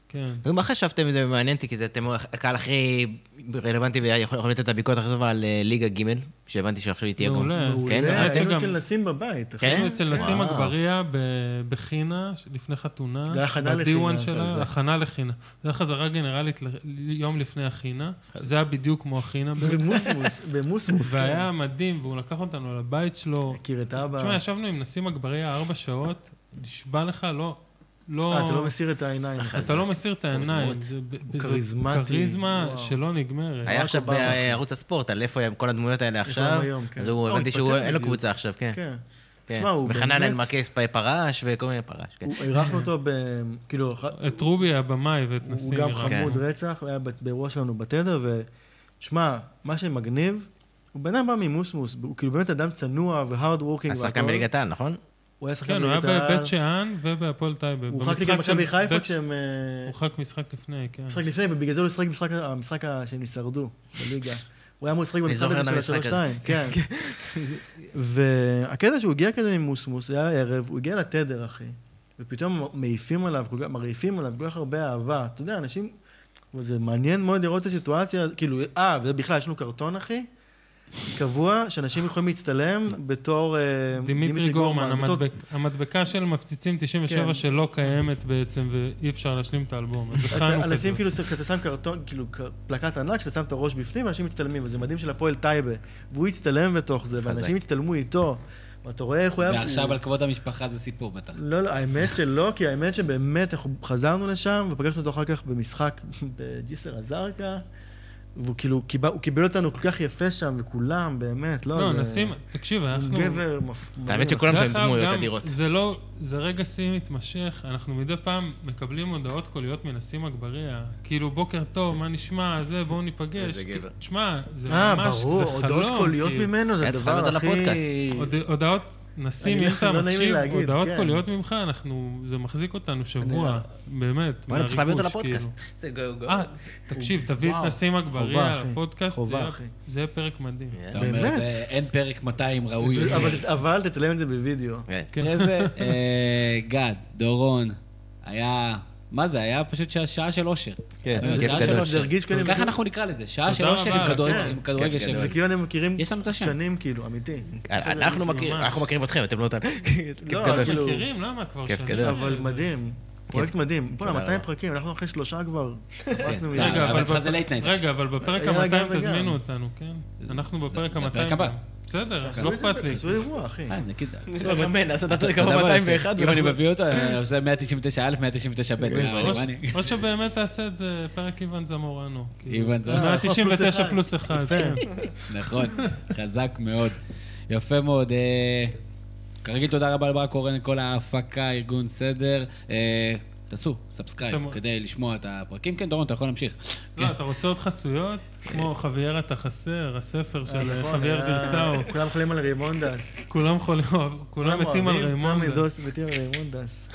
C: כן.
E: מה חשבתם מזה ומעניין אותי, כי זה אתם הקהל הכי רלוונטי ויכול יכול לתת את הביקורת הכי טובה על אה, ליגה ג', שהבנתי שעכשיו היא תהיה גם.
C: מעולה.
E: כן,
D: מעולה,
C: האמת
D: היינו
C: שגם-
D: אצל נסים בבית. אחי.
E: כן?
C: היינו אצל נסים
E: וואו.
C: אגבריה ב- בחינה, ש- לפני חתונה.
D: זה היה הכנה לחינה,
C: ב-D1
D: כזה.
C: שלה, הכנה לחינה. זה היה חזרה גנרלית ל- יום לפני החינה, שזה היה בדיוק כמו החינה בעצם.
D: *laughs* במוסמוס, במוסמוס. כן.
C: והיה מדהים, והוא לקח אותנו לבית שלו.
D: מכיר את אבא.
C: תשמע, ישבנו עם נסים אגבריה ארבע שעות, נשבע לך, לא...
D: אה, אתה לא
C: לא...
D: מסיר את העיניים.
C: אתה לא מסיר את העיניים. זה ב- ב- זו
D: כריזמטי,
C: כריזמה
D: וואו.
C: שלא נגמרת.
E: היה עכשיו
D: אובמה.
E: בערוץ הספורט, על איפה הם כל הדמויות האלה עכשיו.
D: היום, כן.
E: אז הוא,
D: לא,
E: הבנתי
D: התפטר
E: שהוא, אין לו
D: בדיוק.
E: קבוצה עכשיו, כן.
D: כן.
E: כן.
D: תשמע, הוא
E: וחנן
D: באמת-
E: אלמקס פרש וכל מיני פרש,
D: *laughs*
E: כן.
D: הוא- אירחנו אותו ב... כאילו, אח-
C: את רובי הבמאי ואת
D: הוא
C: *laughs* נסים
D: גם
C: אירחנו.
E: כן.
D: חמוד רצח, הוא היה ב- באירוע שלנו בתדר, ושמע, מה שמגניב, הוא בן אדם בא ממוסמוס, הוא כאילו באמת אדם צנוע והארד וורקינג.
E: השחקן בליגת העל, נכון?
D: כאילו, הוא היה שחקן
C: כן, הוא היה
D: בליגת העל.
C: בבית שאן ובהפועל טייבה.
D: הוא הורחק
C: במשחק
D: נגד מכבי
C: של-
D: חיפה
C: בית-
D: כשהם... אה,
C: הורחק משחק לפני, כן.
D: משחק לפני, ובגלל זה הוא לשחק במשחק, המשחק ה- שהם הישרדו בליגה. הוא היה אמור לשחק במשחק
E: זוכר את
D: הזה של
E: המשחק
D: ה-3-2, כן. והקטע שהוא הגיע כזה ממוסמוס, זה היה ערב, הוא הגיע לתדר, אחי, ופתאום מעיפים עליו, כל כך- מרעיפים עליו כל כך הרבה אהבה. אתה יודע, אנשים... וזה מעניין מאוד לראות את הסיטואציה, כאילו, אה, וזה בכלל, יש לנו קרטון, אחי, קבוע, שאנשים יכולים להצטלם בתור... אה,
C: דימיטרי גורמן,
D: בתור-
C: המדבק- המדבקה של מפציצים
D: כן.
C: 97 שלא קיימת בעצם, ואי אפשר להשלים את האלבום. אז
D: אז
C: הכנו כזה.
D: אנשים כאילו, כשאתה שם קרטון, כאילו ק- פלקט ענק, כשאתה שם את הראש בפנים, אנשים מצטלמים, וזה מדהים של הפועל טייבה. והוא הצטלם בתוך זה, ואנשים הצטלמו איתו. ואתה רואה איך הוא היה...
A: ועכשיו
D: הוא-
A: על כבוד המשפחה זה סיפור בטח.
D: לא, לא, האמת שלא, כי האמת שבאמת אנחנו חזרנו לשם, ופגשנו אותו אחר כך במשחק *laughs* בג'יסר א-זרקא, והוא כאילו, קיבל- הוא קיבל אותנו כל כך יפה שם, וכולם, באמת, לא...
C: לא,
D: זה-
C: נסים, תקשיב, אנחנו...
D: הוא גבר מפ...
E: האמת שכולם
C: דרך
E: שם
C: אגב,
E: דמויות
C: גם
E: אדירות.
C: זה לא, זה רגע שיא מתמשך, אנחנו מדי פעם מקבלים הודעות קוליות מנסים אגבריה. כאילו, בוקר טוב, מה נשמע, זה, בואו ניפגש.
E: איזה גבר.
C: כי- תשמע, זה
D: אה,
C: ממש, זה חלום.
D: ברור, הודעות קוליות
C: כאילו.
D: ממנו, זה
E: היה צריך לעלות
D: הדבר
E: על הפודקאסט.
D: הכי...
C: הוד- הודעות, נסים,
D: אני
C: אם
D: לא-
C: אתה
D: לא נעים לי
C: מקשיב,
D: להגיד,
C: הודעות
D: כן. אה.
C: קוליות ממך, אנחנו, זה מחזיק אותנו שבוע, באמת,
E: וואלה, צריך להביא אותו
C: מהריגוש, כאילו.
E: לפודקאסט. זה גו גו.
C: אה, תקשיב, תביא את
E: וואו.
C: נסים
D: חובה,
C: אגבריה
D: אחי.
C: לפודקאסט,
D: חובה,
C: זה יהיה-
D: אחי.
C: זה יהיה פרק מדהים.
A: אתה אומר,
D: באמת?
A: זה- אין פרק 200 ראוי.
D: אבל- אבל תצלם את זה בווידאו.
E: כן.
C: כן.
A: אחרי זה, אה, גד, דורון, היה... מה זה, היה פשוט שעה- שעה של אושר.
E: כן,
A: באמת,
E: כיף
A: שעה
E: גדול.
A: של
D: אה, זה
A: אושר.
D: הרגיש כאילו-
A: ככה אנחנו נקרא לזה, שעה
C: תודה
A: של אושר
C: רבה,
A: עם כדורגל-
D: כן.
A: עם כדורגל
E: כיף גדול.
A: שווה.
D: זה כאילו הם מכירים
A: יש לנו את השם.
D: שנים, כאילו, אמיתי.
E: אה, אנחנו מכירים-
C: ממש.
E: אנחנו מכירים אתכם, אתם לא אותנו. כיף
D: לא,
E: גדול.
D: כאילו-
C: מכירים? למה כבר
E: כיף
C: שנים?
E: גדול.
A: אה,
D: אבל מדהים. פרויקט מדהים. בוא'נה,
E: תודה
D: 200
E: רבה.
D: פרקים, אנחנו אחרי שלושה כבר.
A: כן,
D: *laughs* הרסנו
A: די.
D: מזה.
C: רגע,
A: אה, אבל
C: אבל
A: אצלך זה
C: בפ-
A: late night.
C: רגע, אבל בפרק
D: רגע,
C: ה-200
D: וגם.
C: תזמינו אותנו, כן? אנחנו בפרק
A: זה
C: ה-200
A: הפרק הבא.
C: גם. בסדר,
D: תעשו
C: לא
D: את זה,
C: אכפת לי. לא,
D: תעשו אירוע, אחי.
A: אה, נגיד,
E: אמן, לעשות את הפרק
A: אתה יודע מה,
E: 201
A: אם
D: נכון.
A: אני מביא אותו, אה, אני עושה 199א,
D: כן,
A: 199ב.
C: או-
A: מה אני-
C: או שבאמת תעשה את זה פרק איוון זמורנו. כאילו.
A: איוון
C: זה
A: זמורנו.
C: 199 פלוס אחד. כן.
A: נכון, חזק מאוד. יפה מאוד. אה, כרגיל, תודה רבה לברק קורן, כל ההפקה, ארגון סדר. אה, תעשו סאבסקרייב
C: אתם-
A: כדי לשמוע את הפרקים. כן, דורון, אתה יכול להמשיך. כן,
C: לא, אתה רוצה עוד חסויות? כמו חביירה אתה חסר, הספר של אה,
D: נכון,
C: חבייר
D: אה,
C: גרסאו.
D: כולם חולים על רימונדס.
C: כולם חולים, כולם מתים על ריימונדה.
D: כולם מתים על
C: *laughs*
D: רימונדס.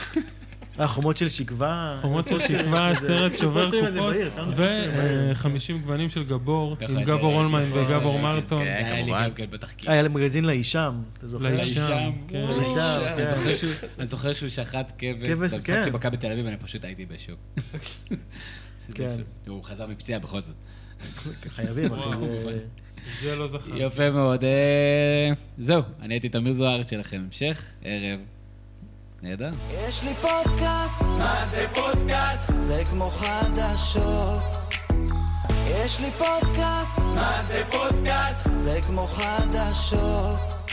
D: אה, חומות של שקווה.
C: חומות של
D: פוסטרים
C: שקווה,
D: שזה-
C: סרט שובר אה,
D: פוסטרים הזה
C: קופות,
D: בעיר, שמנו פוסטרים בעיר.
C: ו-50 גוונים של גבור,
A: ככה
C: עם
A: את זה
C: גבור אולמיין
A: ראיתי.
C: וגבור מרטון.
A: זה היה לי
E: כמובן.
A: גם אה, כן בתחקיר.
D: אה, היה להם מגזין לאישם, אתה זוכר?
C: לאישם, כן.
D: לאישם,
A: אני
D: כן.
A: זוכר שהוא- אני זוכר שהוא שחט כבש
D: כבש,
A: במשחק
D: כן.
A: של מכבי תל אביב, אני פשוט הייתי בשוק.
D: *laughs*
A: *laughs*
D: כן.
A: הוא חזר מפציעה בכל זאת.
D: חייבים, אחי.
A: וואו,
D: זה-
C: זה לא זכר.
A: יפה מאוד. אה, זהו, אני הייתי תמיר זוארץ שלכם. המשך, ערב. נהדר.
B: יש לי פודקאסט, מה זה פודקאסט? זה כמו חדשות. יש לי פודקאסט, מה זה פודקאסט? זה כמו חדשות.